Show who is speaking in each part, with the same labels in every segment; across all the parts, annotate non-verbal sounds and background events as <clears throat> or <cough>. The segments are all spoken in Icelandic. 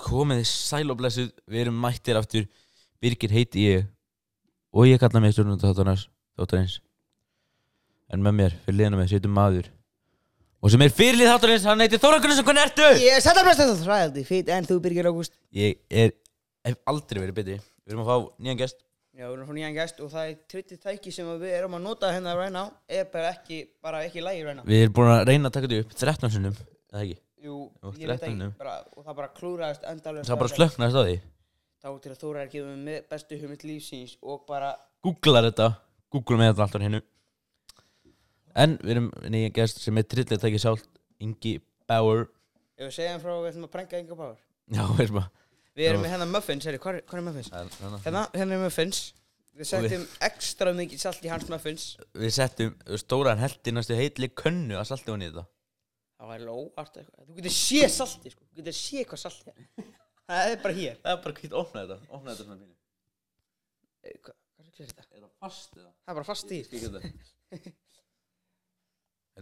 Speaker 1: komið sæl og blessuð, við erum mættir aftur Birgir heiti ég og ég kalla mig stjórnum þáttarnas þáttarins en með mér, fyrir liðanum með sittum maður og sem er fyrirlið þáttarins, hann heiti Þóra Gunnarsson, hvernig ertu?
Speaker 2: Ég er sættar blest að það þræðaldi fýt en þú Birgir Ágúst
Speaker 1: Ég er, hef aldrei verið betri við erum að fá nýjan gest
Speaker 2: Já, við erum frá nýjan gæst og það er tvitti tæki sem við erum að nota hérna right now er bara ekki, bara ekki lægi right now
Speaker 1: við erum búin að reyna að taka þetta upp 13 sinnum, eða ekki
Speaker 2: Jú,
Speaker 1: Jú,
Speaker 2: ég veit ekki
Speaker 1: þrettánum.
Speaker 2: bara, og það bara klúraðist endalveg
Speaker 1: það bara slöknaðist á því
Speaker 2: Þá til að Þóra er gefið með bestu hugmynd lífsins og bara
Speaker 1: googlar þetta, googlar með þetta alltaf hennu en við erum nýjan gest sem er trillir tækið sált Ingi Bauer
Speaker 2: ef við segja hann frá að við ætlum að prenga enga báður
Speaker 1: já, veist maður
Speaker 2: Við erum
Speaker 1: Já.
Speaker 2: með hérna muffins, herri, hvað er- hvað er muffins?
Speaker 1: En- en-
Speaker 2: Hérna, hérna er muffins Við
Speaker 1: Og við-
Speaker 2: settum ekstra mikið salt í hans muffins
Speaker 1: Við settum stóran heldi næstu heitli könnu að salti hún í þetta
Speaker 2: Það var lóart eitthvað Þú getur séð salti, sko, þú getur séð hvað salti er Það er bara hér
Speaker 1: Það er bara kvitt opna þetta, opna þetta svona mínu
Speaker 2: Eh, Hvað hvað rugl er þetta?
Speaker 1: Er það fast eða?
Speaker 2: Það er bara fast í
Speaker 1: Skikja þetta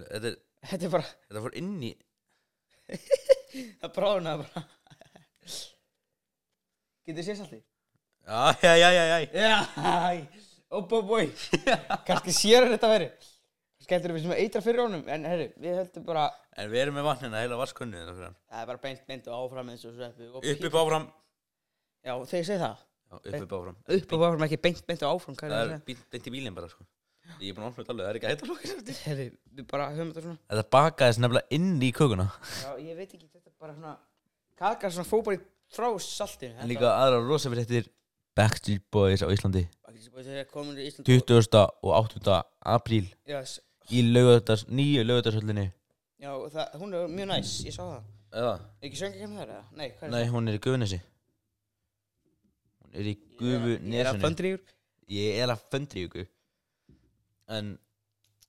Speaker 1: Þetta, er-
Speaker 2: Þetta er bara,
Speaker 1: þetta fór inn í
Speaker 2: það bráðnaði bara Getur séð salti?
Speaker 1: Æ, æ, æ, æ, æ
Speaker 2: Já, opa boi Kanski sér hann þetta veri Skelltur við sem að eitra fyrir honum En herri, við höldum bara
Speaker 1: En við erum með vannina, heila vaskönnu þetta fyrir hann
Speaker 2: Það er bara beint beint og áfram eins og sveppi og
Speaker 1: Upp upp áfram
Speaker 2: Já, þegar ég segi það
Speaker 1: Já, upp upp áfram
Speaker 2: Upp og áfram ekki beint beint og áfram Hvað
Speaker 1: Það
Speaker 2: er
Speaker 1: er
Speaker 2: það?
Speaker 1: bí- beint í bílinn bara sko Ég er búin að opna þetta alveg, það er ekki að heita lókir
Speaker 2: Herri, við bara höfum þetta svona
Speaker 1: Þetta bakaðist nefnilega inn í kökuna
Speaker 2: Já, ég veit ekki, þetta er bara svona Kaka svona fór bara í frá saltinu
Speaker 1: En líka aðra rosa fyrir þetta Backstreet Boys á Íslandi
Speaker 2: Þetta er komin í Ísland
Speaker 1: 20. og 8. apríl
Speaker 2: Já, s-
Speaker 1: í laugardars, nýju laugardagshöllinni
Speaker 2: já, það, hún er mjög næs, ég sá það
Speaker 1: Eða?
Speaker 2: Ekki söngi kemur þar, eða? Nei, hvað er
Speaker 1: Nei, hún er í Guðnesi Hún er í
Speaker 2: Ég er að
Speaker 1: Guðnesinu
Speaker 2: föndri úr
Speaker 1: Ég er að föndri ykkur En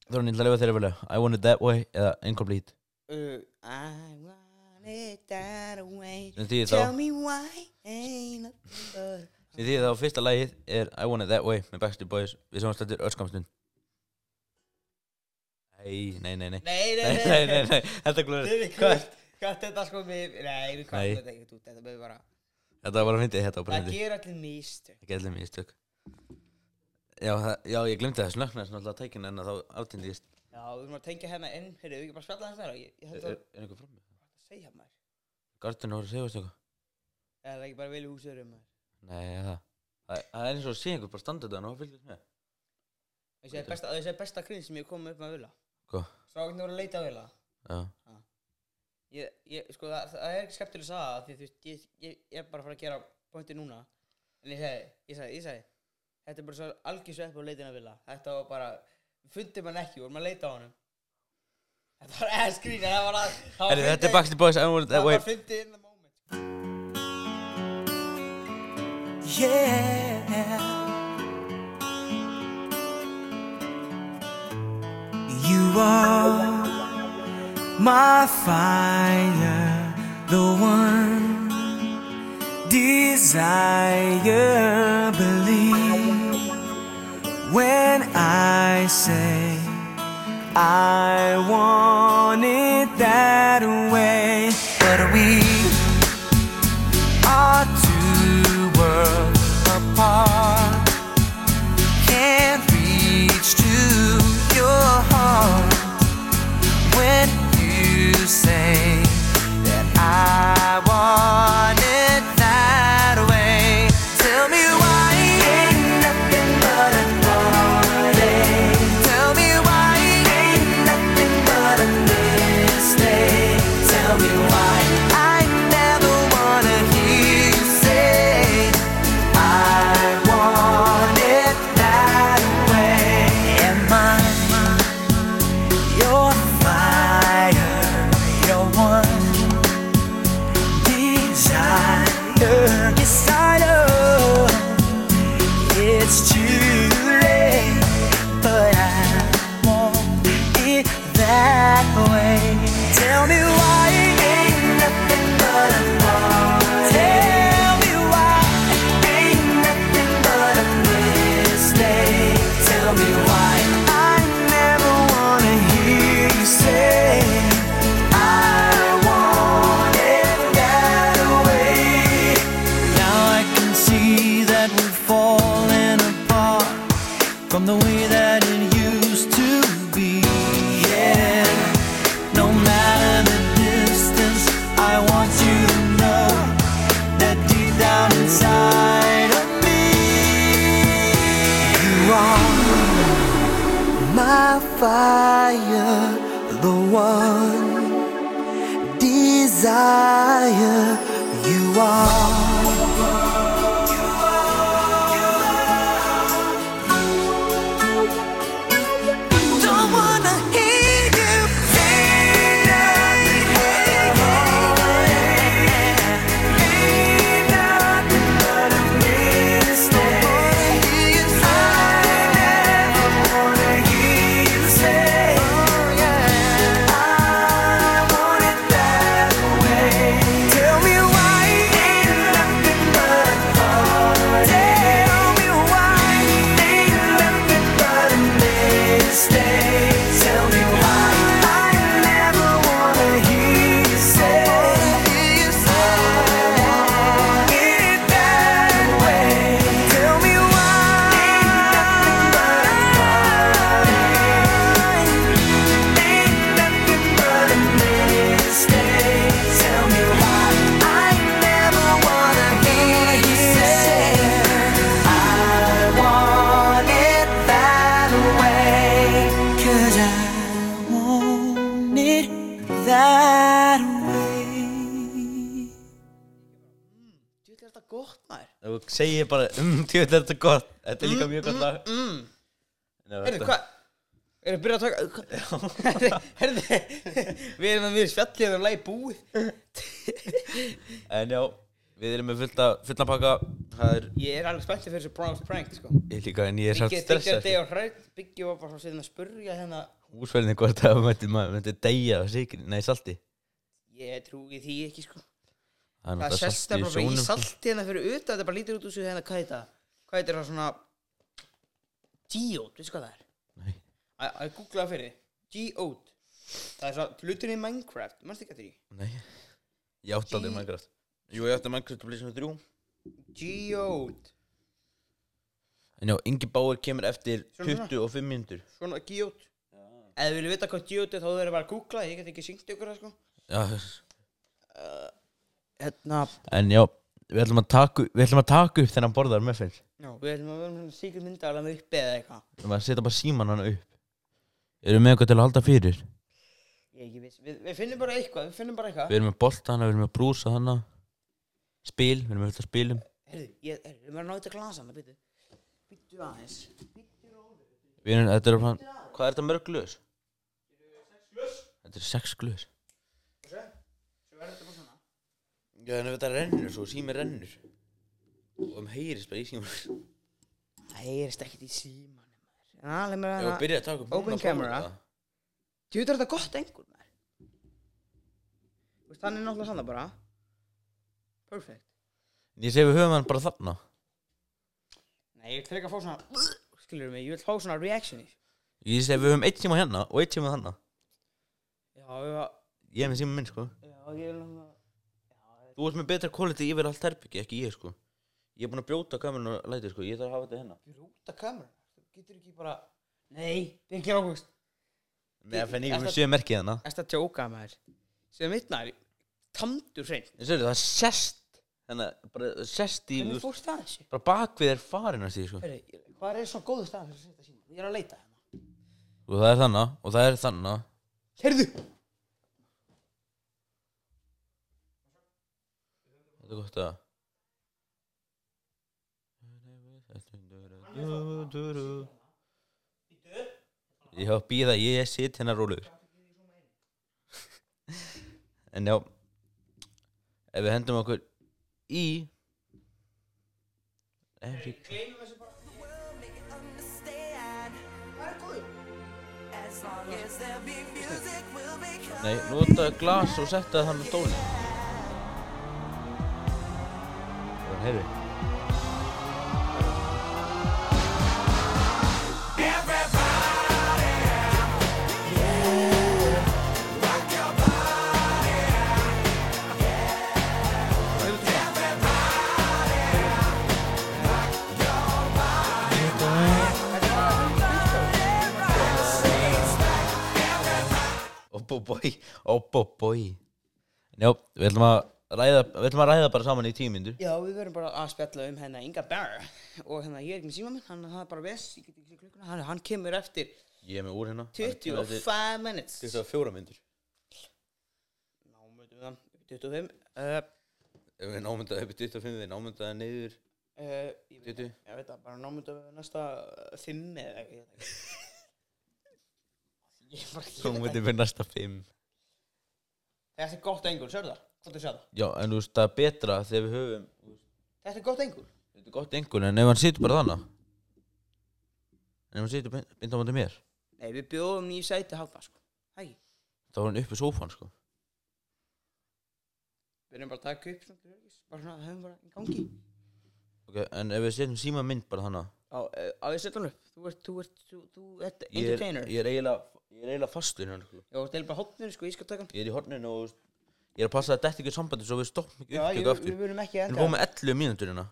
Speaker 1: Þá er hún illa að lifa þeirra vel I want it that way eða incomplete
Speaker 2: Uh, I want it that way
Speaker 1: Sem því
Speaker 2: Tell
Speaker 1: þá,
Speaker 2: me why ain't nothing but-
Speaker 1: sem því þá fyrsta lagið er I want it that way með Backstreet Boys Við sem hann slættir öskamstund Nei, nei, nei, nei
Speaker 2: Nei, nei,
Speaker 1: Nei, nei, nei, nei, þetta glúður
Speaker 2: Þetta er kvöld <laughs> Hvað þetta sko við Nei, við
Speaker 1: Nei.
Speaker 2: kvartum þetta ekkert út Þetta bauði bara
Speaker 1: Þetta var bara fyndið, þetta var bara
Speaker 2: Það
Speaker 1: fyndið
Speaker 2: ger allir místök
Speaker 1: Það gerði mér í stök Já, það- já, ég glemdi það, snöknaði svona alltaf tækina en þá aftindist
Speaker 2: Já, við þurfum að tengja hérna inn Heyrðu, við ekki bara spjalla þess þar Ég ég held
Speaker 1: Er
Speaker 2: að
Speaker 1: er einhver fram?
Speaker 2: að segja maður
Speaker 1: Gardinu voru að segja eitthvað
Speaker 2: Eða er það ekki bara vel í um húsörum maður
Speaker 1: Nei, það Það það er eins og að sé einhver bara standa þetta og fylgjast með
Speaker 2: Þessi er besta, þessi er besta grín sem ég kom upp með að vila
Speaker 1: Hvað?
Speaker 2: Stráknir voru að leita að vila
Speaker 1: Já,
Speaker 2: ég, ég, sko, það, það er ekki skemmtileg að sagða því þú veist, ég, ég, ég er bara að fara að gera pointi núna en ég sagði, ég sagði, ég sagði þetta er bara svo algjör svepp á leitina vilja þetta var bara, við fundum hann ekki og vorum að leita á hann þetta var <laughs> ass green en það var að það
Speaker 1: Herri, þetta er
Speaker 2: fyndið-
Speaker 1: Backstreet Boys I want it that
Speaker 2: það
Speaker 1: way
Speaker 2: var fyndið in the moment
Speaker 3: Yeah. You are my fire, the one desire. Believe when I say I want it that way, but we our two worlds apart. Can't reach to your heart when you say that I want it that way. Tell me why ain't nothing but a party. Tell me why ain't nothing but a mistake. fire, the one desire you are. Don't wanna hear you Tell me why ain't nothing but Tell me why ain't nothing but a mistake. Tell me why I never wanna hear you say it that way. Tell me why ain't nothing but a ain't nothing but a mistake. Tell me why I never wanna hear you say. I want it that way. 'Cause I want it that way.
Speaker 2: Þú veit, er þetta gott maður?
Speaker 1: Þú segir bara, mm, tjóð, þetta er gott Þetta er líka mjög gott lag mm, mm.
Speaker 2: Herðu, hvað? Erum við byrjað að taka...
Speaker 1: <laughs>
Speaker 2: hva- Herðu, við erum að við spjallið eða lagi búið. <laughs>
Speaker 1: En já, við erum með fullta, fullta pakka Það er
Speaker 2: Ég er alveg spenntið fyrir þessu Browns prank, sko.
Speaker 1: ég líka en ég er samt
Speaker 2: Byggja þetta
Speaker 1: stressað
Speaker 2: deg á hrætt, byggja og bara svona að spurja hérna.
Speaker 1: Úsverðinni hvort að maður myndi- maður myndi deyja á sikri, nei salti
Speaker 2: Ég trúi því ekki, sko.
Speaker 1: Það
Speaker 2: Það
Speaker 1: náttúrulega
Speaker 2: sést það bara
Speaker 1: sjónum,
Speaker 2: í
Speaker 1: sko.
Speaker 2: salti hérna fyrir utan, þetta bara lítur út úr sig hérna, hvað er þetta? Hvað er þetta svona... Geode, veistu hvað það er? Æ,
Speaker 1: Nei.
Speaker 2: æ, googla það fyrir. þig. Geode. Það er svona hluturinn í Minecraft, mannst ekki að því?
Speaker 1: Nei Ég átti aldrei Minecraft Jú, ég átti Minecraft og Blizzard 3
Speaker 2: Geode.
Speaker 1: En já, Ingi Báir kemur eftir
Speaker 2: Svona.
Speaker 1: 25 mínútur
Speaker 2: Svona geode. Ef þið viljið vita hvað geode er, þá verður bara að googla, ég get ekki syngt ykkur það, sko.
Speaker 1: Já,
Speaker 2: Hérna,
Speaker 1: en já Við ætlum að taka, við ætlum að taka upp þennan borðar með fyrir
Speaker 2: já, við ætlum að vera með síkur myndaðalega með uppi eða eitthvað.
Speaker 1: Við ætlum að setja bara síman hann upp Erum við með eitthvað til að halda fyrir
Speaker 2: Ég er ekki viss, við, við finnum bara eitthvað, við finnum bara eitthvað
Speaker 1: Við erum með bolta hana, við erum með brúsa hana Spil, við erum með fullt að spilum
Speaker 2: Herðu, ég, herðu, við verðum að ná þetta glasa með, býttu Býttu aðeins
Speaker 1: Við erum, þetta er að plan Hvað er þetta mörg glös? Þetta er sex glös Já, en ef þetta rennur svo, sími rennur Og um heyrist bara í síma Ég
Speaker 2: Það heyrist ekkert í símanum maður. En aðlega með
Speaker 1: var að
Speaker 2: hana
Speaker 1: byrja að taka upp
Speaker 2: Open
Speaker 1: núna,
Speaker 2: camera.
Speaker 1: bara.
Speaker 2: Þú veitur þetta gott engur maður Þú veist, hann er náttúrulega sann bara Perfect
Speaker 1: Ég segi við höfum hann bara þarna
Speaker 2: Nei, ég vil freka að fá svona Skilur mig, ég vil fá svona reaction í
Speaker 1: Ég segi við höfum eitt síma hérna og eitt síma þarna
Speaker 2: Já, ég var
Speaker 1: Ég er með síma minn sko
Speaker 2: Já, ég vil náttúrulega
Speaker 1: Þú ert með betra quality yfir allt herbyggi, ekki ég sko Ég er búin að brjóta kamerun og læti sko Ég þarf að hafa þetta hérna
Speaker 2: Rúta kameran Þú getur ekki bara Nei, Birgir Ágúst
Speaker 1: Nei, fenn ég
Speaker 2: Þetta-
Speaker 1: með sjö merkið hérna
Speaker 2: Erst að tjóka maður Sem mittnar Tamdur hreint
Speaker 1: En sér, það sest Þannig að bara sest í
Speaker 2: Hvernig
Speaker 1: þú veist,
Speaker 2: fórst það þessu?
Speaker 1: Bara bakvið er farin að því sko
Speaker 2: Heri, hvað er svona góðu stað fyrir að setja síma? Ég er að leita hérna.
Speaker 1: Og það er þannig Og það er þannig
Speaker 2: Herðu!
Speaker 1: Þetta er gott að Ég hafa býða Ég sit hérna rólegur <laughs> En já Ef við hendum okkur í Every
Speaker 2: Gleimum þessu bara. Það er góður.
Speaker 3: As long as there be music, we'll be
Speaker 1: Nei, nota glas og setta þannig stóli Þannig heyrðu Óbóbói, óbóbói Já, við ætlum að ræða Við ætlum að ræða bara saman í tíu myndur
Speaker 2: Já, við verðum bara að spjalla um hérna Inga Barra og hérna ég er ekki með síma minn, hann það er bara ves, ég get ekki séð klukkuna, hann, hann kemur eftir
Speaker 1: Ég er með úr hérna
Speaker 2: 25 minutes
Speaker 1: 24 myndur
Speaker 2: Námöndum það 25 uh,
Speaker 1: Ef við námyndaði upp í 25 Við námyndaði niður
Speaker 2: uh, ég, veit,
Speaker 1: 20.
Speaker 2: ég veit það, bara námöndum við næsta 5 eða eitthvað ég veit það <laughs> ekki. Ég bara- ég veit það ekki.
Speaker 1: Námyndaði fyrir næsta 5
Speaker 2: Þetta er gott engul, sérðu það? Hvort þú sér það?
Speaker 1: Já, en þú veist það er betra þegar við höfum
Speaker 2: Þetta er gott engul
Speaker 1: Þetta er gott einhvern En ef hann situr bara þannig En ef hann situr beint á móti mér
Speaker 2: Nei, við bjóðum nýju sæti hálfa, sko Hæ,
Speaker 1: Þá var hann upp í sófan sko
Speaker 2: við erum bara að taka upp svona, til öryggis. bara svona, höfum bara í gangi
Speaker 1: okay, En ef við setjum síma mynd bara þannig
Speaker 2: Á, eh, á ég setja hann upp Þú ert, þú ert, þú, þú ert
Speaker 1: Ég er,
Speaker 2: entertainer
Speaker 1: ég er eiginlega Ég er eiginlega fastur hérna sko.
Speaker 2: Já, þú ert eiginlega bara hópnir, sko, ég skal taka hann
Speaker 1: Ég er í horninu og þú veist, Ég er að passa að detti ekki sambandi Svo við stoppum ekki
Speaker 2: Já,
Speaker 1: upptöku
Speaker 2: ég-
Speaker 1: aftur
Speaker 2: við verum ekki
Speaker 1: En
Speaker 2: að
Speaker 1: við fórum með 11 mínútur hérna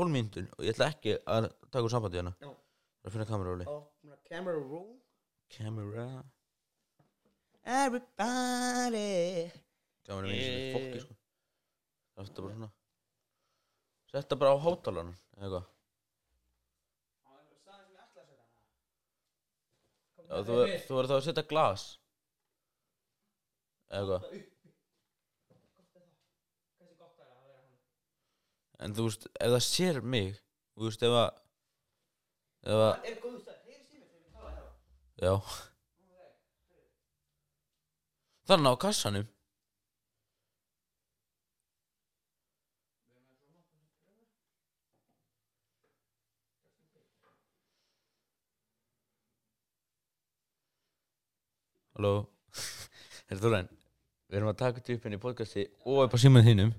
Speaker 1: 12 mínútur og ég ætla ekki að taka úr sambandi hérna
Speaker 2: Já.
Speaker 1: Það er að finna kamerúli
Speaker 2: með Camera roll
Speaker 1: Kamera
Speaker 2: Everybody
Speaker 1: Kamera mín sem er
Speaker 2: Yeah.
Speaker 1: fokki sko Það er alltaf bara svona Setta bara á hátalarnum eða eitthvað Já, þú, þú verður þá að setja glas eða eitthvað En þú veist, ef það sér mig Þú veist, ef að Ef að
Speaker 2: Er góð stað, heyri símið þegar við tala hérna
Speaker 1: Já Þannig á kassanum Halló Herra Þorlein Við erum að taka þetta upp henni í podcasti og upp á símanum þínum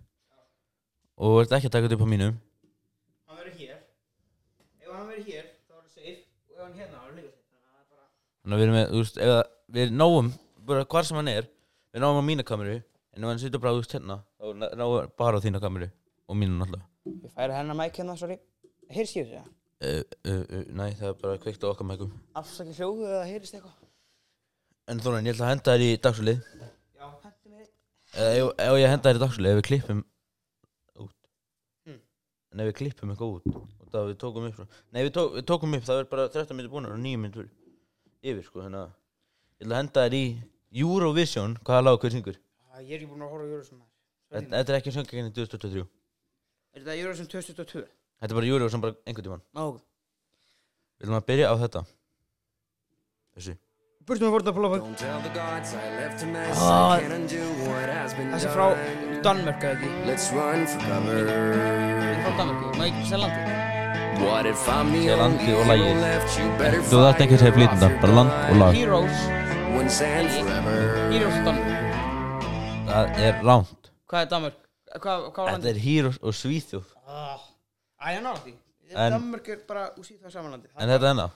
Speaker 1: og þú ert ekki að taka þetta upp á mínum
Speaker 2: Hann verður hér Ef hann verður hér, þá verður safe Og ef hann hérna, þá verður líka safe Þannig að það er bara
Speaker 1: Þannig að við erum með, þú veist, ef að við náum, bara hvar sem hann er, við náum á mína kameru, en ef hann situr bara, þú veist, hérna, þá ná- náum við bara á þína kameru og mínu náttúrulega.
Speaker 2: Ég færi hennar mæk hérna, sorry Heyrist ég þetta?
Speaker 1: Uh, uh, uh, nei, það er bara kveikt á okkar mækum.
Speaker 2: Afsaki hljóðu eða heyrist eitthvað?
Speaker 1: En Þorðan, ég ætla að henda þér í dagslið,
Speaker 2: Já, hendur mér
Speaker 1: eða ef, ef ég henda þér í dagslið, ef við klippum út.
Speaker 2: Mm.
Speaker 1: En ef við klippum eitthvað út, og það við tókum upp, frá- nei, við, tók, við tókum upp, það er bara 13 minnir búnar og 9 minnir yfir, sko, þannig að ég ætla að henda þér í Eurovision, hvaða lag, hver syngur?
Speaker 2: Æ, Ég er ekki búinn að horfa á Eurovision maður.
Speaker 1: Þetta þetta er ekki söngakenni 2023.
Speaker 2: Er þetta Eurovision 2022?
Speaker 1: Þetta er bara júri og sem bara einhvern tímann
Speaker 2: Ná, ok.
Speaker 1: Við viljum að byrja á þetta Þessu
Speaker 2: Burtum að vorna að plófa.
Speaker 3: Don't tell the gods I left a mess.
Speaker 1: Ah.
Speaker 3: I can't undo what has been
Speaker 2: Þessi frá
Speaker 3: done.
Speaker 2: Danmörk eða ekki?
Speaker 3: Let's run for cover.
Speaker 2: Frá Danmörk, má ekki selja landið?
Speaker 3: What if I'm the
Speaker 1: Ég landi
Speaker 3: only
Speaker 1: og
Speaker 3: hero
Speaker 1: lagið.
Speaker 3: left? You better
Speaker 1: Þú þarft ekki að segja
Speaker 3: fire off
Speaker 1: flytenda,
Speaker 3: your
Speaker 1: bara land og
Speaker 3: gun.
Speaker 1: lag
Speaker 2: Heroes,
Speaker 3: One sand forever.
Speaker 2: Heroes og Danmörk.
Speaker 1: Það er ránt
Speaker 2: Hvað er Danmörk? Hvað, hvað var
Speaker 1: Þetta
Speaker 2: landið?
Speaker 1: er Heroes og Svíþjóð
Speaker 2: Ah, Æ, ég náði því.
Speaker 1: En-
Speaker 2: Danmörk er bara úr síðan saman landið.
Speaker 1: En þetta er hennar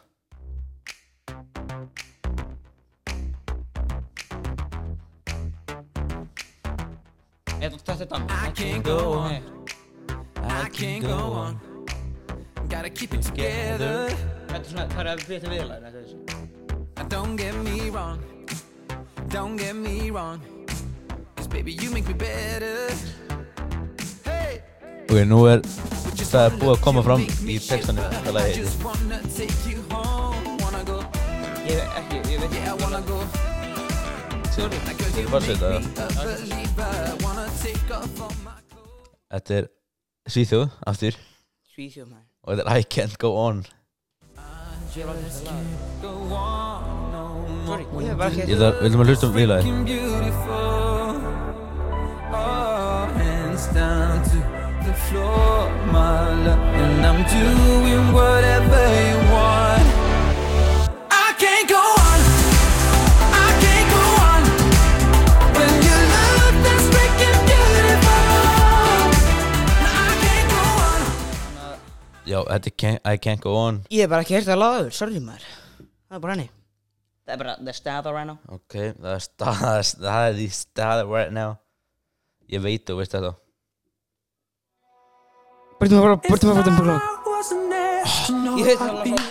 Speaker 2: Þetta þetta er Danmörk.
Speaker 3: I can't go on. I can't go on. Gotta keep it together.
Speaker 2: Þetta er svona, það er að betja viðlæðin, þetta er þessu.
Speaker 3: Now don't get me wrong. Don't get me wrong. 'Cause baby, you make me better. Hey!
Speaker 1: Ok, nú er Það er búið að koma fram í textanum Þetta lagi heitir
Speaker 2: Ég veit ekki, ég veit ekki. Sjóri.
Speaker 1: Þetta er bara að setja það. Þetta er Svíþjóð aftur
Speaker 2: Svíþjóð maður.
Speaker 1: Og þetta er I can't go on
Speaker 2: Ég var þetta lag. Sori, ég hef bara ekki
Speaker 1: Ég þarf, við viljum að hlusta um viðlaði
Speaker 3: I can't go on. I can't go on. When you look that's freaking beautiful. I can't go on.
Speaker 1: Já, þetta er can, I can't go on
Speaker 2: Ég hef bara ekki hert að laga öður, sorry maður Það er bara henni Það er bara the staða right now
Speaker 1: Ok, það er stað Það er í stað right now Ég veit þú veist þetta
Speaker 2: Börtum að bara, börtum að um börtum að börtum
Speaker 3: Ég
Speaker 2: Ég heit það <laughs> alveg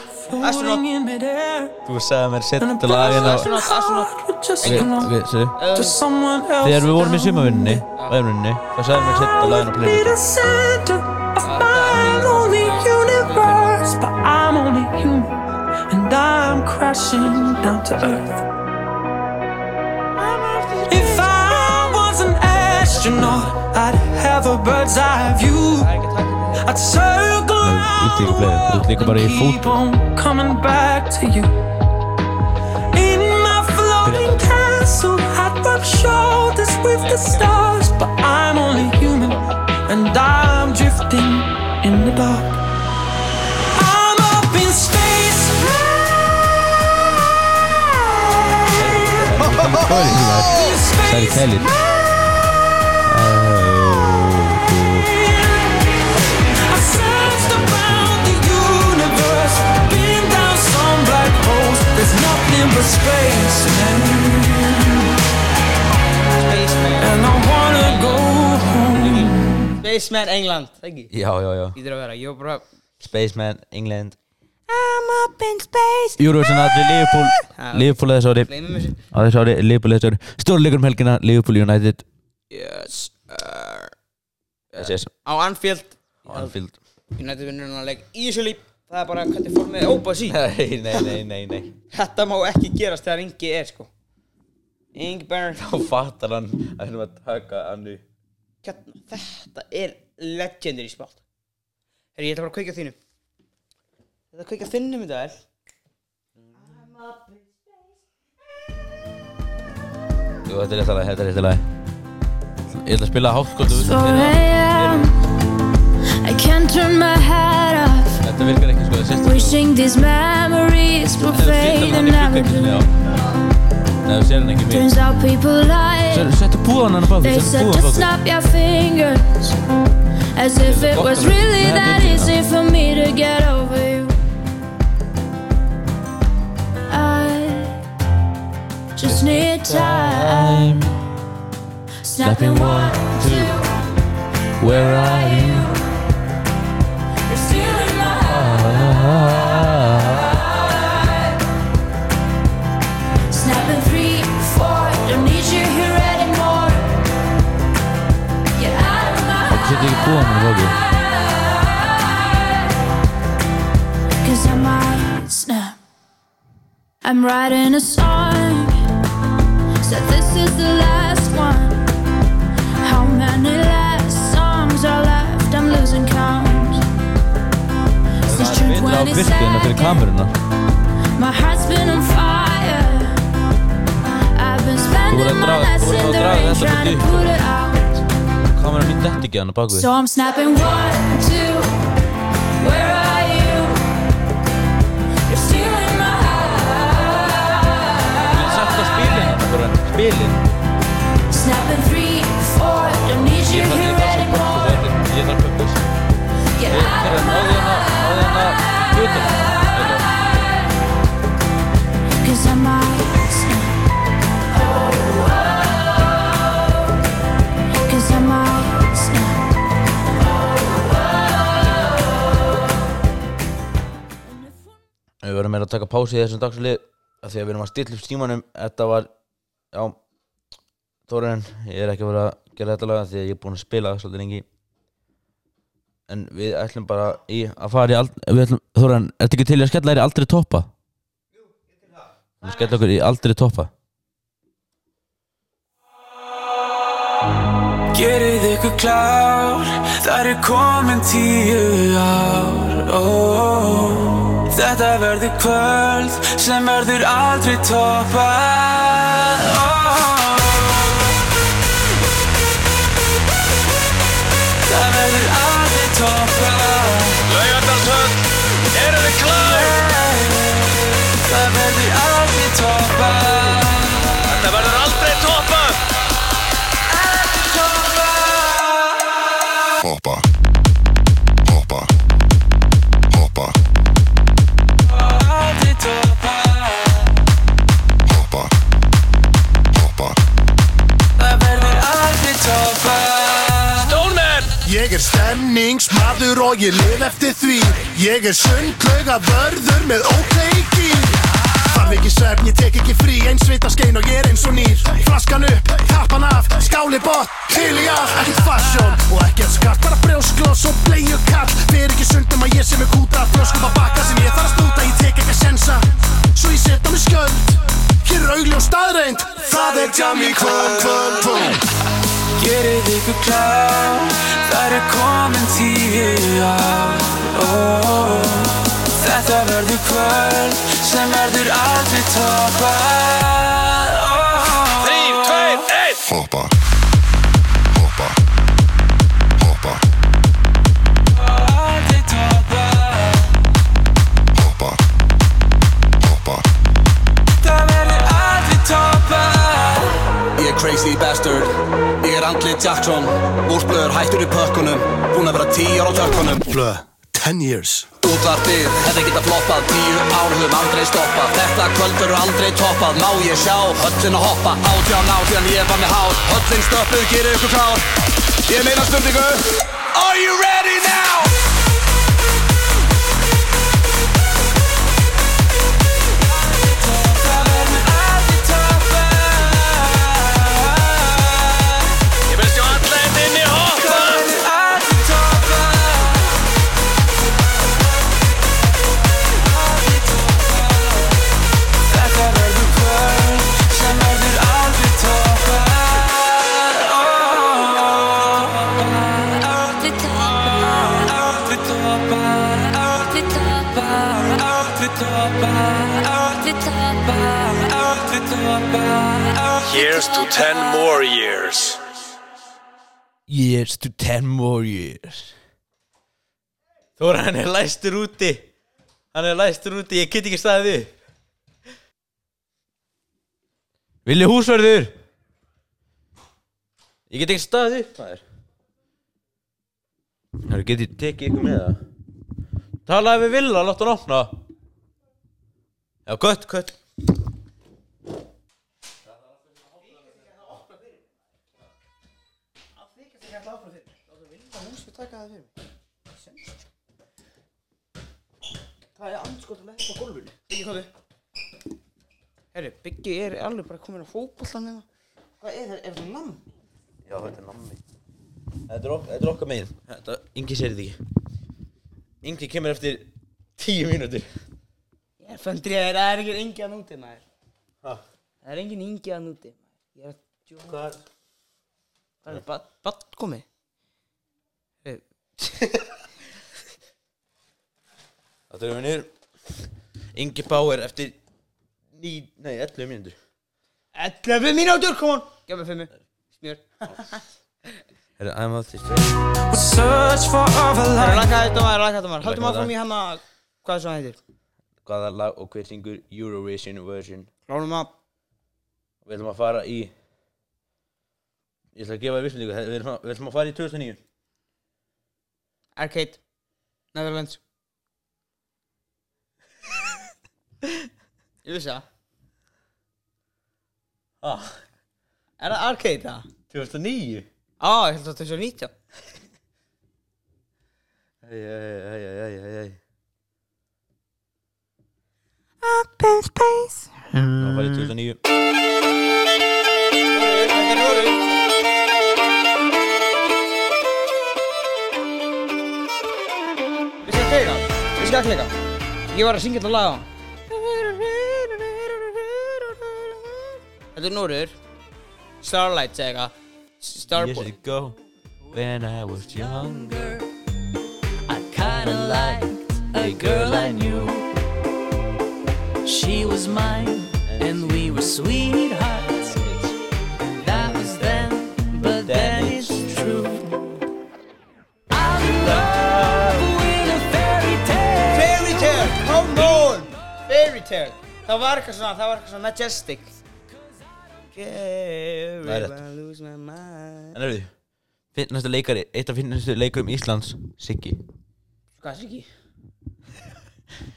Speaker 2: Astronaut
Speaker 1: Þú sagði mér setja lagin á
Speaker 2: Astronaut, astronaut
Speaker 1: Ok, ok, segðu Þegar við vorum í sumavinninni og öðrunni þá sagði mér að setja lagin á
Speaker 4: <laughs>
Speaker 1: playlist
Speaker 2: Það er mjög
Speaker 5: universe, but I'm only human, and I'm
Speaker 3: crashing down to earth. If I was an astronaut, I'd have a bird's eye view.
Speaker 2: Það er ekki að taka þetta
Speaker 3: I'd circle around
Speaker 1: ýtti ekki
Speaker 3: the
Speaker 1: play. Þú ert líka
Speaker 3: world
Speaker 1: bara í
Speaker 3: and keep on coming back to you. In my floating castle, I rub shoulders with the stars, but I'm only human and I'm drifting in the dark. I'm up in space.
Speaker 1: Það
Speaker 3: In
Speaker 1: er í
Speaker 3: space.
Speaker 1: telir
Speaker 3: I searched around the universe, been down some black holes. There's nothing but space, and,
Speaker 2: Spaceman
Speaker 3: and I wanna go home.
Speaker 2: Spaceman England, það ekki?
Speaker 1: Já, já, já
Speaker 2: Ítir að vera, ég var bara
Speaker 1: Spaceman, England
Speaker 3: I'm up in space. Ah.
Speaker 1: Eurovision aðri Liverpool Liverpool þessu ári
Speaker 2: Gleymum þessu
Speaker 1: á þessu ári Liverpool þessu ári Stórleikur um helgina Liverpool United
Speaker 2: Yes uh,
Speaker 1: Yes, yes
Speaker 2: Á Anfield
Speaker 1: Anfield
Speaker 2: United vinnur hann að leik Easily Það er bara hvernig formið er óbæð sí
Speaker 1: Nei, nei, nei, nei, nei
Speaker 2: Þetta má ekki gerast þegar Ingi er sko Ingi Bernard
Speaker 1: Þá fattar hann að hann var að taka hann í
Speaker 2: Hérna, Þetta er legendary spalt Herri, ég ætla bara að kveika þínu Þetta að kveika þínu mynda vel
Speaker 1: Jú, þetta er rétt að lagi, þetta er rétt að lagi Ég ætla að spila hátt hvort þú
Speaker 5: 4 a.m. I can't turn my head off.
Speaker 1: Þetta virkar ekki sko, það sést ekki
Speaker 5: Wishing these memories will
Speaker 1: Það er fýtt
Speaker 5: fade
Speaker 1: að
Speaker 5: and
Speaker 1: hann er
Speaker 5: never
Speaker 1: fýtt ekki
Speaker 5: do.
Speaker 1: sinni á Nei, þú sér hann ekki mér
Speaker 5: Turns out people lie.
Speaker 1: Settu búðan hann á báðu,
Speaker 5: They
Speaker 1: settu
Speaker 5: said
Speaker 1: búðan
Speaker 5: just
Speaker 1: báðu
Speaker 5: snap your fingers. As if it was really that easy for me to get over you. I just need time. Snapping one, two.
Speaker 1: Where are you?
Speaker 5: You're still in my heart. Snapping three, four, don't need you here anymore. Get out of my
Speaker 1: Settu ekki búðan hann á báðu
Speaker 5: Cause I might snap. I'm writing a song. So this is the last one. How many last songs are left? I'm losing count. Since
Speaker 1: Það
Speaker 5: June
Speaker 1: er betra á byrtu en að fyrir
Speaker 5: 22nd.
Speaker 1: kameruna
Speaker 5: My heart's been on fire. I've been
Speaker 1: voru að
Speaker 5: spending my
Speaker 1: draga-
Speaker 5: last
Speaker 1: þú voru
Speaker 5: in
Speaker 1: að
Speaker 5: the
Speaker 1: draga
Speaker 5: rain
Speaker 1: þetta
Speaker 5: trying to
Speaker 1: beint upp.
Speaker 5: put it out.
Speaker 1: Kameran mín detti ekki hann á baku
Speaker 5: So I'm snapping one, two. Where are you? You're stealing my heart.
Speaker 1: Ég settu að spilin hann bara, spilin
Speaker 5: Snapping three, four. Don't need you
Speaker 1: Ég
Speaker 5: here
Speaker 1: þarf þessi
Speaker 5: anymore.
Speaker 1: pökkur, ég þarf pökkur
Speaker 5: Get
Speaker 1: Ég
Speaker 5: out
Speaker 1: þarf
Speaker 5: of my
Speaker 1: náði hann að, náði hann að, hlutin
Speaker 5: Cause I might snap. Cause I might snap.
Speaker 1: Við verðum meira að taka pási í þessum dagslið af því að við erum að stilla upp símanum Þetta var, já Þórarinn, ég er ekki að vera að gera þetta lag af því að ég er búinn að spila það svolítið lengi En við ætlum bara í að fara í ald... við ætlum, Þórarinn, ertu ekki til í að skella þér í aldrei toppa? Jú, ég til það Skella okkur í aldrei toppa
Speaker 3: Gerið ykkur klár, það er komin tíu ár ó, ó. Þetta verður kvöld sem verður aldrei toppað ó, ó. Það verður aldrei toppað Laugardalshöll, eru þið klár? Það verður aldrei toppað Þetta verður aldrei toppað Aldrei toppað
Speaker 6: Hoppa. Hoppa. Hoppa.
Speaker 3: Aldrei toppar
Speaker 6: Hoppa. Hoppa.
Speaker 3: Það verður aldrei toppar Stónmenn!
Speaker 7: Ég er stemningsmadur og ég lif eftir því Ég er sundlauga vörður með ókleiki Þarf ekki svefn, ég tek ekki frí Eins svita skein og ég er eins og nýr Flaskan upp, tappan af, skáli bótt Til í af, ekkert fashion Og ekkert skatt, bara brjóskloss og bleiu kall Fer ekki sundum að ég sem er kúta Flöskum að bakka sem ég þarf að stúta Ég tek ekki að sensa Svo ég staðreind Það er jam í kvöld, kvöld, kvöld
Speaker 3: Gerið ykkur klár Það er komin tíu ár Ó, ó, ó. Þetta verður kvöld sem verður aldrei toppað Ó, ó, ó.
Speaker 6: hoppa, hoppa, hoppa,
Speaker 3: Aldrei toppað
Speaker 6: hoppa, hoppa.
Speaker 3: Það verður aldrei toppað
Speaker 8: Ég er crazy bastard Ég er andlit Jackson Úrblöður hættur í pökkunum Búin að vera tíjar á törkunum
Speaker 7: Blö, 10 years
Speaker 8: Útvarpið, hefði geta floppað Tíu ár höfum aldrei stoppað Þetta kvöld verður aldrei toppað Má ég sjá höllin að hoppa Átján ár síðan ég var með hár Höllin stöppuð, gerir ykkur klár Ég meina spurningu Are you ready now?
Speaker 3: Það verður aldrei toppað
Speaker 8: Ég vil sjá alla hérna inni hoppa
Speaker 3: Það verður aldrei toppað Aldrei toppað Þetta verður kvöld sem verður aldrei toppað Ó,
Speaker 5: Aldrei tapar,
Speaker 3: Aldrei toppað
Speaker 5: aldrei tapar,
Speaker 3: Aldrei toppað
Speaker 5: aldrei tapar.
Speaker 3: Aldrei toppað
Speaker 9: Here's to 10 more years.
Speaker 1: Years to ten more years
Speaker 2: Þóra, hann er læstur úti Hann er læstur úti, ég get ekki staðið upp
Speaker 1: Vilja húsverður
Speaker 2: Ég get ekki staðið upp, maður
Speaker 1: Það getið tekið ykkur með það
Speaker 2: Talaði við Villa, látt hann opna Já, gött, gött Það er anskotum ekki á gólfinu Byggi, komdu Herri, Byggi er alveg bara komin á hérna. fótbollan eða Hvað er það, er það namn?
Speaker 1: Já, þetta er nammi Þetta er, ok þetta er okkar megin Þetta, Ingi sér þetta ekki
Speaker 2: Ingi kemur eftir tíu mínútur Ég föndri að það er engin ingi að núti maður Það er engin ingi að núti maður Ég er að djóka Hvað? Það er bara Batt komið Eh,
Speaker 1: Þetta er minnur Ingi Bauer eftir ný, Nei, 11 mínútur
Speaker 2: 11 mínútur, kom on Gjá mig fimmu Smjör
Speaker 1: Þetta er aðeins til
Speaker 3: Search for other light
Speaker 2: Laka þetta maður, laka þetta maður
Speaker 1: Lækka
Speaker 2: Haldum áfram
Speaker 1: þetta.
Speaker 2: í hann að Hvað er svo hann heitir?
Speaker 1: Hvaða lag og hver syngur Eurovision version
Speaker 2: Lánum að
Speaker 1: Við ætlum að fara í Ég ætla að gefa þér vissmyndingu Þetta- Við ætlum að, við ætlum að fara í 2009
Speaker 2: Arcade Netherlands Ég vissi það
Speaker 1: ah,
Speaker 2: Er það arcade það?
Speaker 1: 2009
Speaker 2: Á, ég held að þetta er svo 19
Speaker 1: Æj, æj, æj, æj, æj, æj Open space Það var í 2009
Speaker 2: Við skal kleika, við skal kleika Ég var að syngja þetta lag á Þetta er Núrur Starlight segja eitthvað
Speaker 1: Years
Speaker 2: Starboy
Speaker 1: ago When I was younger
Speaker 10: I kinda liked a girl I knew. She was mine, and we were sweethearts. That was then, but then it's true. I'm in love with a fairy tale.
Speaker 2: Fairy Tale, come on Fairy Tale Það var eitthvað svona, það var eitthvað svona majestic
Speaker 1: Það er
Speaker 2: Gary,
Speaker 1: rétt.
Speaker 2: I lose my mind
Speaker 1: En erðu Finnastu leikari Eitt af finnastu leikurum Íslands Siggi
Speaker 2: Hvað er Siggi?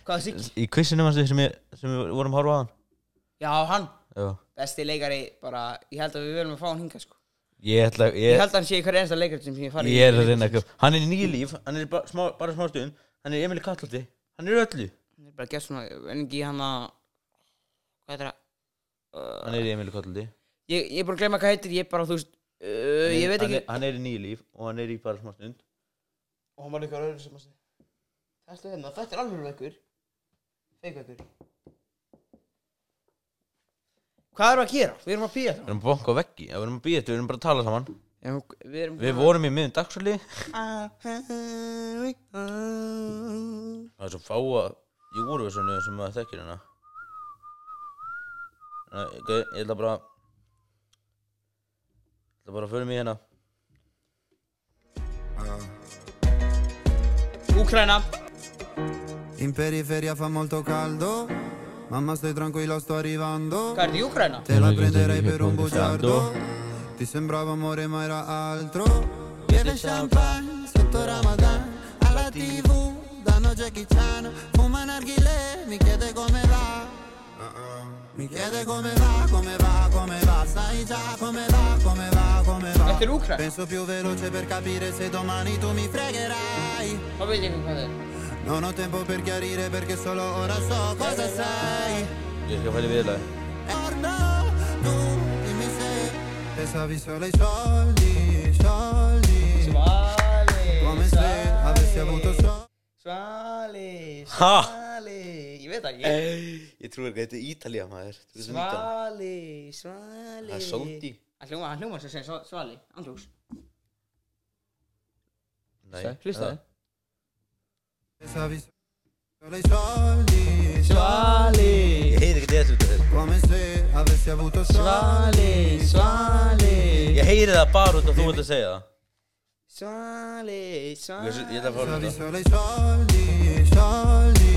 Speaker 2: Hvað er Siggi?
Speaker 1: Í kvissinu mannstu sem, ég- sem við vorum að horfa á hann
Speaker 2: Já, hann
Speaker 1: Já
Speaker 2: Besti leikari, bara, ég held að við veljum að fá hann hingað sko
Speaker 1: Ég ætla
Speaker 2: Ég
Speaker 1: Ég,
Speaker 2: held að hann sé í hverju einasta leikrit sem ég fari
Speaker 1: ég er að reyna að köpa Hann er í nýju líf Hann er bara smá, bara smá stund Hann er í Emil Kattlóti Hann er í öllu
Speaker 2: Ég er bara að gera svona en ekki hann að Hvað heitir það?
Speaker 1: Hann er í Emil Kattlóti
Speaker 2: Ég, ég er bara að gleyma hvað heitir, ég er bara, þú veist uh, Ég veit ekki
Speaker 1: hann er, hann er í nýju líf Og hann er í bara smá stund
Speaker 2: Og hann var líka rauður sem að segja Þetta er hérna, þetta er alveg veikur Feikveikur Hvað erum við að gera? Við erum að býja
Speaker 1: Við erum að bonka á veggi, við erum að býja þetta, við erum bara að tala saman
Speaker 2: það Við erum
Speaker 1: Við vorum í miðum dagsfjöli
Speaker 2: Við
Speaker 1: Það er svo fáa í úrvísunu sem maður þekkir hérna Nei, ok, ég ætla bara Ég ætla bara að förum í hérna
Speaker 2: Úkraina
Speaker 11: In periferia fa molto caldo, mamma stai tranquilla sto arrivando.
Speaker 2: Guardi, Ucraina.
Speaker 11: Te la prenderai per un bugiardo, ti sembrava amore ma era altro. Beve champagne sotto Ramadan, alla tv danno Jackie Chan, fuma narghile, mi chiede come va. Mi chiede come va, come va, come va, sai già come va, come va, come va.
Speaker 2: Mette l'Ucraina.
Speaker 11: Penso più veloce per capire se domani tu mi fregherai.
Speaker 2: Hvað veit ég hvað það er?
Speaker 11: Non ho tempo per chiarire perché solo ora so cosa sei.
Speaker 1: Ég skal fæli viðlega
Speaker 11: Orno, tu dimmi se pensavi solo ai soldi, soldi. Come se avessi avuto soldi.
Speaker 2: Svali,
Speaker 1: Ha? Eh,
Speaker 2: svali Ég veit það ekki
Speaker 1: Ég trúi ekki að þetta er Ítalía maður Þú veist
Speaker 2: Svali,
Speaker 1: Ah,
Speaker 2: svali
Speaker 1: Það er sóti.
Speaker 2: Það hljóma, það hljóma sem segir sva- svali, andrús
Speaker 1: Nei,
Speaker 2: Hlustaði
Speaker 11: Pensavi solo ai soldi,
Speaker 2: Svali,
Speaker 1: Ég heyri ekki þetta út af þetta
Speaker 11: Come se avessi avuto
Speaker 2: svali,
Speaker 11: soldi,
Speaker 2: svali
Speaker 1: Ég heyri það bara út af þú ert að segja það
Speaker 2: Svali,
Speaker 1: Ég
Speaker 2: svali
Speaker 1: ég ætla að fá
Speaker 11: Pensavi
Speaker 1: þetta
Speaker 11: solo ai soldi, soldi.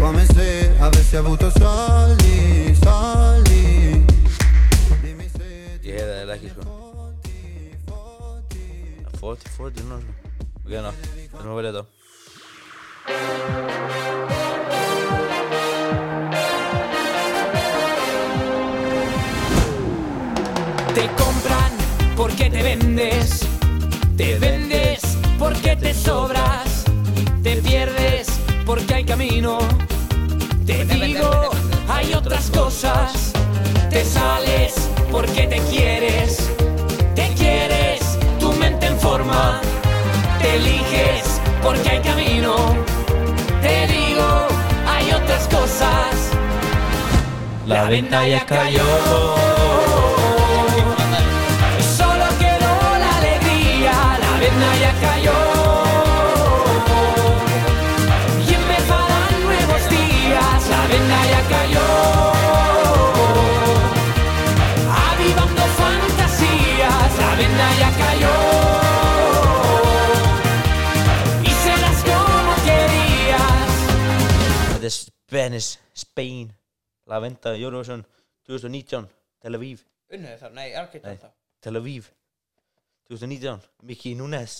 Speaker 11: Come se avessi avuto soldi, soldi. Dimmi se
Speaker 1: Ég heyri það eiginlega ekki sko
Speaker 11: ti foti.
Speaker 1: 40, 40 núna sko Ok, hérna, við erum að velja þetta
Speaker 3: Te compran porque te vendes. Te vendes porque te sobras. Te pierdes porque hay camino. Te digo, hay otras cosas. Te sales porque te quieres. Te quieres, tu mente en forma. Te eliges porque hay camino. Te digo, hay otras cosas. La venta ya cayó. Solo quedó la alegría, la venda ya cayó. Y empezarán nuevos días, la venda ya cayó. Avivando fantasías, la venda ya cayó. Y serás como querías.
Speaker 1: Þetta er Spanish, Spain Lavenda, Eurovision 2019 Tel Aviv,
Speaker 2: Unnaði þar, nei, arcade
Speaker 1: Nei.
Speaker 2: er það
Speaker 1: Tel Aviv 2019, Miki Núnes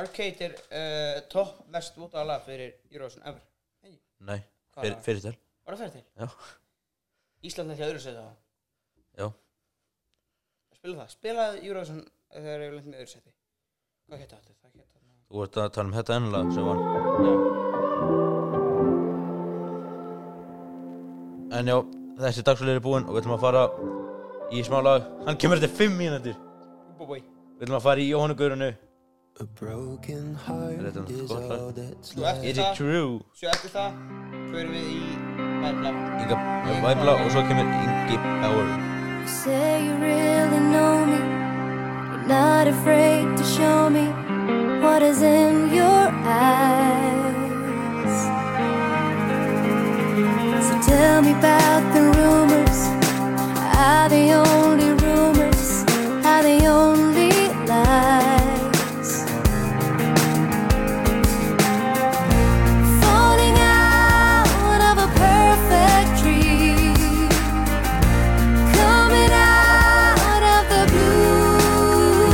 Speaker 2: Arcade er uh, topp mest út að lag fyrir Eurovision ever
Speaker 1: Nei,
Speaker 2: Hvað
Speaker 1: fyr,
Speaker 2: lag?
Speaker 1: fyrir tel
Speaker 2: Var það fyrir til?
Speaker 1: Já,
Speaker 2: Ísland er ekki öðru setja það
Speaker 1: já
Speaker 2: Spila það, spilaði Eurovision eh, þegar ég lent með öðru seti Hvað geta þetta? Það geta þetta
Speaker 1: Þú ert að tala um þetta ennulega sem var En já, þessi dagsfjölu er búinn og við ætlum að fara í smá lag Hann kemur þetta 5 mínútur
Speaker 2: Bú, bú, bú
Speaker 1: Við ætlum að fara í Jóhannu Guðrunu
Speaker 11: A broken heart
Speaker 1: Þetta er náttúrulega
Speaker 11: is
Speaker 1: gott lag.
Speaker 11: all that's
Speaker 2: Svo eftir
Speaker 1: Is it
Speaker 2: það,
Speaker 1: true?
Speaker 2: svo eftir það Förum við í Bæbla
Speaker 1: Inga Væbla og svo kemur Ingi Bauer
Speaker 5: You say you really know me. You're not afraid to show me what is in your eyes. So tell me about the rumors. Are they only rumors? Are they only lies? Falling out of a perfect dream. Coming out of the blue.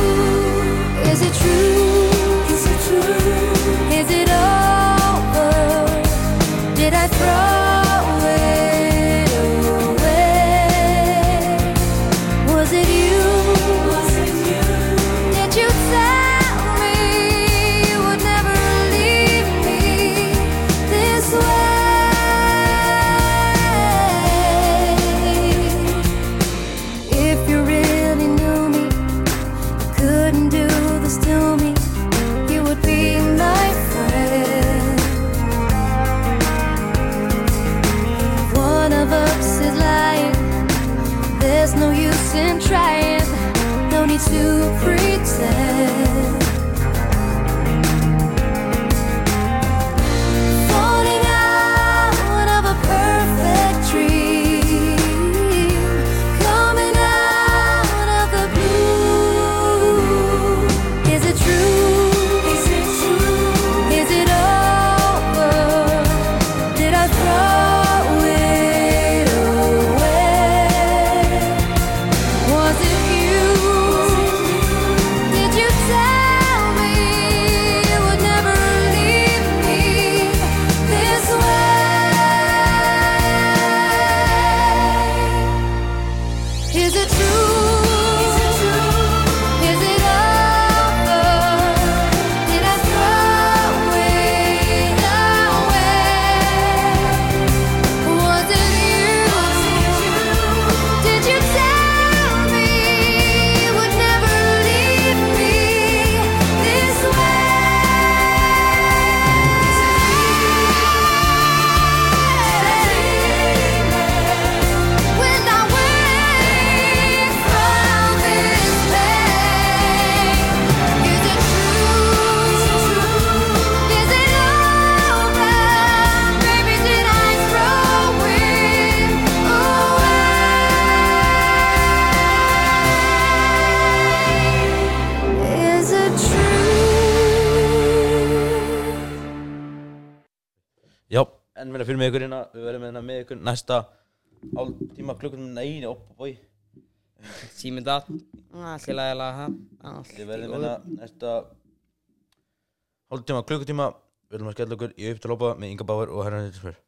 Speaker 5: Is it true? Is it true? Is it over? Did I throw it away?
Speaker 3: to pretend. Falling out of a perfect dream, coming out of the blue. Is it true? Is it true? Is it over? Did I throw it away? Was it you? Did you tell me you would never leave me this way? Is it true? Is it true? Is it over? Did I throw it away? Was it you? Did you tell me you would never leave me this way? When I wake from this pain, is it true? Is it over? Baby, did I throw it away? Is it true?
Speaker 1: Já, en meina fyrir með ykkur hérna Við verðum hérna með ykkur næsta Hálf tíma klukkum Nei, opp og bói
Speaker 2: Síminn datt Ah, Allt í lagi að laga það Allt í
Speaker 1: Við verðum
Speaker 2: góðu.
Speaker 1: hérna næsta Hálf tíma klukkutíma Við verðum að skella okkur í upp til lópa Með Inga Bauer og Herran Hildur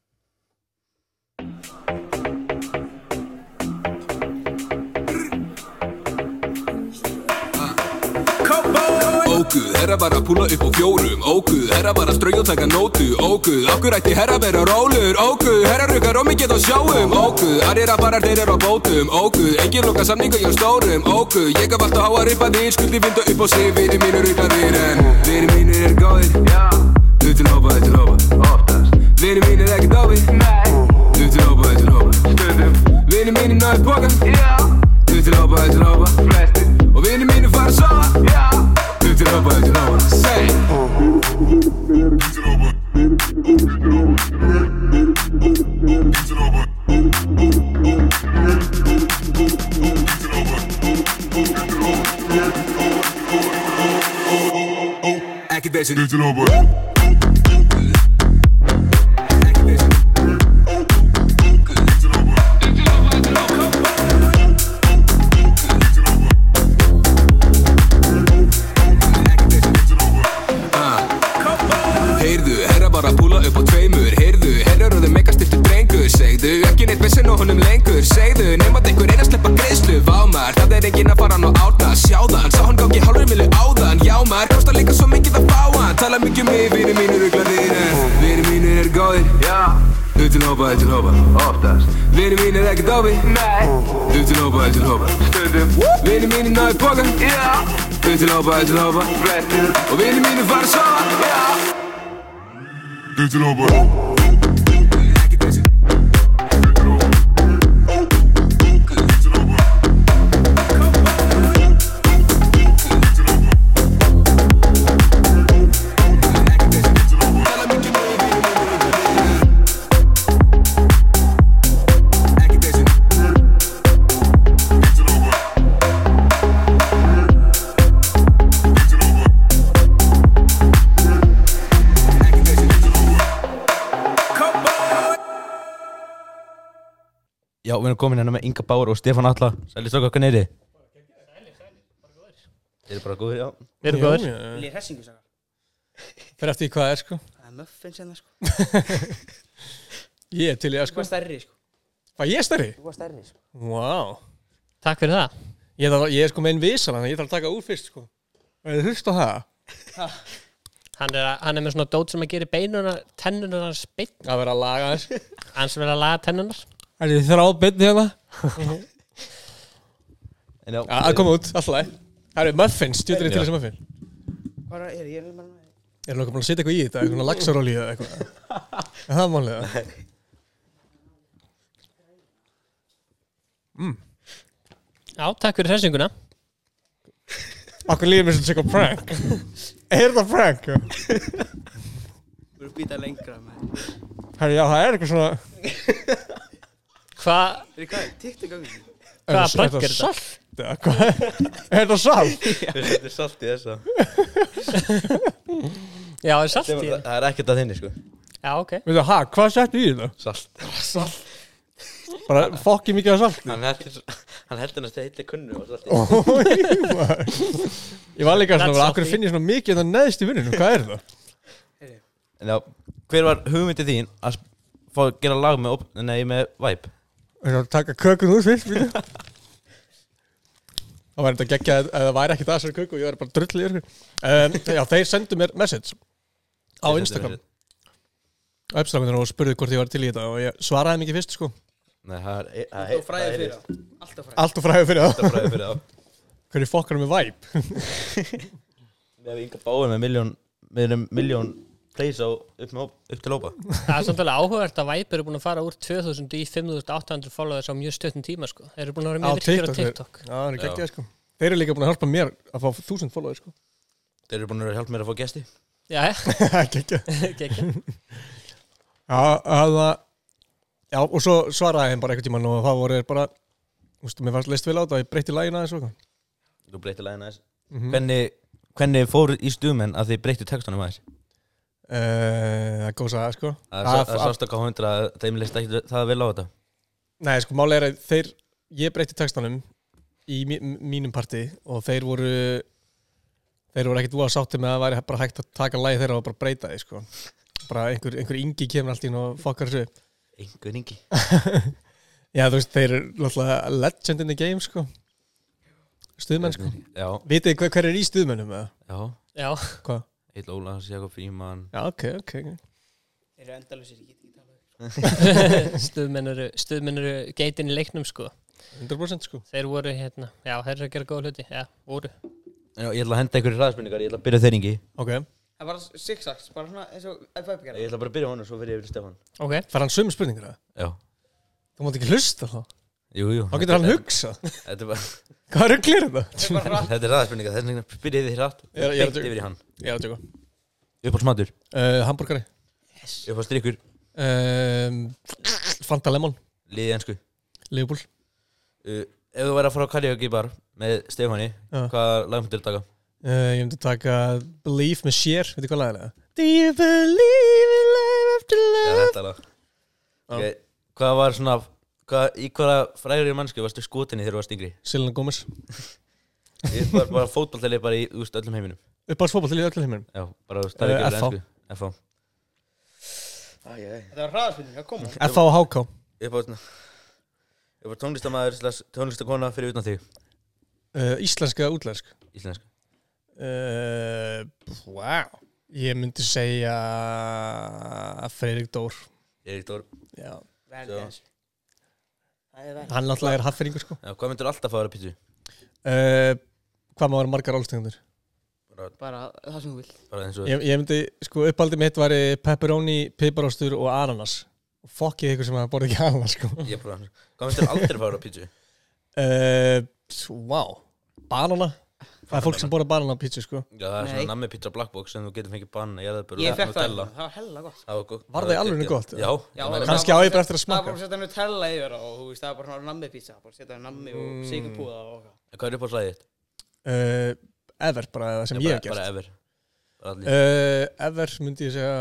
Speaker 4: Óguð, herra bara að púla upp á fjórum Óguð, herra bara að strauja og taka nótu Óguð, okkur ætti herra vera rólur Óguð, herra rukkar og mikið á sjáum Óguð, aðrir að bara þeir eru á bótum Óguð, engin loka samninga hjá stórum Óguð, ég haf allt að háa ripa þín Skuldi vinda upp á sig, vini mínur ruklaðir En vini mínir er góðir Já Upp til hópa, upp til hópa Oftast Vini mínir ekki dófið Nei Upp til hópa, upp til hópa Stundum Vini mínir náðu pokan Já Upp til hópa, upp til hópa Flestir Og vini mínir fara að sofa Já Upp til hópa, upp til hópa Say Activation Upp til hópa Heyrðu, herra bara að púla upp á tveimur Heyrðu, herra röðu mega stiftur drengur Segðu, ekki neitt vesen og honum lengur Segðu, nema að einhver einn að sleppa greiðslu Vámar, það er enginn að fara hann og átna Sjáðan, sá hann gangi hálfur milju áðan Jámar, kostar líka svo mikið að fá hann Tala mikið um mig, vinir mínir ruglaðir En vinir mínir er góðir Já Upp til hópa, upp til hópa Oftast Vinir mínir er ekkert ofi Nei Upp til hópa, upp til hópa Stundum Vinir mínir náðu pokan Já Upp til hópa, upp til hópa Brettir Og vinir mínir fara að sofa Já Upp til hópa
Speaker 1: Já, við erum komin hérna með Inga Bauer og Stefán Alla Sæli stokk okkar neyri Þeir eru bara góðir, já
Speaker 12: Þeir eru góðir.
Speaker 2: Vilja í hressingu sagði
Speaker 12: Fyrir eftir því hvað það er sko
Speaker 2: Það er muffins hérna sko
Speaker 12: Ég er til í það
Speaker 2: Þú
Speaker 12: sko
Speaker 2: var stærri sko
Speaker 12: Var ég stærri?
Speaker 2: Þú var stærri sko
Speaker 12: Vá Takk fyrir það Ég, þarf, að- ég er sko með einn visal Þannig að ég þarf að taka úr fyrst sko Og ég hlusta á það
Speaker 13: Hann er, að- hann er með svona dót sem að gera beinunar, tennunar spill.
Speaker 12: Það verður að laga þess.
Speaker 13: Hann sem verður að laga tennunar.
Speaker 12: Það er þrá byrni hérna
Speaker 1: En já,
Speaker 12: Að að
Speaker 1: <laughs>
Speaker 12: koma út, alltaf leið Það eru muffins, djúður ég til
Speaker 1: Já.
Speaker 12: þessi muffin
Speaker 2: Hvað er ég er bara með
Speaker 12: Er nokkuð búin að setja eitthvað í þetta, eitthvað laxaróli eða eitthvað Er það málega? Mm.
Speaker 13: Já, takk fyrir hressinguna.
Speaker 12: Akkur líður mér sem sér prank Er það prank?
Speaker 2: Þú eru að býta lengra með
Speaker 12: Herri, já, það er eitthvað svona
Speaker 13: Hvað?
Speaker 2: Þeir hvað, tiktu gangi
Speaker 12: Hvaða prank er þetta? Salt, eða hvað? Er þetta salt?
Speaker 14: Þetta er salt í þessa
Speaker 13: Já, það er salt í
Speaker 14: Þetta
Speaker 13: henni.
Speaker 14: Það er ekkert að þinni sko
Speaker 13: Já, ok
Speaker 12: Veitu, hæ, hvað settu í þetta?
Speaker 14: Salt
Speaker 12: Salt Bara fokki mikið af salt
Speaker 14: Hann heldur Hann heldur næst að heitla kunnu og salt í.
Speaker 1: Oh.
Speaker 12: Ói, maður. Ég var líka svona,
Speaker 14: That's
Speaker 12: akkur
Speaker 14: salty.
Speaker 12: finn ég svona mikið Það neðst í vinnunum, hvað er það?
Speaker 1: En já, hver var hugmyndið þín að sp- fá að gera lag með, op- nei, með Vibe?
Speaker 12: Það er að taka kökun úr fyrst býtu. Það væri þetta geggja að það væri ekkert að þessari köku Ég væri bara drullið yfir um, Já, þeir sendu mér message Á
Speaker 14: Þeir sendu
Speaker 12: Instagram Á Instagraminu og spurðu hvort ég var til í þetta Og ég svaraði mikið fyrst sko
Speaker 14: Nei, það er e- það
Speaker 2: Þú
Speaker 14: er- það
Speaker 2: fræðið
Speaker 14: er-
Speaker 2: fyrir það Alltaf fræðið
Speaker 12: Allt og fræðu fyrir það
Speaker 14: Allt og frægur fyrir það.
Speaker 12: Hvernig fokkar með vibe
Speaker 14: Við hefum yngar báðið með miljón Við erum miljón plays á upp, með, hóp- upp til hópa
Speaker 13: Það er samt alveg áhugavert að Vibe eru búin að fara úr 2000 í 5800 followers á mjög stöttum tíma sko. Þeir eru búin að vera
Speaker 12: Á
Speaker 13: mjög virkir á
Speaker 12: þeir-
Speaker 13: TikTok
Speaker 12: Já, það er geggjað sko Þeir eru líka búin að hjálpa mér að fá þúsund followers sko
Speaker 14: Þeir eru búin að hjálpa mér að fá gesti
Speaker 12: <laughs>
Speaker 13: Já,
Speaker 12: Geggjað.
Speaker 13: Geggjað.
Speaker 12: Já, að það Já, og svo svaraði þeim bara einhvern tímann og það voru þeir bara Þú veist, mér fannst leist vel á þetta, ég breytti lægina þessu og eitthvað.
Speaker 14: Þú breytir lagin aðeins
Speaker 12: Mhm.
Speaker 1: Hvernig, hvernig fóru í stuðmenn að þið breyttu textunum aðeins?
Speaker 12: Eh, Það er góð saga, sko
Speaker 1: Það
Speaker 12: Að-
Speaker 1: er sá- það
Speaker 12: að-
Speaker 1: er sástaka hundra að þeim leist ekki það vel á þetta
Speaker 12: Nei, sko, máli er að þeir, ég breytti textanum í mí- m- mínum parti og þeir voru þeir voru ekkert úa sátti með að það væri bara hægt að taka lagi þeirra og bara breyta því, sko bara einhver, einhver yngi kemur allt í hún og fokkar þessu upp.
Speaker 14: Einhver yngi
Speaker 12: Já, þú veist, þeir eru náttúrulega legend in the game, sko stuðmenn, sko
Speaker 1: Já.
Speaker 12: Vitið þið hver, hver er í stuðmennum, eða?
Speaker 1: Já.
Speaker 13: Já.
Speaker 12: Hvað?
Speaker 1: Eitt Ólafs, Jakob Fríman
Speaker 12: Já, ok, ok, ok
Speaker 2: Þeir eru endalusir, ég get ekki talað
Speaker 13: Stuðmenn eru, stuðmenn eru geitin í leiknum sko
Speaker 12: 100% sko
Speaker 13: Þeir voru hérna, já, þeir eru að gera góða hluti Já, voru
Speaker 1: Já, Ég ætla að henda einhverju hraðspurningar, ég ætla að byrja þeir yngi
Speaker 12: Ok
Speaker 2: Það er bara zigzags, bara svona eins og að
Speaker 14: Ég
Speaker 2: Vibe gera
Speaker 14: ætla bara að byrja á honum svo fyrir yfir til Stefán
Speaker 13: Ok
Speaker 12: Fær hann sömu spurningur, eða?
Speaker 1: Já
Speaker 12: Þú mátt ekki hlusta þá
Speaker 1: Jú, jú
Speaker 12: Þá getur hann hugsað
Speaker 14: Þetta er bara
Speaker 12: Hvað ruglir þetta?
Speaker 14: Þetta er hraðspurningar, þess vegna byrjið þið hratt
Speaker 12: Ég er- ég er að
Speaker 14: Beint
Speaker 12: tjóka.
Speaker 14: yfir í hann
Speaker 12: Ég er að tjóka.
Speaker 1: Uppáhaldsmatur
Speaker 12: uh, Hamburgari
Speaker 1: yes. Uppáhaldsdrykkur
Speaker 12: um, Fanta Lemon
Speaker 1: Liðið ensku
Speaker 12: Liverpool
Speaker 1: uh, Ef þú væri að fara á karaoke bar með Stefáni
Speaker 12: Já.
Speaker 1: Hvaða lag myndir þú taka?
Speaker 12: uh, Ég myndi taka Believe með Cher Veitir hvað lagin er? Do you believe in life after
Speaker 1: Já,
Speaker 12: love?
Speaker 1: þetta lag okay. Hvað var svona hvað, Í hvaða frægri mannsku varstu skotinni þegar þú varst yngri?
Speaker 12: Selena Gomez
Speaker 1: Ég var
Speaker 12: <laughs>
Speaker 1: bara fótballtalið bara í úst, öllum heiminum
Speaker 12: Uppáhaldsfótball til í öllu heiminum
Speaker 1: Já, bara þú veist, það er
Speaker 12: Eh,
Speaker 1: ekki
Speaker 12: FH.
Speaker 1: alveg ensku FH
Speaker 2: Þetta var hraðarspinning, það kom
Speaker 12: <laughs> FH og HK
Speaker 1: Uppáhaldsna Ég var tónlistamæður slags tónlistakona fyrir utan þig
Speaker 12: uh, Íslenska eða útlensk
Speaker 1: Íslensk
Speaker 12: uh, Wow Ég myndi segja Freirik Dór
Speaker 1: Eirik Dór
Speaker 12: Já
Speaker 2: Vel
Speaker 1: Svo.
Speaker 2: gert. Það er vel.
Speaker 12: Hann náttúrulega er hafferingur sko
Speaker 1: Já, hvað myndir alltaf fara að pítsu?
Speaker 12: uh, Hvað maður margar álstengundur?
Speaker 2: Bara það sem þú vilt
Speaker 1: Bara eins og
Speaker 12: Ég, ég myndi, sko, uppaldið mitt væri pepperoni, piparostur og ananas og fokkið ykkur sem að borða ekki ananas, sko
Speaker 1: Ég prófa hann Hvað myndir aldrei fara að pítsu?
Speaker 12: uh, Wow Banana Það er fólk sem borða banana á pizza, sko
Speaker 1: Já, það er
Speaker 12: Nei.
Speaker 1: svona nammi pizza black box sem þú getur fengið banna, jarðabur
Speaker 2: Ég
Speaker 1: og
Speaker 2: fekk það,
Speaker 1: Nutella.
Speaker 2: það var hella gott
Speaker 1: Það var gott.
Speaker 12: Var það í alvöru
Speaker 1: geggjað.
Speaker 12: gott, eða?
Speaker 1: Já.
Speaker 12: Já,
Speaker 1: ég meina-
Speaker 12: Kannski á ég bara eftir að smakka.
Speaker 2: Það var bara að setja Nutella yfir og þú veist, það var bara svona nammi pizza Bara setja nammi og
Speaker 12: Mm.
Speaker 2: mm. sigurpúða og okkar
Speaker 1: En Hvað er upp á slæðið?
Speaker 12: uh, Ever, bara það sem
Speaker 1: Já,
Speaker 12: ég hef
Speaker 1: bara- bara ever.
Speaker 12: gert
Speaker 1: Bara allir.
Speaker 12: uh, Ever myndi ég segja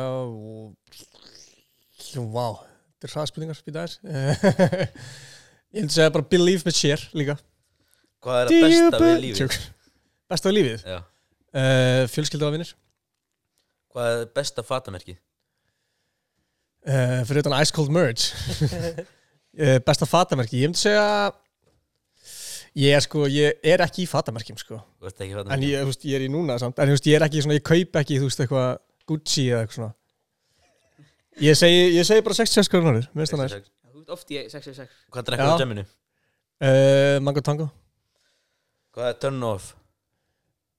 Speaker 12: Wow Þetta er hraðspurningar, býta þess <laughs> Ég myndi segja bara Believe með Cher líka
Speaker 1: Hvað er
Speaker 12: Do you
Speaker 1: að besta við
Speaker 12: be-
Speaker 1: lífið?
Speaker 12: Tjók. Besta við lífið?
Speaker 1: Já.
Speaker 12: Uh, fjölskylda og vinnir
Speaker 1: Hvað er besta fatamerki?
Speaker 12: uh, fyrir utan Ice Cold Merge uh, besta fatamerki ég myndi segja ég er sko, ég er ekki í fatamerkjum sko.
Speaker 1: Þú ert ekki í
Speaker 12: en
Speaker 1: fatamerkjum.
Speaker 12: ég, þú veist, ég er í núna samt en þú veist, ég er ekki svona, ég kaup ekki þú veist, eitthvað Gucci eða eitthvað svona ég segi, ég segi bara 66 krónur mér finnst það næst
Speaker 1: 66.
Speaker 2: Þú veist oft í 666
Speaker 1: Hvað drekkur á
Speaker 12: Já.
Speaker 1: djeminu?
Speaker 12: uh, Mango Tango
Speaker 1: Hvað er turn off?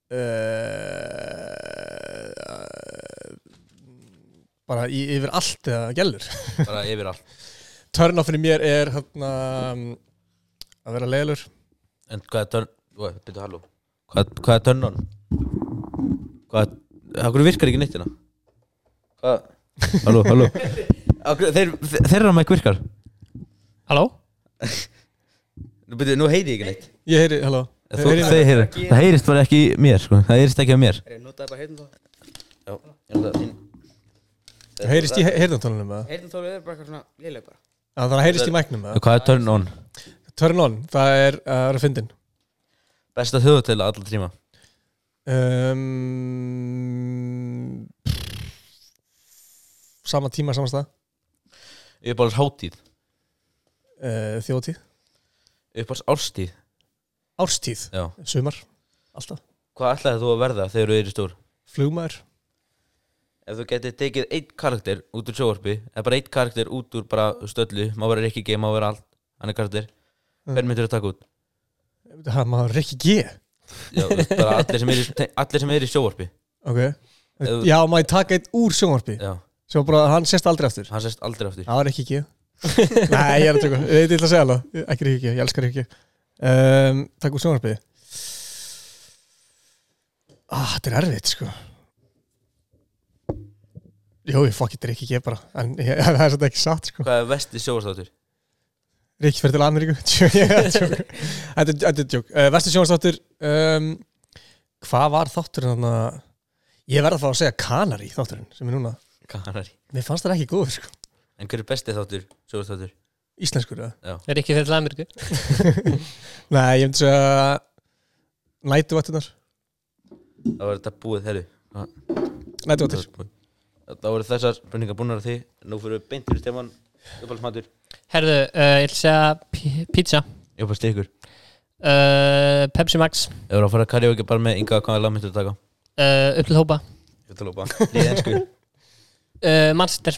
Speaker 12: Eh, bara í, yfir allt eða <laughs> gælur
Speaker 1: Bara yfir allt.
Speaker 12: turn off fyrir mér er hérna, um, að vera leilur
Speaker 1: En hvað er turn... Þú veit, byrju, halló. Hvað, hvað er tönnun? Hvað, af hverju virkar ekki nettina? Hvað? Halló, halló <laughs> Af hverju- Þeir, þe- þeirra mæk virkar
Speaker 13: Halló?
Speaker 1: Nú, byrju, nú heyri ég ekki neitt
Speaker 12: Ég heyri, halló
Speaker 1: Þú, þeir, heyri, Það heyrist bara ekki í mér, sko Það heyrist ekki á mér
Speaker 2: Notaði bara heyrnum þá
Speaker 1: Já, ég nota þín
Speaker 12: Heyrist í heyrðantólunum eða?
Speaker 2: Heyrnum þá er bara eitthvað svona léleg bara
Speaker 12: Já, þannig að heyrist í mæknum eða?
Speaker 1: Hvað er turn on?
Speaker 12: Turn on, það er að vera fyndin
Speaker 1: Besta þjóðutel að alla tíma
Speaker 12: um, Sama tíma, sama stað
Speaker 1: Ég er bara hátíð
Speaker 12: uh, Þjóðtíð
Speaker 1: Uppáls árstíð
Speaker 12: Árstíð
Speaker 1: Já.
Speaker 12: Sumar Alltaf
Speaker 1: Hvað ætlaði þú að verða þegar þú eru stór?
Speaker 12: Flugmaður
Speaker 1: Ef þú getið tekið eitt karakter út úr sjóvarpi eða bara eitt karakter út úr bara stöllu má vera Rikki G, má vera allt annar karakter
Speaker 12: Mm.
Speaker 1: hvern myndir þú taka út?
Speaker 12: Það maður ekki G
Speaker 1: Já, þú veist, bara allir sem eru í- allir sem eru í sjóvarpi
Speaker 12: Ok
Speaker 1: Ef-
Speaker 12: Já, maður taka eitt úr sjónvarpi
Speaker 1: Já.
Speaker 12: Svo bara, hann sést aldrei aftur
Speaker 1: Hann sést aldrei aftur
Speaker 12: Það var ekki
Speaker 1: <laughs>
Speaker 12: G Nei, ég er að tjóka Ég ætla að segja alveg Ekki Rikki G, ég elskar Rikki G um, Takk úr sjónvarpi Ah, þetta er erfitt, sko Jó, ég fokk ég Rikki G bara En ég, <laughs> það er svolítið ekki satt, sko
Speaker 1: Hvað er vesti sjóvarstáttur?
Speaker 12: Rikki fyrir til Ameríku <laughs> Tjó, ég er að
Speaker 13: <laughs>
Speaker 12: tjóka. Þetta er- þetta er tjók uh, Vestu sjónvarstáttur um, Hvað var þátturinn þarna Ég verð að fá að segja Kanari þátturinn sem er núna
Speaker 1: Kanari
Speaker 12: Mér fannst það ekki góður sko
Speaker 1: En hver er besti þáttur? Sjóvarstáttur?
Speaker 12: Íslenskur eða?
Speaker 1: Já
Speaker 13: Er ekki fyrir Lamirku?
Speaker 12: <laughs> Nei, ég myndi segja Nætuvættunar
Speaker 1: Það var þetta búið herri
Speaker 12: Nætuvættur
Speaker 1: Það voru þessar spurningar búnar af því Nú fyrir við beintur í stefan Uppáhaldsmatur
Speaker 13: Herðu, uh, ég ætla að segja pi- pizza
Speaker 1: Uppáhaldsstyrkur
Speaker 13: uh, Pepsi Max
Speaker 1: Ef þú eru að fara að karaoke bara með Inga hvaða lag myndir þú taka?
Speaker 13: uh, Upp til hópa
Speaker 1: <laughs> Ég ætla að lópa Líðið ennsku
Speaker 13: uh, Manchester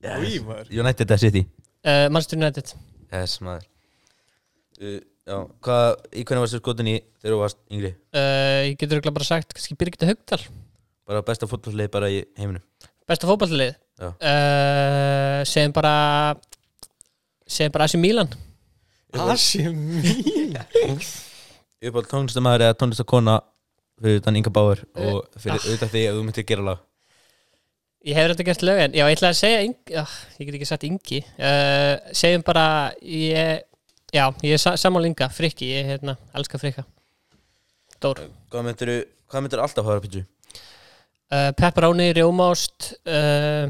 Speaker 12: Í, maður.
Speaker 1: United að City
Speaker 13: uh, Manchester United
Speaker 1: Yes maður uh, Já, hvað, í hvernig varstu skotin í þegar þú varst yngri?
Speaker 13: uh, Ég getur ekki bara sagt kannski Birgitta Haugdal
Speaker 1: Bara besta fótbollsleið bara í heiminum
Speaker 13: Besta fótballið
Speaker 1: Já.
Speaker 13: uh, Segjum bara Segjum bara AC Milan
Speaker 12: Asi
Speaker 13: <laughs>
Speaker 12: Milan
Speaker 1: Uppáld tónlistamæður eða tónlistakona fyrir utan Inga Bauer og fyrir
Speaker 13: ah.
Speaker 1: auðvitað því að þú myndir gera lag
Speaker 13: Ég hefur þetta gert lögin Já, ég ætla að segja Ingi Já, Ég get ekki sagt Ingi uh, Segjum bara ég, Já, ég er sa sammál Inga Frikki, ég hérna, elska Frikka Dór
Speaker 1: Hvað myndir, hvað myndir alltaf hafa á pítsu?
Speaker 13: uh, Pepperoni, rjómást uh,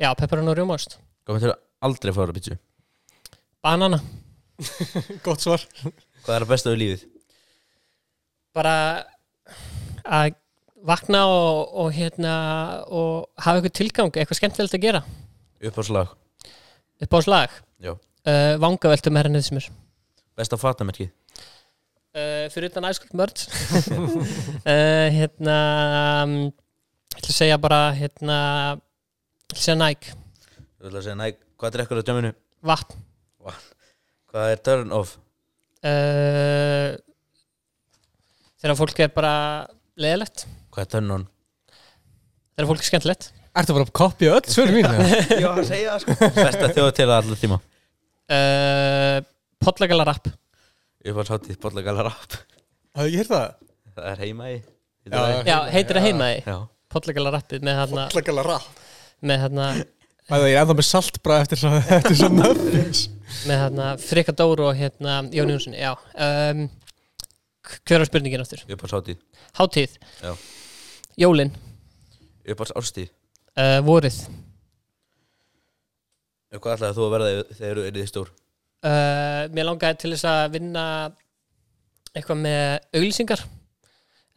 Speaker 13: Já, pepperoni og rjómást
Speaker 1: Hvað myndir aldrei fara á pítsu?
Speaker 13: Banana
Speaker 12: <laughs> Gott svar
Speaker 1: Hvað er að besta við lífið?
Speaker 13: Bara að vakna og, og hérna og hafa eitthvað tilgang, eitthvað skemmtilegt að gera
Speaker 1: Uppáldslag
Speaker 13: upp á slag
Speaker 1: Já.
Speaker 13: uh, vangaveltu meira niður sem er
Speaker 1: Besta fatamerkið
Speaker 13: uh, fyrir utan æskuld mörd uh, hérna um, ég ætla að segja bara hérna ég ætla að segja Nike
Speaker 1: Þú ætla að segja, næ, hvað drekkur á djömminu?
Speaker 13: Vatn.
Speaker 1: Vatn Hvað er turn off?
Speaker 13: uh, þegar fólk er bara leðilegt
Speaker 1: Hvað er turn on?
Speaker 13: þegar fólk er skemmtilegt
Speaker 12: Ertu bara að kopja öll svör mín?
Speaker 13: <laughs> Já, að segja það, sko.
Speaker 1: Besta þjóð til allar tíma
Speaker 13: uh, Podlagalarapp
Speaker 1: Uppáldsháttíð, bollagala rap
Speaker 12: Hafðu ekki hýrt það?
Speaker 1: <laughs> Það er heima í
Speaker 13: Já, heitir það heima
Speaker 1: Já.
Speaker 13: því Podlagalarappið með hérna
Speaker 12: Podlagalarapp
Speaker 13: með hérna
Speaker 12: Það er ennþá með salt bara eftir svo, <laughs> eftir svo möffins
Speaker 13: með hérna Frikka Dóru og hérna Jón Jónsson já um, k- hver var spurningin áttur?
Speaker 1: Uppáldsháttíð
Speaker 13: Hátíð
Speaker 1: Já.
Speaker 13: Jólin
Speaker 1: Uppáldsárstíð
Speaker 13: uh, Vorið
Speaker 1: Hvað ætlaði þú að verða þegar þú erið stór?
Speaker 13: uh, Mér langaði til þess að vinna eitthvað með auglýsingar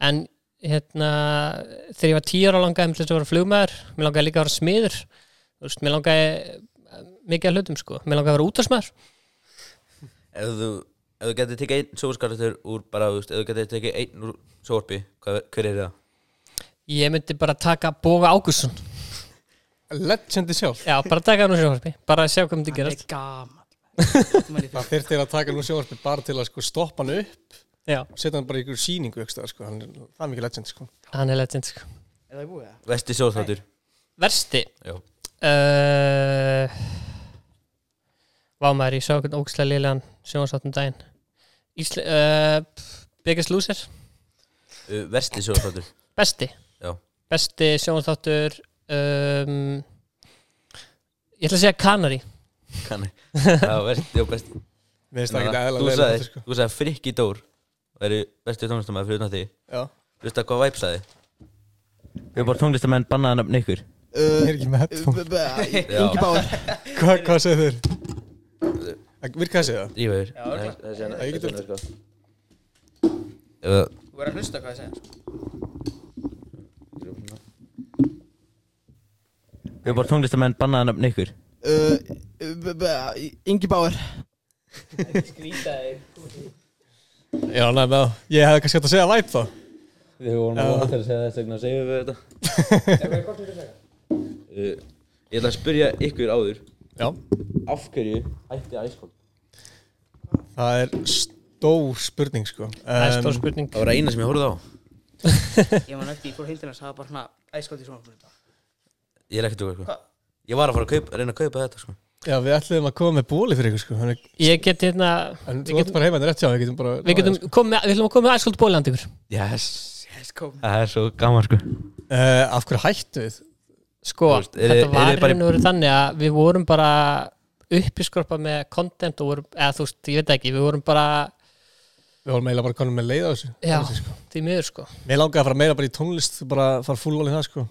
Speaker 13: en hérna þegar ég var tíu ára langaði mér til þess að vera flugmaður mér langaði líka að vera smiður Þú veist, mér langaði eh, mikið að hlutum sko mér langaði að vera útarsmaður
Speaker 1: Ef þú, ef þú getur tekið einn sjóvarskarakter úr bara, þú veist, ef þú getur tekið einn úr sjóvarpi, hvað, hver er það?
Speaker 13: Ég myndi bara taka Boga Ágússon
Speaker 12: Legendi sjálf
Speaker 13: Já, bara taka hann úr sjónvarpi Bara að sjá hvað myndi gerast
Speaker 12: Það þyrfti að taka nú sjónvarpi bara til að sko, stoppa hann upp
Speaker 13: Já.
Speaker 12: Setja hann bara í ykkur síningu ykkur, sko. hann, er- Það er mikið legend sko.
Speaker 13: Hann er legend sko
Speaker 2: Er það búið það?
Speaker 1: Vesti sjóvarskaratur.
Speaker 13: Versti
Speaker 1: Já.
Speaker 13: uh, Vá maður, um ég sá einhvern ógislega liðlegan sjónvarsáttum daginn Ísle, uh, eh, Biggest Loser
Speaker 1: uh, versti sjóðstáttur
Speaker 13: Besti
Speaker 1: Já.
Speaker 13: Besti sjónvarstáttur um, Ég ætla að segja Kanari
Speaker 1: Kanari. Já, versti og besti
Speaker 12: Mér finnst það
Speaker 1: En
Speaker 12: ekkert eðlilega
Speaker 1: Þú
Speaker 12: leiðilegt,
Speaker 1: sagði,
Speaker 12: sko.
Speaker 1: þú sagði Frikki Dór væri besti tónlistamæður fyrir utan því
Speaker 12: Já.
Speaker 1: Þú veist það hvað Væp sagði Við erum bara tónlistamenn bannaðan upp neikur
Speaker 12: Ég er ekki með headphone
Speaker 1: Ingi Báir.
Speaker 12: Hva, Hvað segir þér? Virka það segja það?
Speaker 1: Drífa yfir.
Speaker 2: Já, örugglega.
Speaker 12: Það sé hann Það getur
Speaker 1: sko. Eða
Speaker 2: Þú verður að hlusta hvað það segja
Speaker 1: Við erum bara tónlistamenn bannaðan upp neikur
Speaker 15: Ingi Báir
Speaker 2: Skrýta þig
Speaker 12: Já, næ, með það Ég hefði kannski hægt að segja Vibe þá
Speaker 1: Við vorum
Speaker 12: Já.
Speaker 1: að vona til að segja þess vegna að segja við þetta <laughs> uh, Ég ætla að spyrja ykkur áður
Speaker 12: Já
Speaker 1: Af hverju ætti æskóld?
Speaker 12: Það er stór spurning sko
Speaker 1: Það er stór spurning. Það var það eina sem ég horfði á.
Speaker 2: Ég man eftir, ég fór heildina að það var bara svona æskótt í svona
Speaker 1: Ég er ekkert okkur Ég var að fara að kaupa, reyna að kaupa þetta sko
Speaker 12: Já, við ætlum að koma með bóli fyrir ykkur sko Þannig,
Speaker 13: Ég get hérna
Speaker 12: En
Speaker 13: við
Speaker 12: þú ert
Speaker 13: getum,
Speaker 12: bara heima, þetta er rétt hjá Við getum bara
Speaker 13: við getum komið með- Við ætlum að koma með æskuld bóland ykkur
Speaker 1: Yes
Speaker 2: Yes, kom
Speaker 1: Það er svo gaman sko
Speaker 13: Eh,
Speaker 12: uh, Af hverju hættu við?
Speaker 13: Sko,
Speaker 12: Þú veist, er-
Speaker 13: þetta
Speaker 12: er
Speaker 13: var
Speaker 12: þið bara-
Speaker 13: hérna verið þannig að við vorum bara uppiskorpa með content og vorum, eða þú veist, ég veit ekki, við vorum bara
Speaker 12: Við vorum eiginlega bara konum með leið á þessu
Speaker 13: Já, því miður sko
Speaker 12: Mér langaði að fara meira bara í tónlist Bara fara full all í það sko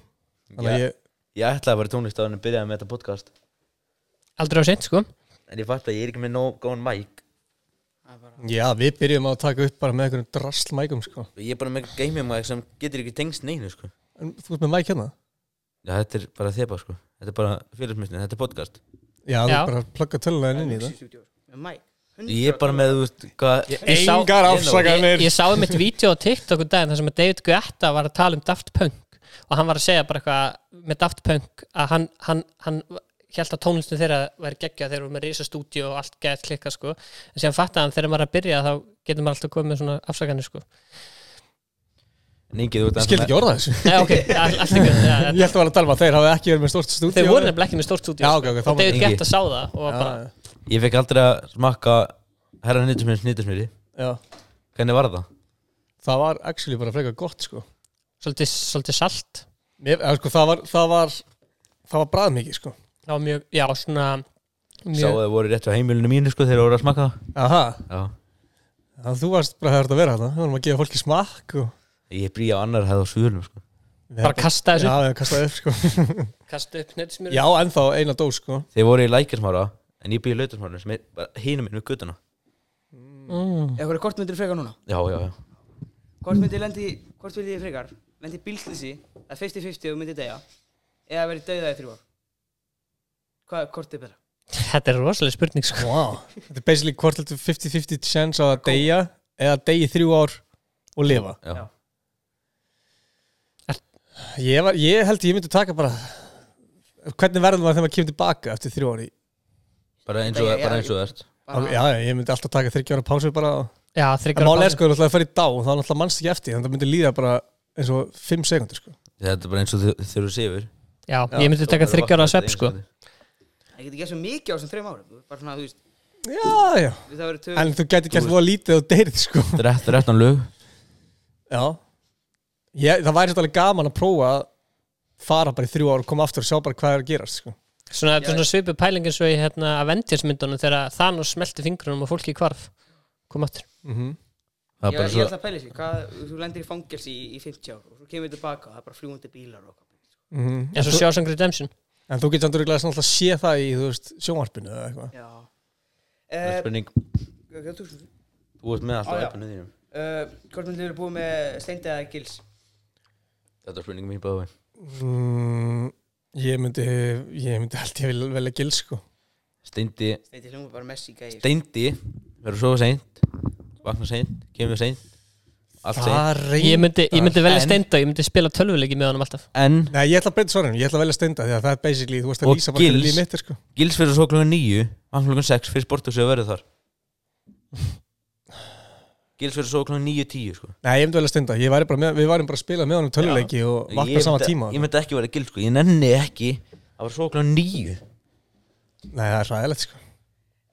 Speaker 12: Þannig að
Speaker 1: ég,
Speaker 12: ég
Speaker 1: ég ætlaði að vera tónlist á en byrjaði með þetta podcast
Speaker 13: Aldrei á seint sko
Speaker 1: En ég fatt að ég er ekki með nóg góðan mæk
Speaker 12: Já, við byrjum að taka upp bara með einhverjum drastlmækum sko
Speaker 1: Ég er bara með gaming mæk sem getur ekki tengst neinu sko
Speaker 12: En þú ert með mæk hérna?
Speaker 1: Já, þetta er bara þepa sko Þetta er bara félagsmyndin, þetta er podcast
Speaker 12: Já, þú ert bara að plugga tölulega inn í það
Speaker 2: Með mæk
Speaker 1: Ég er bara með, þú veist, hvað
Speaker 13: Ég sá- Ég, ég sá um eitt vídeo á TikTok um daginn þar sem að David Guetta var að tala um Daft Punk og hann var að segja bara eitthvað með Daft Punk að hann, hann, hann held að tónlistin þeirra væri geggja þeir voru með risastúdíu og allt gett klikka sko en síðan fattaði hann þegar maður er að byrja þá getur maður alltaf komið með svona afsakanir sko
Speaker 1: En Ingi, þú veist
Speaker 12: Ég skildi ekki orða þessu
Speaker 13: Nei, ok, all- allt í góðu, já, já.
Speaker 12: Ég ætti að vera að tala um að þeir hafi ekki verið með stórt stúdíu
Speaker 13: Þeir voru nefnilega ekki með stórt stúdíu,
Speaker 12: Já,
Speaker 13: sko.
Speaker 12: ok, ok,
Speaker 13: Og David
Speaker 1: Ingi.
Speaker 13: Guetta sá það og var bara-
Speaker 1: Ég fekk aldrei að smakka herra nýttismýri, nýttismýri
Speaker 12: Já.
Speaker 1: Hvernig var það?
Speaker 12: Það var actually bara frekar gott sko
Speaker 13: Svolítið, svolítið salt
Speaker 12: Mér, eða, sko, það, var, það var Það var bræð mikið sko
Speaker 13: Það var mjög, já, svona
Speaker 1: Sá að þau voru rétt á heimilinu mínu sko þegar voru að smakka það
Speaker 12: Aha
Speaker 1: Já.
Speaker 12: Já, þú varst bara hefur þetta að vera þarna Við vorum að gefa fólki smakk og
Speaker 1: Ég bríði á annar hefð á svölum sko
Speaker 13: Bara kasta þessu.
Speaker 12: Já, við kastaði upp sko
Speaker 13: Kasta upp hnetusmjöri.
Speaker 12: Já, ennþá eina dó sko
Speaker 1: Þeir voru í lækjarsmára En ég bíði í lautasmára sem er bara hínum minn við guttuna
Speaker 13: Mm.
Speaker 2: Eða hvað er kortmyndir frekar núna?
Speaker 1: Já, já, já
Speaker 2: Hvort myndi lendi, hvort myndi ég frekar? Lendi í bílslýsi, það er 50-50 og myndi degja Eða verið dauða í þrjú ár Hvað, hvort er betra?
Speaker 13: Þetta er rosalega spurning sko
Speaker 12: wow. Þetta er basically hvort heldur 50-50 chance á að deyja Eða deyja í þrjú ár og lifa
Speaker 1: Já.
Speaker 12: Ég, var, ég held ég myndi taka bara Hvernig verður maður þegar maður kemur tilbaka eftir þrjú ári
Speaker 1: Bara eins og,
Speaker 12: Nei, já,
Speaker 1: bara
Speaker 12: já,
Speaker 1: eins og það
Speaker 12: Já, já, ég myndi alltaf taka þryggja ára pásu bara og...
Speaker 13: Já, þriggja
Speaker 12: En
Speaker 13: ára
Speaker 12: mál er
Speaker 13: pásu.
Speaker 12: sko, þú ætlaði að fara í dá og þá náttúrulega mannst ekki eftir þannig að það myndi líða bara eins og 5 sekundir sko.
Speaker 1: Þetta er bara eins og þau- þegar þú sefur
Speaker 13: Já, ég myndi taka þriggja ára svepp sko
Speaker 2: Það getur gert svo mikið á þessum þreim árum Bara svona, þú veist
Speaker 12: Já, já
Speaker 2: Það verður tvö
Speaker 12: En þú gæti gert voða lítið og deyrið sko.
Speaker 1: Þetta er réttan lög
Speaker 12: Já ég, Það væri svolítið alveg gaman að prófa að fara bara í þrjú ár og koma aftur og sjá bara hvað er að gerast sko.
Speaker 13: Svona, þetta er svona svipu pæling eins og í hérna, Avengers-myndunum þegar Thanos smelti fingrunum og fólki hvarf kom aftur
Speaker 12: Mhm.
Speaker 2: Ég, ég ætla að pæla þessu, hvað, þú lendir í fangelsi í, í 50 ár og svo kemur tilbaka og það er bara fljúandi bílar og
Speaker 12: Mhm.
Speaker 13: Eins og Shawshank Redemption
Speaker 12: En þú getur samt örugglega svona alltaf að sé það í þú veist, sjónvarpinu eða eitthvað
Speaker 2: Já
Speaker 1: Það er spurning
Speaker 2: Hvað Eh, þú svo?
Speaker 1: Þú ert með allt á
Speaker 2: Á, já.
Speaker 1: appinu þínum.
Speaker 2: Uh, Hvort myndir þú búið með steindi eða gils?
Speaker 1: Þetta er spurning um mín báði
Speaker 12: mm, Ég myndi ég myndi held ég vil velja gil sko.
Speaker 1: Steindi
Speaker 2: Steindi hljóma bara Messi sko. gæir
Speaker 1: Steindi verður svo seint Vakna seint, kemur seint Allt seint
Speaker 13: Ég myndi, ég myndi velja
Speaker 1: En-
Speaker 13: steinda, ég myndi spila tölvuleiki með honum alltaf
Speaker 1: En
Speaker 12: Nei, ég ætla að breyta svarinu, ég ætla að velja steinda því að það er basically, þú veist að
Speaker 1: Og
Speaker 12: lýsa bara hvernig
Speaker 1: Gils.
Speaker 12: líf mitt er sko.
Speaker 1: Gils fyrir svo klokkan nýju Hann klokkan sex fyrir sporthúsi að verður þar Gils fyrir svo klokkan nýju tíu sko.
Speaker 12: Nei, ég myndi vel að stunda, ég væri bara með, við værim bara að spila með honum töluleiki og
Speaker 1: Ég
Speaker 12: vakna sama
Speaker 1: myndi-
Speaker 12: tíma
Speaker 1: Ég myndi ekki vera Gils sko, ég nenni ekki Það var svo klokkan nýju
Speaker 12: Nei, það er ræðilegt sko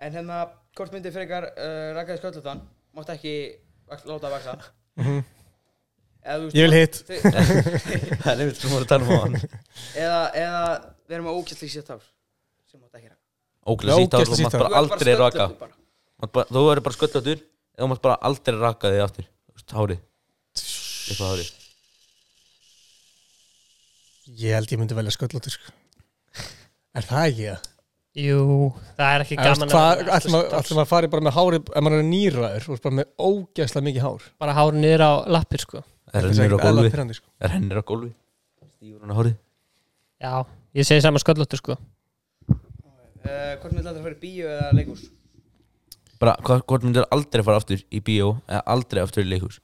Speaker 2: En hérna, hvort myndir eh,
Speaker 1: <laughs>
Speaker 2: frekar uh, rakaði sköllutan mátt ekki vaks, láta að vaksa
Speaker 12: Mhm.
Speaker 2: Eða, þú veist,
Speaker 12: Ég vil hitt.
Speaker 2: <laughs> þau-
Speaker 12: Það er einmitt sem voru að tala um áðan.
Speaker 2: Eða, eða við erum á ógæstlík sétt ár sem átt ekki
Speaker 1: Ógæslega sítt ár og
Speaker 12: sítt
Speaker 1: maður
Speaker 12: hár. Þú ert bara
Speaker 1: bara aldrei
Speaker 12: sköllóttur
Speaker 1: raka
Speaker 2: bara.
Speaker 1: Mátt bara- Þú verður bara sköllóttur eða þú mátt bara aldrei raka þig aftur Þú veist, Hárið Eitthvað hárið
Speaker 12: Ég held ég myndi velja sköllóttur sko. Er það ekki það?
Speaker 13: Jú, það er ekki
Speaker 12: En veist
Speaker 13: gaman
Speaker 12: Hvað, ætlum að- ætlum að fara bara með hári ef maður er nýræður, þú veist bara með ógæslega mikið hár
Speaker 13: Bara hár niður á lappir sko
Speaker 1: Það rennir á gólfi
Speaker 12: sko.
Speaker 1: Það rennir á gólfi Stífur hann á hárið
Speaker 13: Já, ég segi saman sköllóttur sko
Speaker 2: uh, Hvort myndir aldrei að fara í bíó eða leikús?
Speaker 1: Bara hva- hvort myndir aldrei fara aftur í bíó eða aldrei aftur í leikhús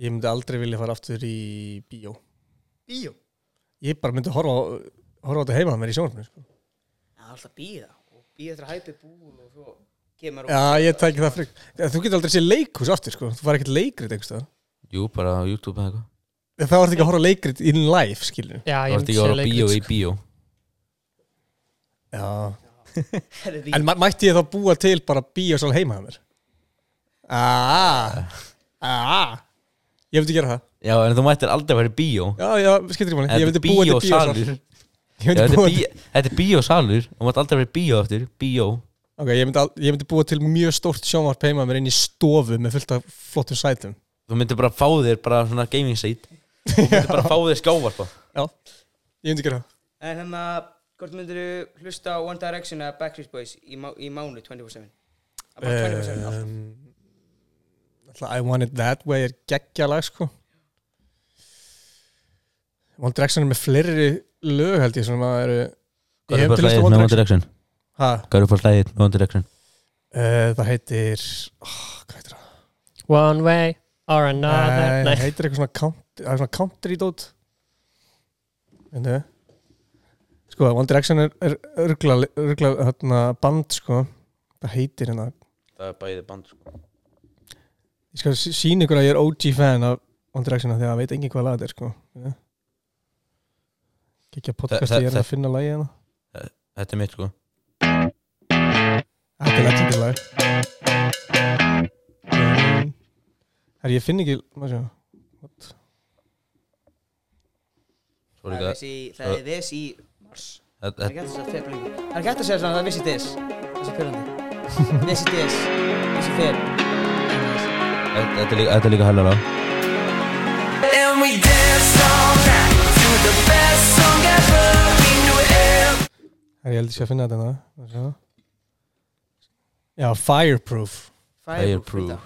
Speaker 12: Ég myndi aldrei vilja fara aftur í bíó
Speaker 2: Bíó?
Speaker 12: Ég bara myndi horfa á, horfa á þetta heima með mér í sjónarfinu sko.
Speaker 2: Það er alltaf bíða og bíða eftir að hæpi búin og svo kemur
Speaker 12: Já, ég tæki það frík Þú getur aldrei séð leikhús aftur sko. Þú fara ekkert leikrit einhverstað
Speaker 1: Jú, bara á YouTube eða eitthvað
Speaker 12: Það var ekki að horfa á leikrit in life skilur
Speaker 1: Þú ert ekki að fara á bíó
Speaker 13: sko.
Speaker 1: í bíó
Speaker 12: Já
Speaker 2: Herri,
Speaker 12: En mæ- mætti ég þá búa til bara bíósal heima hjá mér? Ah, ah. Ég myndi gera það
Speaker 1: Já, en þú mættir aldrei fara í bíó
Speaker 12: Já, já, skiptir ekki máli. Ég myndi búa til bíósal.
Speaker 1: bíósalur
Speaker 12: Ég myndi
Speaker 1: Já, Þetta
Speaker 12: búa
Speaker 1: er
Speaker 12: til-
Speaker 1: bí- þetta er bíósalur Þú mátt aldrei fara í bíó aftur Bíó
Speaker 12: Ok, ég myndi, al- ég myndi búa til mjög stórt sjónvarp heima mér inn í stofu með fullt af flottum sætum
Speaker 1: Þú myndir bara fá þér bara svona gaming seat Þú myndir bara fá þér skjávarpa
Speaker 12: Já, ég myndi gera það
Speaker 2: En hérna, hvort myndir þú hlusta á One Direction eða Backstreet Boys í, má, í mánu 24-7?
Speaker 12: Eh,
Speaker 2: Það er bara 24-7 alltaf.
Speaker 12: um, alltaf I Want It That Way er geggja lag sko One Direction er með fleiri lög held ég sem að eru
Speaker 1: Hvað
Speaker 12: Ég
Speaker 1: er
Speaker 12: hef
Speaker 1: upp
Speaker 12: til að
Speaker 1: á
Speaker 12: hlusta á
Speaker 1: slæðið með One Direction?
Speaker 12: Ha?
Speaker 1: Hvað er upp á slæðið með One Direction?
Speaker 12: Uh, það heitir oh, Hvað heitir það?
Speaker 13: One way or another
Speaker 12: Nei,
Speaker 13: Ah, Nei,
Speaker 12: það heitir eitthvað svona country, það er svona country dót En það Sko, One Direction er, er örgla, örgla hérna, band sko Það heitir hérna
Speaker 1: Það er bæðið band sko
Speaker 12: Ég skal sí- sína ykkur að ég er OG fan af One Direction af því að það veit engin hvað lag þetta er sko Kikja podcast
Speaker 1: Það-
Speaker 12: ég er
Speaker 1: það-
Speaker 12: að finna lagið hérna. hana
Speaker 1: Þetta er mitt sko
Speaker 12: Ah, Þetta er legendir lag Herri, ég finn ekki maður sjá What?
Speaker 2: Það er viss í, það
Speaker 12: Eh.
Speaker 2: er viss í mars.
Speaker 1: Það
Speaker 2: er ekki hægt að segja feb lengur. Það er ekki hægt að segja svona, það er viss í des. Það er pyrrandi. Viss í des, viss í feb.
Speaker 1: Þetta þetta er líka, þetta er líka hella ráð
Speaker 16: And we danced all night to the best song ever. We knew every
Speaker 12: Herri, ég held ég sé að finna þetta hana maður sjá. Já, Fireproof
Speaker 1: Fireproof.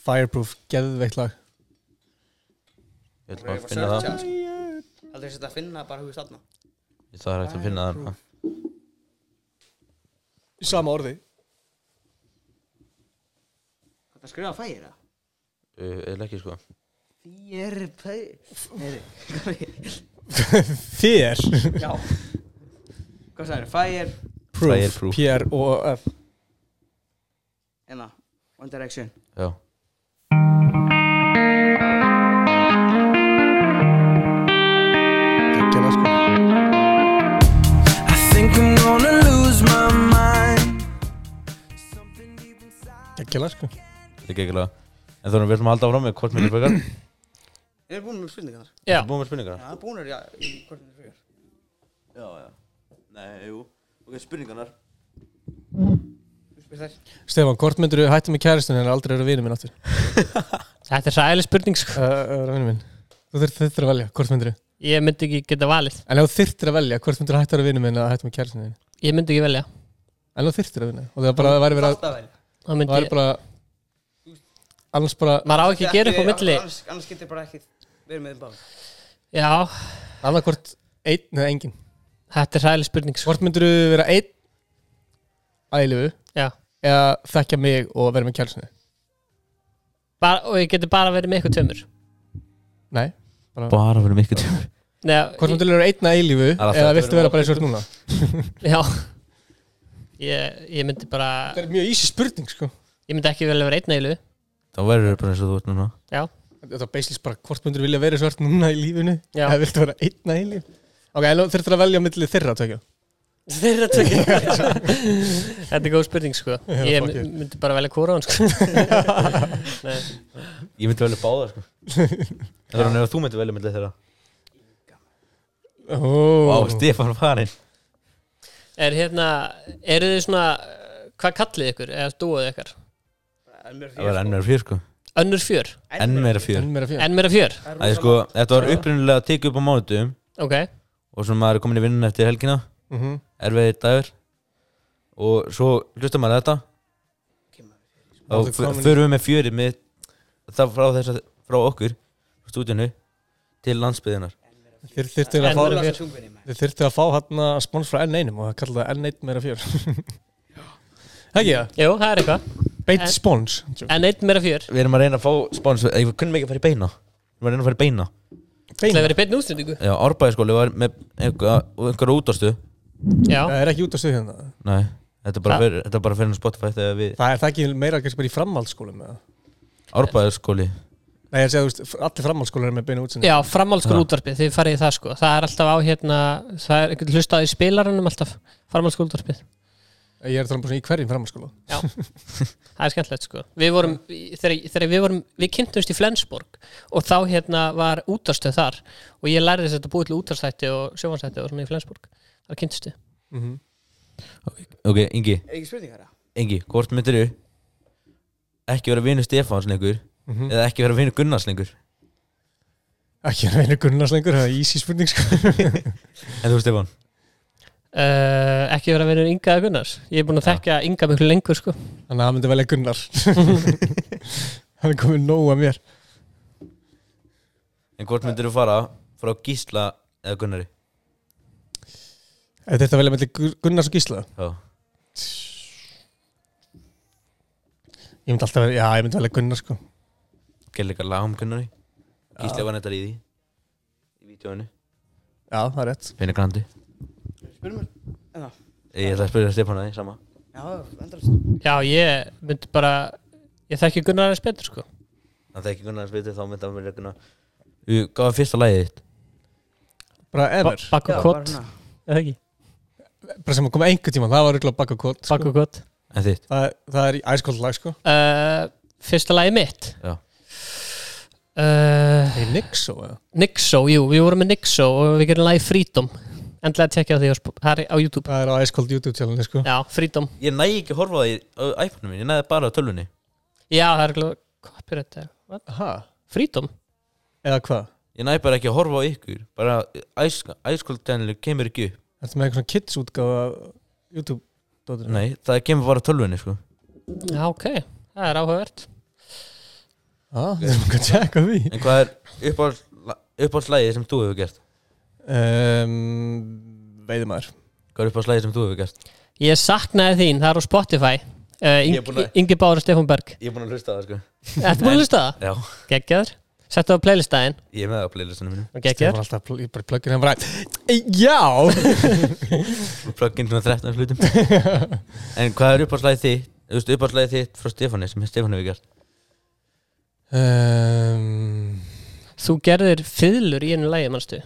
Speaker 12: Fireproof, geðveikt lag
Speaker 1: Ég ætla bara að finna það
Speaker 2: Aldrei að setja að finna bara hugið þarna.
Speaker 1: Það er hægt að finna það sko.
Speaker 12: Í sama orði
Speaker 2: Þetta skrifa fægir það.
Speaker 1: Uh, Eða ekki sko
Speaker 2: Ég er fægir.
Speaker 12: Þér
Speaker 2: <laughs> Já. Hvað sagður, fægir,
Speaker 1: Fireproof.
Speaker 12: P-R-O-F
Speaker 2: hérna, One Direction.
Speaker 1: Já
Speaker 12: Gekkjala sko
Speaker 3: I think I'm gonna lose my mind
Speaker 12: Gekkjala sko
Speaker 1: Þetta er geggulega En þannig við ætlum að halda áfram með hvort myndir frekar
Speaker 2: Erum við búin með spurningar?
Speaker 13: <clears throat> Já
Speaker 1: Búin með spurningar
Speaker 2: Já, búin er, já, í hvort myndir fægir.
Speaker 14: Já, já Nei, jú Ok, spurningarnar
Speaker 2: Þú spyrir þær.
Speaker 12: Stefán, hvort myndur þú hætta með kæristun en aldrei eru vinur minn <laughs> aftur?
Speaker 13: Þetta er sæli spurning sko
Speaker 12: Það er Uh, vinur minn Þú þurft þurftir að velja, hvort myndur þú?
Speaker 13: Ég myndi ekki geta valið
Speaker 12: En ef þú þurftir að velja, hvort myndur þú hætta að vera vinur minn að hætta með kæristun þinn?
Speaker 13: Ég myndi ekki velja
Speaker 12: En ef þú þurftir að vinna Og það bara væri verið
Speaker 2: Þarft að velja.
Speaker 13: Þá myndi
Speaker 12: væri
Speaker 13: ég-
Speaker 12: bara Annars bara
Speaker 13: Maður á ekki að gera upp
Speaker 1: hérna
Speaker 13: á
Speaker 2: Annars-
Speaker 13: milli
Speaker 2: annars- Annars getur bara ekki verið með þeim báðum.
Speaker 13: Já
Speaker 12: Annað hvort einn eða engin
Speaker 13: Þetta er sæli spurning sko
Speaker 12: Hvort myndur þú vera einn að eilifu?
Speaker 13: Já
Speaker 12: Eða þekkja mig og vera með kæristun
Speaker 13: bara, Og ég geti bara verið með ykkur tömur
Speaker 12: Nei
Speaker 1: Bara fyrir mikil tíma
Speaker 13: Nei,
Speaker 12: Hvort
Speaker 13: ég-
Speaker 12: myndur þú vera einn að eilifu?
Speaker 1: Það er alltaf
Speaker 12: Eða
Speaker 1: að
Speaker 12: viltu
Speaker 1: vera
Speaker 12: vera bara eins og þú ert núna?
Speaker 13: Já Ég, ég myndi bara
Speaker 12: Þetta er mjög ísi spurning sko
Speaker 13: Ah. Ég myndi ekki velja að vera einn eilu
Speaker 1: Þá verður bara eins og þú ert núna
Speaker 13: Já
Speaker 12: Þetta er basically bara hvort myndur vilja vera svart núna í lífinu
Speaker 13: Já.
Speaker 12: eða viltu vera einn að eilíf Ok, en þú þurftir að velja á milli þeirra tökja
Speaker 13: <laughs> Þeirra tökja <laughs> Þetta er góð spurning sko
Speaker 12: Já,
Speaker 13: Ég
Speaker 12: fuck it.
Speaker 13: myndi bara velja kóra hann sko Nei.
Speaker 1: Ég myndi velja báða sko Það er hann að þú myndir velja myndið þeirra
Speaker 12: Ó.
Speaker 1: Vá, Stefán farinn
Speaker 13: <laughs> Er hérna, eru þið svona uh, hvað kallið ykkur, eða dúið ykkar?
Speaker 1: Það var enn meira fjör sko
Speaker 13: Önnur fjör?
Speaker 1: Enn meira fjör
Speaker 13: Enn meira fjör. Enn meira fjör?
Speaker 1: Það er sko, þetta var upprunalega tekið upp á mánutum
Speaker 13: Ok.
Speaker 1: Og svo maður er komin í vinnun eftir helgina
Speaker 13: Mhm.
Speaker 1: Erfiðir dagur Og svo hlustar maður á þetta
Speaker 12: Ertu
Speaker 1: Og
Speaker 12: komin-
Speaker 1: förum við með fjörið með Það frá þess að, frá okkur Stúdíunu Til landsbyðinar
Speaker 12: Þeir þyrftu að,
Speaker 1: Enn meira fjör.
Speaker 12: fá- þeir þyrftu að fá hann að spons frá N1 og það kalla það N1 meira fjör <laughs> Ekki það?
Speaker 13: Jú, það er eitthvað
Speaker 12: Beitt
Speaker 13: En-
Speaker 12: spons
Speaker 13: En einn meira fjör
Speaker 1: Við erum að reyna að fá spons Ég kunnum ekki að fara í beina Við erum að reyna að fara í beina
Speaker 13: Það er verið beitt nústendingu
Speaker 1: Já, Árbæðiskóli var með einhver, einhver útastu
Speaker 13: Já.
Speaker 12: Það er ekki út af stuð hérna
Speaker 1: Nei, þetta er bara
Speaker 12: Það-
Speaker 1: fyrir, þetta er bara fyrir Spotify þegar við
Speaker 12: Það er það ekki meira kannski bara í framhaldsskólum eða?
Speaker 1: Árbæðiskóli
Speaker 12: Nei, ég er að segja, þú veist, allir framhaldsskólar er með beina útsendingu
Speaker 13: Já, framhaldsskóla útvarpið, þið farið í það sko Það er alltaf á hérna, það er ekkert hlustað í spilarunum alltaf Framhaldsskóla útvarpið
Speaker 12: Ég er að tala um bara svona í hverjum framhaldsskóla
Speaker 13: Já, það er skemmtilegt sko Við vorum, í- þegar, þegar við vorum, við kynntumst í Flensborg Og þá hérna var útarstöð þar Og ég lærði þess að búið til útarstætti og sjóvansætti og svona í Flensborg Þar kynntist þið
Speaker 1: Ok, Ingi
Speaker 2: Er ekki spurningar það?
Speaker 1: Ingi, hvort myndir þú ekki vera vinur Stefáns lengur
Speaker 12: Mhm.
Speaker 1: eða ekki vera vinur Gunnars lengur
Speaker 12: Ekki að reyna Gunnars lengur, það er easy spurning sko
Speaker 1: En þú Stefán?
Speaker 13: uh, Ekki verið að vera Inga eða Gunnars Ég er búin að þekka Inga miklu lengur sko
Speaker 12: Þannig að hann myndi velja Gunnar Hann er komið nóg að mér
Speaker 1: En hvort myndir þú fara frá Gísla eða Gunnari?
Speaker 12: Ef Þetta velja mellir Gunnars og Gísla
Speaker 1: Já
Speaker 12: Ég myndi alltaf, já, ég myndi velja Gunnar sko
Speaker 1: Gerðu eitthvað lag um Gunnari? Gísla var nættar í því Í vídjóinu
Speaker 12: Já, það er rétt
Speaker 1: Vinur Grandi
Speaker 2: Spurningar? Já,
Speaker 1: Ég ætla að spyrja Stefán að því sama
Speaker 2: já, endalast
Speaker 13: Já, ég myndi bara, ég þekki Gunnar aðeins betur sko
Speaker 1: Þannig að ekki Gunnars veitur þá myndi hann vera Gunnar Þú gafði fyrsta lagið þitt
Speaker 12: Bara ever
Speaker 13: Ba- Bakka
Speaker 2: Já, bara
Speaker 13: kott,
Speaker 2: svona.
Speaker 13: eða ekki
Speaker 12: Bara sem að koma einhver tíma, það var röglega Bakka Kott sko.
Speaker 13: Bakka Kott
Speaker 1: En þitt?
Speaker 12: það, það er í æskóld lag sko
Speaker 13: uh, Fyrsta lagi mitt
Speaker 1: Já.
Speaker 13: uh,
Speaker 12: Hey, Nixo eða?
Speaker 13: Nixo, jú, við vorum með Nixo og við gerum lagi Freedom Endlega að tekja á því á, sp- það er á YouTube
Speaker 12: Það er á æskóld YouTube channel sko
Speaker 13: Já, Freedom
Speaker 1: Ég næ ekki að horfa á því á iPhone-u mín Ég næði bara á tölvunni
Speaker 13: Já, það er glóð Copyright eh. eða what?
Speaker 12: Aha.
Speaker 13: Freedom?
Speaker 12: Eða hvað?
Speaker 1: Ég næði bara ekki að horfa á ykkur Bara æskuldtænlu kemur ekki upp
Speaker 12: Ertu með eitthvað kids útgáfa YouTube dóttir?
Speaker 1: Nei, það kemur bara á tölvunni sko
Speaker 13: Já, ok, það er áhugavert
Speaker 12: ah, Við erum ekki að tjekka því
Speaker 1: En hvað er uppáhalds- uppáhaldslægið sem þú hefur gert?
Speaker 12: um, Veiðumæður
Speaker 1: Hvað er uppáhaldslægið sem þú hefur gert?
Speaker 13: Ég saknaði þín, það er á Spotify uh,
Speaker 1: Ég er búinn að-
Speaker 13: Ingi- Ingi Bára Stefán Berg
Speaker 1: Ég er búin að hlusta á það sko
Speaker 13: Ertu búin að hlusta á það?
Speaker 1: Já,
Speaker 13: Gekkjaður Settu á playlistæðin
Speaker 1: ég er með það á playlistinu mínu
Speaker 12: Ég
Speaker 13: Gekkjaður
Speaker 12: var alltaf, ég bara plöggir hann bara "Ey, Já
Speaker 1: Þú plugg inn svona 13 hlutum
Speaker 13: <laughs>
Speaker 1: En hvað er uppáhaldslægið þitt? Þú veist uppáhaldslægið þitt frá Stefáni sem Stefáni hefur gert
Speaker 12: um,
Speaker 13: Þú gerðir fiðlur í einu lagi, manstu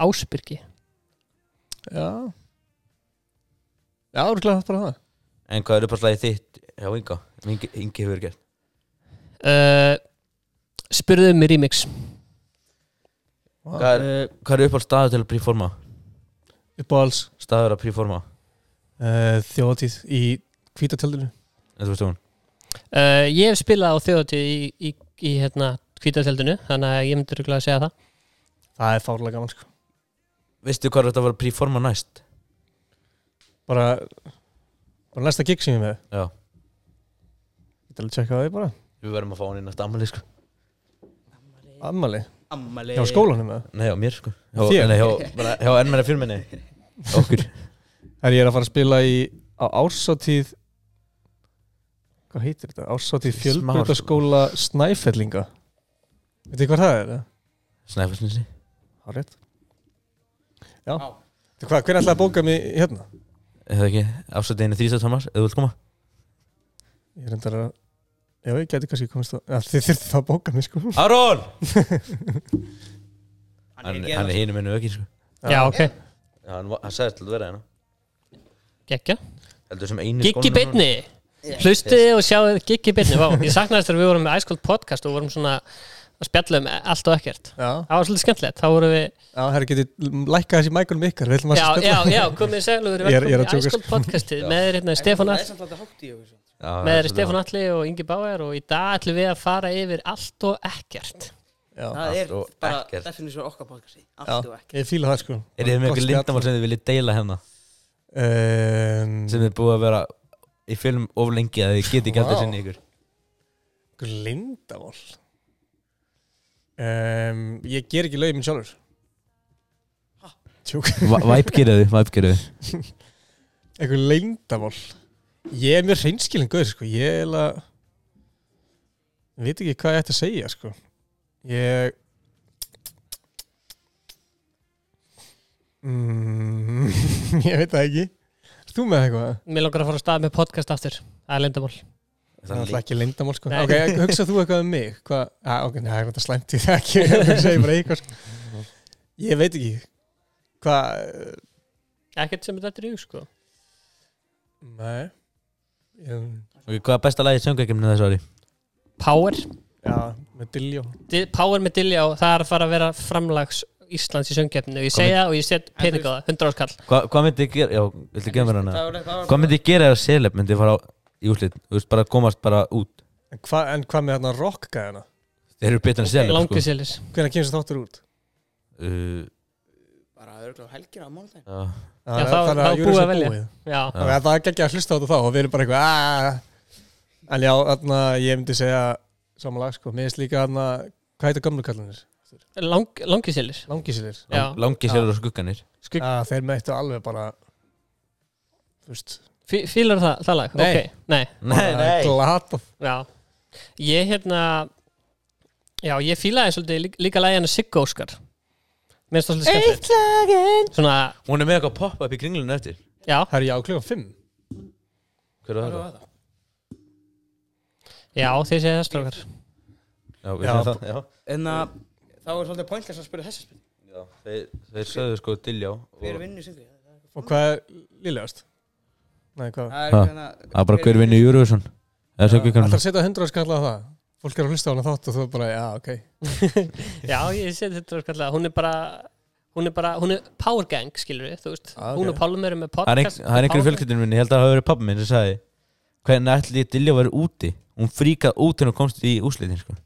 Speaker 13: Ásbyrgi
Speaker 12: Já Já, rúklega bara það
Speaker 1: En hvað er uppáhaldslægið þitt? Já, Inga Ingi, Ingi hefur gert
Speaker 13: uh, Spurðu mig remix
Speaker 1: Hvað er, hvað er uppáhaldsstaður til að príforma?
Speaker 12: Uppáhalds
Speaker 1: Staður að príforma
Speaker 12: uh, Þjóðatíð í hvítatjaldinu
Speaker 1: En þú veist hún
Speaker 13: Uh, ég hef spilað á þjóðatíð í, í, í hérna kvítatjaldinu þannig að ég myndi rúglega að segja það
Speaker 12: Það er fárlega gaman sko
Speaker 1: Veistu hvað er þetta að vera príforma næst?
Speaker 12: Bara Bara næsta gig sem ég er með
Speaker 1: Já
Speaker 12: Ég ætla að tjekka það bara
Speaker 1: Við verðum að fá hann í næsta ammali sko
Speaker 12: Ammali
Speaker 2: Ammali
Speaker 12: Já, skólanum með
Speaker 1: Nei, á mér sko
Speaker 12: Hjá þér?
Speaker 1: Hjá, nei, hjá, bara, hjá enn meira fyrir minni <laughs> Okkur
Speaker 12: Þegar ég er að fara að spila í Á ársatíð Hvað heitir þetta? Ársatíð fjölbrutaskóla Snæfellinga Veit þið hvað það er? eða?
Speaker 1: Snæfellsnesi
Speaker 12: Það er rétt Já Þú Hvað, hver ætlaði að bóka mig hérna?
Speaker 1: Er það ekki afsættiðinu þrýsað Thomas Eða þú vilt koma
Speaker 12: Ég er endara Já, ég geti kannski komist að Já, <laughs> þið þyrftu þá að bóka mig sko
Speaker 1: Aron
Speaker 2: er
Speaker 1: Hann,
Speaker 2: ekki
Speaker 1: hann er hinu minni aukin sko
Speaker 13: Já, ok,
Speaker 1: Hann, var- hann sagðist til að vera hérna
Speaker 13: gekkja
Speaker 1: Heldur sem einu
Speaker 13: Giggi Bitni, hlustuði og sjáðu Giggi Bitni, vá, ég saknaðist þegar við vorum með Ice Cold Podcast og vorum svona að spjalla um allt og ekkert
Speaker 12: Já.
Speaker 13: það var svolítið skemmtilegt, þá vorum við
Speaker 12: Já, herru, getið lækkað þessi mækunum ykkar Við ætlum að
Speaker 13: já,
Speaker 12: spjalla.
Speaker 13: já, já, komið í segluður
Speaker 12: Ég er- ég er að djóka,
Speaker 13: Æskóld
Speaker 12: sko.
Speaker 13: podcastið með þér hérna Stefán
Speaker 2: Það er
Speaker 13: All
Speaker 2: samt alltaf hátt í okkur svo.
Speaker 13: með þér Stefán Alli og Ingi Báer og í dag ætlum við að fara yfir allt og ekkert
Speaker 12: Já.
Speaker 2: Það er
Speaker 1: Allt og
Speaker 2: bara
Speaker 1: ekkert.
Speaker 2: definísjón okkar podcasti Allt og
Speaker 12: Já,
Speaker 2: ekkert
Speaker 12: Ég fíla það sko
Speaker 1: Er þið með
Speaker 12: Gott
Speaker 1: eitthvað
Speaker 12: spjall.
Speaker 1: lindamál sem þið viljið deila hérna?
Speaker 12: Um,
Speaker 1: sem er búið að vera í film of lengi að þið geti ekki alltaf
Speaker 12: Vá.
Speaker 1: sinni ykkur
Speaker 12: Einhver Leyndamál um, Ég ger ekki lögum minn sjálfur Tjúk
Speaker 1: Væpgeraðu, væpgeraðu
Speaker 12: Einhver leyndamál Ég er mjög hreinskilin guður sko Ég er að Ég veit ekki hvað ég ætti að segja sko Ég mm, <laughs> Ég veit það ekki Ert Þú með eitthvað?
Speaker 13: Mér langar að fara að staða með podcast aftur Það er lendamál
Speaker 12: Það er alltaf ekki lindamál sko
Speaker 13: Nei.
Speaker 12: Ok, hugsa þú eitthvað um mig Hva? ah, Ok, nei, það er þetta slæmt í það
Speaker 13: <laughs>
Speaker 12: ekki Hugsa ég bara eitthvað sko. Ég veit ekki Hvað
Speaker 13: Ekkert sem þetta er í hug, sko
Speaker 12: Nei ég,
Speaker 1: Ok, hvað er besta lagið söngveikimni þessu ári?
Speaker 13: Power
Speaker 12: Já, með Dilljó
Speaker 13: Di- Power með Dilljá, það er að fara að vera framlags Íslands í söngkeppninu og ég
Speaker 1: Hvað
Speaker 13: segja
Speaker 1: mynd-
Speaker 13: það og ég set pening á það, 100 áskall
Speaker 1: Hva, hvað myndi ég gera, já, viltu gefa mér hana?
Speaker 2: það var- það var-
Speaker 1: Hvað myndi ég gera ef Seleb myndi fara á í úrslit? Þú veist, bara komast bara út
Speaker 12: En hvað hva með þarna rockgæðina?
Speaker 1: Þeir eru betur en Seleb, sko
Speaker 13: Langiselis
Speaker 12: Hvernig kemur þessi þáttur út?
Speaker 1: Uh,
Speaker 2: Bara örgulega helgir á mánudaginn
Speaker 1: já.
Speaker 13: Já, þá- þá
Speaker 12: þannig
Speaker 13: er búið að
Speaker 12: Eurovision
Speaker 13: velja. Já.
Speaker 12: Ok, Það er ekki að hlusta á þetta þá og við erum bara eitthvað "Ah." En já, þarna ég myndi segja samanlag sko, mér finnst líka þarna hvað heitir gamlu kallanir?
Speaker 13: Lang, Langiselis
Speaker 12: Langisilir
Speaker 13: Já.
Speaker 1: Langi Seleb og skugganir
Speaker 13: Skugg-
Speaker 12: ah, Þeir mættu alveg bara Þú veist
Speaker 13: Fí- Fílar það, það lag?
Speaker 12: Nei.
Speaker 13: Ok, Nei.
Speaker 1: Nei,
Speaker 12: bara Glata
Speaker 13: Já, ég hérna Já, ég fílaði svolítið líka, líka lagi hennar Siggo Óskar Mér finnst það svolítið skemmt
Speaker 12: lagin
Speaker 13: Svona,
Speaker 1: Hún er með eitthvað poppa upp í kringlunum eftir
Speaker 13: já,
Speaker 12: Það er já, klukkan 5
Speaker 1: Hver var það?
Speaker 13: já, þið segja það strókar
Speaker 1: Já, við
Speaker 12: Já,
Speaker 1: séum það, já
Speaker 2: En að þá er svolítið pointless að spyrja þessa spurning
Speaker 1: Já, Þeir, þeir sögðu sko Diljá og
Speaker 2: Hver vinnur singri?
Speaker 12: Og hvað er liðlegast? Nei, hvað?
Speaker 2: Það er
Speaker 1: Ha.
Speaker 2: hérna
Speaker 1: Það er bara hver vinnu í Eurovision Eða
Speaker 12: Það er
Speaker 1: söngveikimni
Speaker 12: að setja 100 skall á það Fólk er að hlusta á hana þátt og þú er bara, já, ok
Speaker 13: Já, ég segi þetta skallega Hún er bara, hún er bara, hún er power gang, skilur við, þú veist
Speaker 12: Ah, ok.
Speaker 13: Hún og Pálum eru með
Speaker 1: Það er
Speaker 13: podcast
Speaker 1: ein- það er einhverju fjölskyldinu minni, ég held að það hafa verið pappi minn sem sagði Hvernig ætli ég Diljá verið úti? Hún fríkað út henni og komst í úrslitin, sko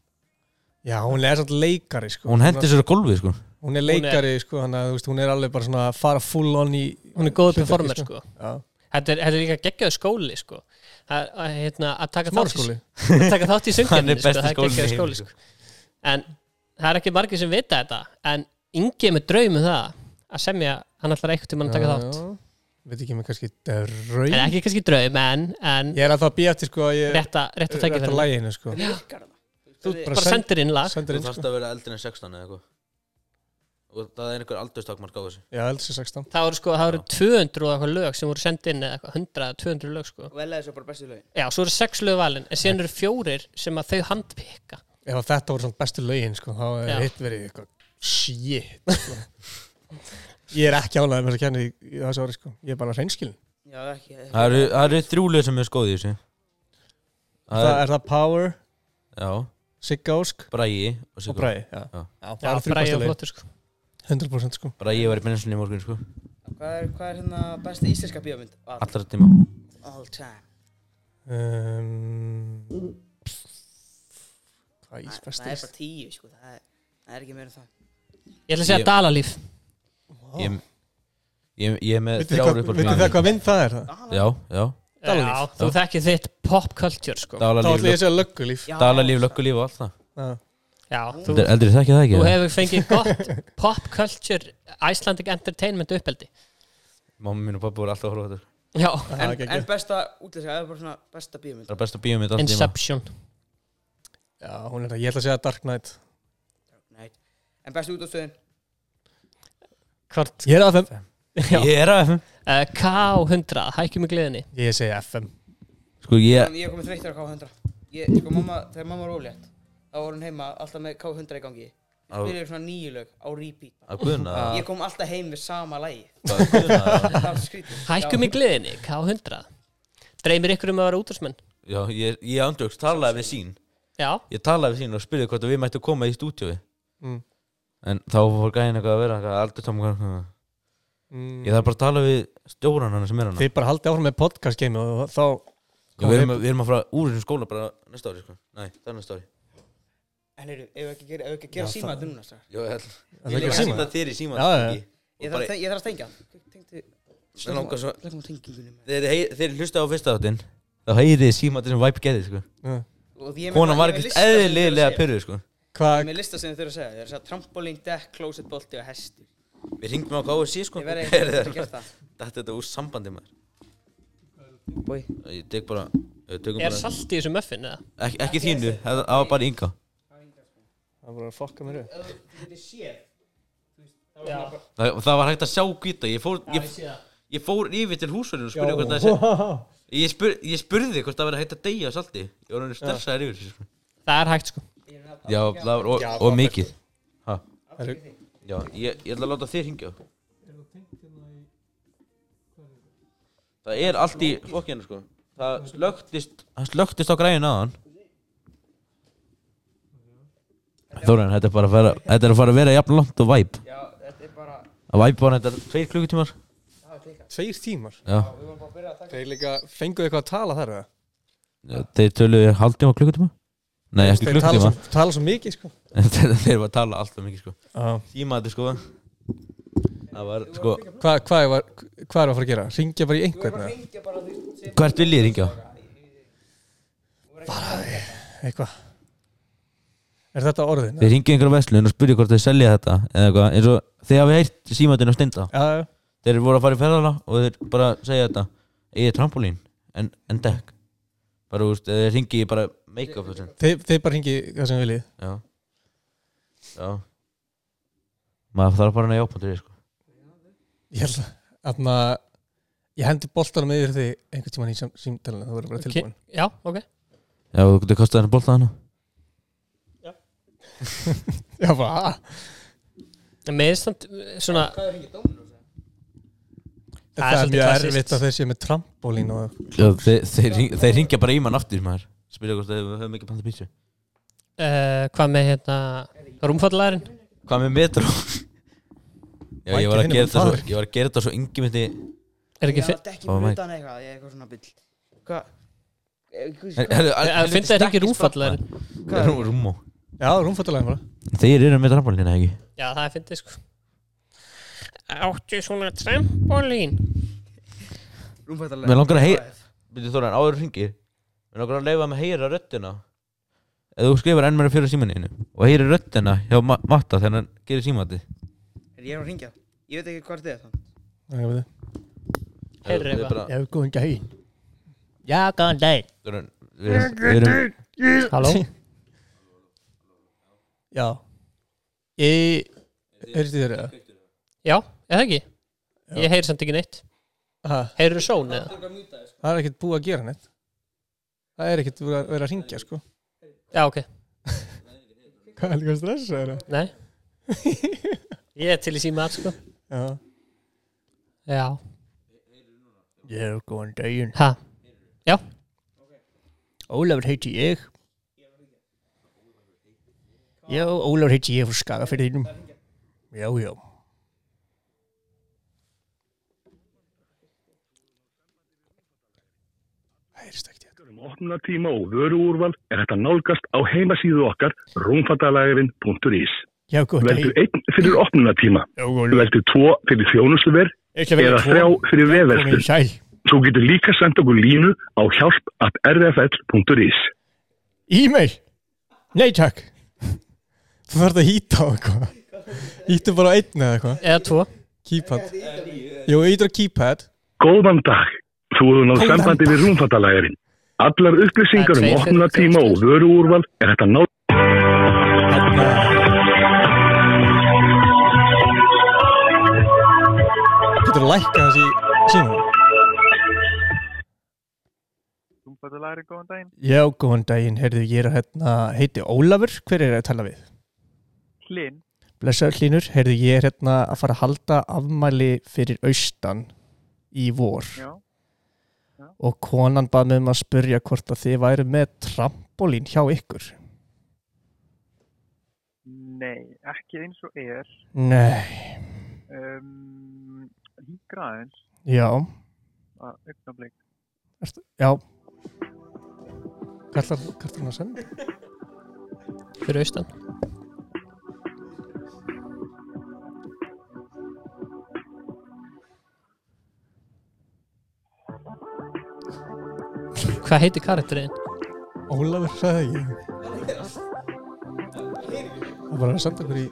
Speaker 12: Já, hún er samt leikari, sko
Speaker 1: Hún hendi sér á gólfið, sko
Speaker 12: Hún er leikari, sko, hann að, þú veist, hún er alveg bara svona að fara full on í
Speaker 13: Hún er góð
Speaker 12: hlutverki,
Speaker 13: performer, sko
Speaker 12: Já,
Speaker 13: Þetta er, þetta er líka geggjöð skóli, sko Það- að, hérna, að taka þátt í-
Speaker 12: smárskóli
Speaker 13: að taka þátt í
Speaker 1: Hann
Speaker 13: söngjörninu,
Speaker 1: er
Speaker 13: sko,
Speaker 1: besti
Speaker 13: það er
Speaker 1: skólinn í
Speaker 13: geggjaður skóli
Speaker 1: heimi,
Speaker 13: sko. en það er ekki margir sem vita þetta en yngi er með draum um það að semja, hann ætlar eitthvað tíma að taka þátt
Speaker 12: Veit ekki með kannski draug
Speaker 13: en ekki kannski draum, en, en
Speaker 12: Ég er alltaf að býja eftir, sko, að ég
Speaker 13: rétta, rétta
Speaker 12: Rétt að
Speaker 13: tækifæri
Speaker 12: læginu, sko Þú
Speaker 2: Hvernig-
Speaker 13: bara
Speaker 12: send-
Speaker 13: sendir inn lag
Speaker 12: sendir inn, sko
Speaker 1: að vera eldri en 16 eða eitthvað Og það er einhver aldurstakmark á þessu
Speaker 12: Já, eldur sér 16
Speaker 13: það voru, sko, það voru 200 og eitthvað lög sem voru sendið inn eða eitthvað 100, 200 lög sko.
Speaker 2: Og ellaði svo bara bestu lögin
Speaker 13: já, svo eru 6 lög valin, en síðan eru fjórir sem að þau handpikka
Speaker 12: Ef að þetta voru svona bestu lögin sko, þá
Speaker 13: Já.
Speaker 12: er hitt verið eitthvað shit sko. Ég er ekki ánægð með þess að kenna í, í þessu ári sko. Ég er bara reynskilin
Speaker 2: Já, ekki
Speaker 1: Það eru, það eru þrjúlið sem er skoðið í þessu
Speaker 12: Það er, það Power,
Speaker 1: Já,
Speaker 12: Sigga Ósk
Speaker 1: Bragi og
Speaker 12: og
Speaker 1: Sigur
Speaker 12: Bræði já.
Speaker 1: Já.
Speaker 12: Það eru
Speaker 13: Bragi
Speaker 12: þrjú bestu
Speaker 13: og
Speaker 12: lögin,
Speaker 13: flottur sko.
Speaker 12: 100% sko.
Speaker 1: Bragi var í benninsunni í morgun, sko
Speaker 2: Hvað er, hvað er hérna besta íslenska bíómynd? All,
Speaker 1: Allra tíma
Speaker 2: all time
Speaker 12: um, Hvað ís
Speaker 2: Það er
Speaker 12: bestist?
Speaker 2: bara tíu, sko Það er, það er ekki meira en það
Speaker 13: ég ætla að segja
Speaker 1: Ég-
Speaker 13: Dalalíf
Speaker 1: Ég, ég, ég er með
Speaker 12: Vitið
Speaker 1: þrjár
Speaker 12: þið
Speaker 1: upp á
Speaker 12: hvað- vitið þið hvað mynd það er það?
Speaker 1: Já, já
Speaker 13: já,
Speaker 12: Dalalíf.
Speaker 13: þú þekkir þitt pop culture sko.
Speaker 12: Þá ætla ég
Speaker 1: Dalalíf,
Speaker 12: að segja löggulíf
Speaker 2: Já,
Speaker 1: dalalíf, löggulíf og allt það
Speaker 12: Já.
Speaker 13: já, þú
Speaker 1: Þetta er eldri þekkja það ekki
Speaker 13: Þú
Speaker 1: eða?
Speaker 13: hefur fengið gott pop culture Icelandic entertainment uppeldi
Speaker 1: Mamma mín og pappa voru alltaf að horfa á þetta
Speaker 13: Já,
Speaker 12: Það er
Speaker 2: En, en
Speaker 12: geggjað.
Speaker 2: besta útlæska, það er bara svona besta bíómynd
Speaker 1: Það er besta bíómið alltaf tíma
Speaker 13: Inception
Speaker 12: Já, hún er það, ég ætla að segja Dark Knight
Speaker 2: Nei En besta útlæstöðin
Speaker 13: Hvort
Speaker 12: Ég er FM
Speaker 13: Já.
Speaker 1: Ég er að FM
Speaker 13: uh, K100, hækjum í gleðinni
Speaker 12: Ég segi FM
Speaker 1: Sko ég,
Speaker 2: Ég er komið þreyttur á K100 Ég, sko, mamma, þegar mamma var ólétt Þá var hún heima alltaf með K100 í gangi
Speaker 1: Á-
Speaker 2: Við erum svona nýju lög á repeat
Speaker 1: að guðna
Speaker 2: Ég kom alltaf heim við sama lægi
Speaker 1: Að guðna
Speaker 2: Það var skrítið
Speaker 13: Hækjum í gleðinni, K100 Dreymir ykkur um að vera útarsmenn
Speaker 1: Já, ég, ég andjóks talaði við sín
Speaker 13: Já.
Speaker 1: Ég talaði við sín og spurði hvort að við mættu koma í stúdíói
Speaker 12: Mm.
Speaker 1: En þá fór gæðin eitthvað að vera eitthvað aldrei tóma
Speaker 12: Mm.
Speaker 1: Ég þarf bara að tala við stjóran hana sem er hana
Speaker 12: Þið bara haldið áfram með podcast game og þá
Speaker 1: Já, við, erum, við erum að fara úr þessum skóla bara næsta ári sko. Nei, það er næsta ári
Speaker 2: En heyrðu, ef við ekki gera, ef við ekki gera
Speaker 1: Já,
Speaker 2: síma
Speaker 1: það-
Speaker 2: þetta núna strax
Speaker 1: Jó, ég ætla-
Speaker 2: Ég
Speaker 1: Ég
Speaker 2: leika
Speaker 1: leika
Speaker 2: síma.
Speaker 1: síma þér í síma
Speaker 2: Já, já, já.
Speaker 1: Siggi.
Speaker 2: Ég
Speaker 1: Og
Speaker 2: þarf að
Speaker 1: bara-
Speaker 2: te- ég þarf að stengja Tengdu
Speaker 1: Svo langar svo-
Speaker 2: Lekum á tengingunum
Speaker 1: Þeir, hey- þeir hlusta á fyrsta þáttinn Þá heyrið þið síma sem væp gerði sko.
Speaker 12: Já.
Speaker 2: Og því ég með-
Speaker 1: Konan var
Speaker 2: ég með
Speaker 1: ekkert
Speaker 2: lista sem þau þurfa að
Speaker 1: eðlilega
Speaker 2: segja.
Speaker 1: pyrruð sko.
Speaker 2: Ég er með lista sem þau þurfa að segja Þau eru að segja trampolín, deck, closet, bolti og hesti
Speaker 1: Við ringdum á KFC sko
Speaker 2: Ég <laughs>
Speaker 1: <laughs>
Speaker 2: verði að gera það
Speaker 1: Þetta þetta úr sambandi maður
Speaker 2: Bói
Speaker 1: Ég tek bara ég tökum
Speaker 13: Er
Speaker 1: bara-
Speaker 13: salt í þessu muffin eða?
Speaker 1: Ekki, ekki þínu, það það var bara ynga
Speaker 12: Það voru að fokka mér upp
Speaker 2: Ef þú getur séð
Speaker 13: Já.
Speaker 1: það, það var hægt að sjá gýta Ég fór,
Speaker 13: Já,
Speaker 1: ég,
Speaker 13: ég sé það.
Speaker 1: ég fór yfir til húsverðinu og spurði
Speaker 12: Já.
Speaker 1: hvort það sé Ég, spur, ég spurði hvort það væri hægt að deyja á salti Ég var hann stressaður yfir þessu, sko.
Speaker 13: Það er hægt sko
Speaker 1: Já, það var og,
Speaker 13: Já, það
Speaker 1: og
Speaker 13: var
Speaker 1: mikið Ha?
Speaker 12: Eru-
Speaker 1: Já, ég, ég ætla að láta þér hingja Það er allt í fokkinu sko Það slögtist Það slögtist á græðin aðan Þórun, þetta er bara að fara Þetta er að fara að vera jafn langt og væp
Speaker 2: Já, þetta er bara
Speaker 1: Að væp var þetta tveir klukkutímar
Speaker 12: Tveir tímar?
Speaker 1: Já.
Speaker 2: Við vorum bara að byrja að taka
Speaker 12: Þeir líka fenguðu eitthvað að tala þar eða?
Speaker 1: Þeir töluðu haldtíma og klukkutíma Nei, ekki
Speaker 12: Þeir tala
Speaker 1: klukkutíma
Speaker 12: svo, tala svo mikið sko
Speaker 1: En <laughs> þeir þeir var að tala alltaf mikið sko
Speaker 12: Já.
Speaker 1: Tímaði sko Það var sko
Speaker 12: Hvað hva er, var- hvað er að fara að gera? Ringja bara í einhvern eða?
Speaker 2: Hengja bara þú veist sem-
Speaker 1: Hvert vil ég ringja?
Speaker 12: Eitthvað Er þetta orðin?
Speaker 1: Þeir ringið einhverja veslun og spurði hvort þeir selja þetta eða eitthvað, eins og þeir hafi heyrt símatinn og steinda
Speaker 12: Já, já.
Speaker 1: Þeir voru að fara í ferðala og þeir bara segja þetta Egið trampolín en, en dekk Bara, þú veist, eða þeir ringi bara make-up þessu
Speaker 12: Þeir, þeir bara ringi hvað sem viljið
Speaker 1: Já Já Maður þarf bara að jápa til því sko
Speaker 12: Ég held að þarna, Ég hendi boltanum yfir því einhvern tímann í sím- símtalinu Það verður bara tilbúin
Speaker 13: Já, ok
Speaker 1: Já, þú getur kostað henni bolta hana
Speaker 12: Já, bara
Speaker 13: En meðstand eh, svona
Speaker 2: Hvað er hengið dóminu?
Speaker 12: Það er
Speaker 13: svolítið
Speaker 12: mjög
Speaker 13: klassískt.
Speaker 12: erfitt að þeir séu með trampolín og
Speaker 1: Já, þeir, þeir, hring- þeir ringja bara í mann aftur maður Spyrja hvort þeir höfum ekki panta pítsu
Speaker 13: uh, Hvað með hérna Rúmfallarinn
Speaker 1: Hvað með metro? Já, ég
Speaker 12: Mæti
Speaker 1: var að gera
Speaker 12: hinum
Speaker 1: þetta svo
Speaker 12: maður.
Speaker 1: Ég var að gera þetta svo yngi myndi
Speaker 13: Er ekki
Speaker 2: Ég
Speaker 13: fi-
Speaker 2: átti ekki Oh
Speaker 1: Það var
Speaker 2: fyrir
Speaker 1: mæk.
Speaker 2: utan eitthvað, ég er eitthvað svona byll Hvað? Eh,
Speaker 13: Að finna þeir ekki rúmfallarinn
Speaker 1: Rúmó Rúmó
Speaker 12: Já, rúmfættulega bara
Speaker 1: Þeir eru með trampolína ekki
Speaker 13: Já, það er fyndið sko Áttu svona trampolín
Speaker 2: sko, Rúmfættalega
Speaker 1: Mér langar að heyra Byrju Þóran, áður en þú hringir Mér langar að leifa með að heyra röddina Ef þú skrifar enn meira fyrir símaninu Og heyri röddina hjá Ma- Matta þegar hann gerir símati
Speaker 2: Ég er að ringja Ég veit ekki hvað þetta er það
Speaker 12: Það er bara
Speaker 13: Heyrðu eitthvað.
Speaker 12: Já, góðan gæði
Speaker 13: Já, góðan dag
Speaker 1: Þóran, við erum, við erum
Speaker 13: Halló
Speaker 12: <laughs> Já Ég Heyrstu þér eða?
Speaker 13: Já, eða ekki Ég heyri samt ekki neitt
Speaker 12: Ha,
Speaker 13: Heyrðu són eða
Speaker 12: Það er ekkert búið að gera neitt Það er ekkert verið að vera að ringja sko
Speaker 13: Já, ok
Speaker 12: Hvað er líka að stressa þér?
Speaker 13: Nei Ég er til í síma sko
Speaker 12: Já
Speaker 13: Já
Speaker 12: Já, góðan daginn
Speaker 13: Ha? Já
Speaker 12: Ólafur heiti ég Já, Ólafur heiti ég frá Skagafyrðinum Já, já
Speaker 15: Opnatíma og vöruúrval er hægt að nálgast á heimasíðu okkar rúmfattalægirinn.is
Speaker 12: Já, góðan
Speaker 15: Veldu
Speaker 12: daginn
Speaker 15: einn fyrir opnunatíma, veldu tvo fyrir þjónustuver
Speaker 12: Ég ætla að velja
Speaker 15: eða
Speaker 12: tvo.
Speaker 15: þrjá fyrir
Speaker 12: Komin
Speaker 15: veðverslun.
Speaker 12: sæl
Speaker 15: Svo getur líka sendt okkur línu á hjálp at rfl.is
Speaker 12: E-mail Nei, takk Þú þarf að hýta á eitthvað Hýttu bara á einn eða eitthvað
Speaker 13: Eða tvo
Speaker 12: Keypad Jú, hýtur á keypad
Speaker 15: Góðan dag, þú hefur náð
Speaker 12: Góðan
Speaker 15: sambandi við rúmfattalægirinn. Allar upplýsingar um
Speaker 13: Það er tveir fyrir-
Speaker 15: opnunatíma og vöruúrval er hægt að nálgast
Speaker 12: Getur að lækka þessi síma
Speaker 17: Rúmfattalæri, góðan daginn.
Speaker 12: Já, góðan daginn, heyrðu, ég er að hérna heiti Ólafur, hver er að tala við?
Speaker 17: Hlinn,
Speaker 12: Blessaður hlínur, heyrðu, ég er hérna að fara að halda afmæli fyrir austan í vor
Speaker 17: já.
Speaker 12: og konan bað mig um að spurja hvort að þið væri með trampolín hjá ykkur
Speaker 17: Nei, ekki eins og er.
Speaker 12: Nei.
Speaker 17: Um, Hingra aðeins.
Speaker 12: Já.
Speaker 17: Að augnablik.
Speaker 12: Ertu, já. Kallar, kallar hann að senda?
Speaker 13: Fyrir austan. Hvað heitir karakterinn?
Speaker 12: Ólafur sagði ekki. Það var að senda okkur í...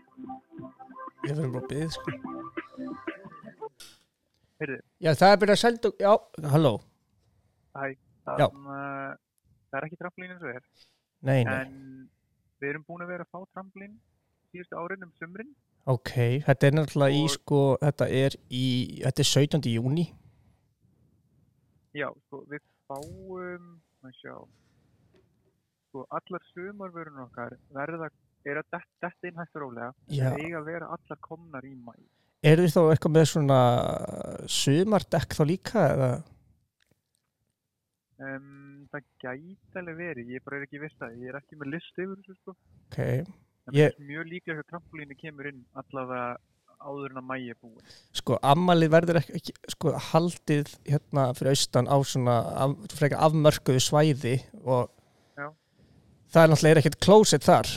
Speaker 12: Ég verðum bara að byggja, sko.
Speaker 17: Heyrðu,
Speaker 12: Já, það er byrjað að senda okkur... Já, halló.
Speaker 17: hæ.
Speaker 12: Já.
Speaker 17: Um, uh, það er ekki tramplín eins og er.
Speaker 12: Nei, nei.
Speaker 17: En við erum búin að vera að fá tramplín síðustu árin um sumrin.
Speaker 12: Ok, þetta er náttúrulega í, sko, þetta er í... Þetta er 17. júni.
Speaker 17: Já, sko, við fáum, maður sjá, sko, allar sumarvörun okkar verða, er að dett- detta inn hægt og rólega.
Speaker 12: Já.
Speaker 17: Það eiga að vera allar komnar í mæ.
Speaker 12: Er þið þá eitthvað með svona sumardekk þá líka, eða...
Speaker 17: Um, það gæti alveg verið, ég bara er ekki viss að ég er ekki með list yfir þessu sko.
Speaker 12: Ok,
Speaker 17: En
Speaker 12: ég,
Speaker 17: Mjög líklega að trampolínu kemur inn allavega áður en að mæja búin.
Speaker 12: sko, ammalið verður ekki, ekki, sko, haldið hérna fyrir austan á svona af, frekar afmörkuðu svæði og
Speaker 17: Já.
Speaker 12: það er náttúrulega er ekkert closet þar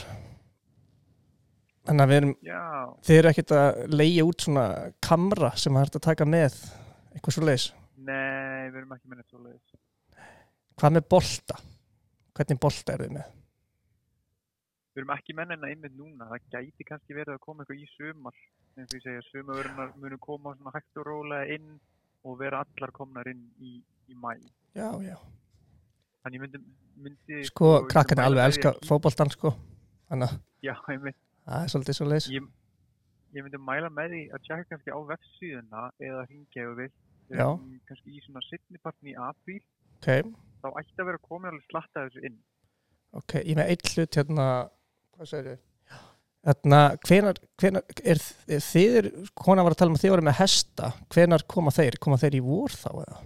Speaker 12: þannig að við erum
Speaker 17: Já.
Speaker 12: þið eru ekkert að leigja út svona kamra sem það er hægt að taka með eitthvað svo leis
Speaker 17: Nei, við erum ekki með neitt svo leiðis.
Speaker 12: hvað með bolta? hvernig bolta er þið með?
Speaker 17: Við erum ekki með hennar einmitt núna, það gæti kannski verið að koma eitthvað í sumar. En því segja, sumarvörunar munu koma svona hægt og rólega inn og vera allar komnar inn í, í mæ.
Speaker 12: Já, já.
Speaker 17: Þannig ég myndi, myndi...
Speaker 12: sko,
Speaker 17: ég myndi
Speaker 12: krakkan
Speaker 17: mæla
Speaker 12: er alveg
Speaker 17: með því
Speaker 12: elska
Speaker 17: að kíkja-
Speaker 12: fótboltan sko þannig að
Speaker 17: Já, einmitt.
Speaker 12: það er svolítið svo leis
Speaker 17: Ég, ég myndi mæla með því að tjekka kannski á vefsíðuna eða hringja ef við
Speaker 12: Já.
Speaker 17: kannski í svona sittnipartin í apríl
Speaker 12: ok,
Speaker 17: þá ætti að vera komin alveg slatta þessu inn
Speaker 12: ok, ég er með eitt hlut hérna hvað segir þið? Þarna, hvenar, hvenar er, er þið, er, kona var að tala um að þið voru með hesta, hvenar koma þeir? Koma þeir í vor þá eða?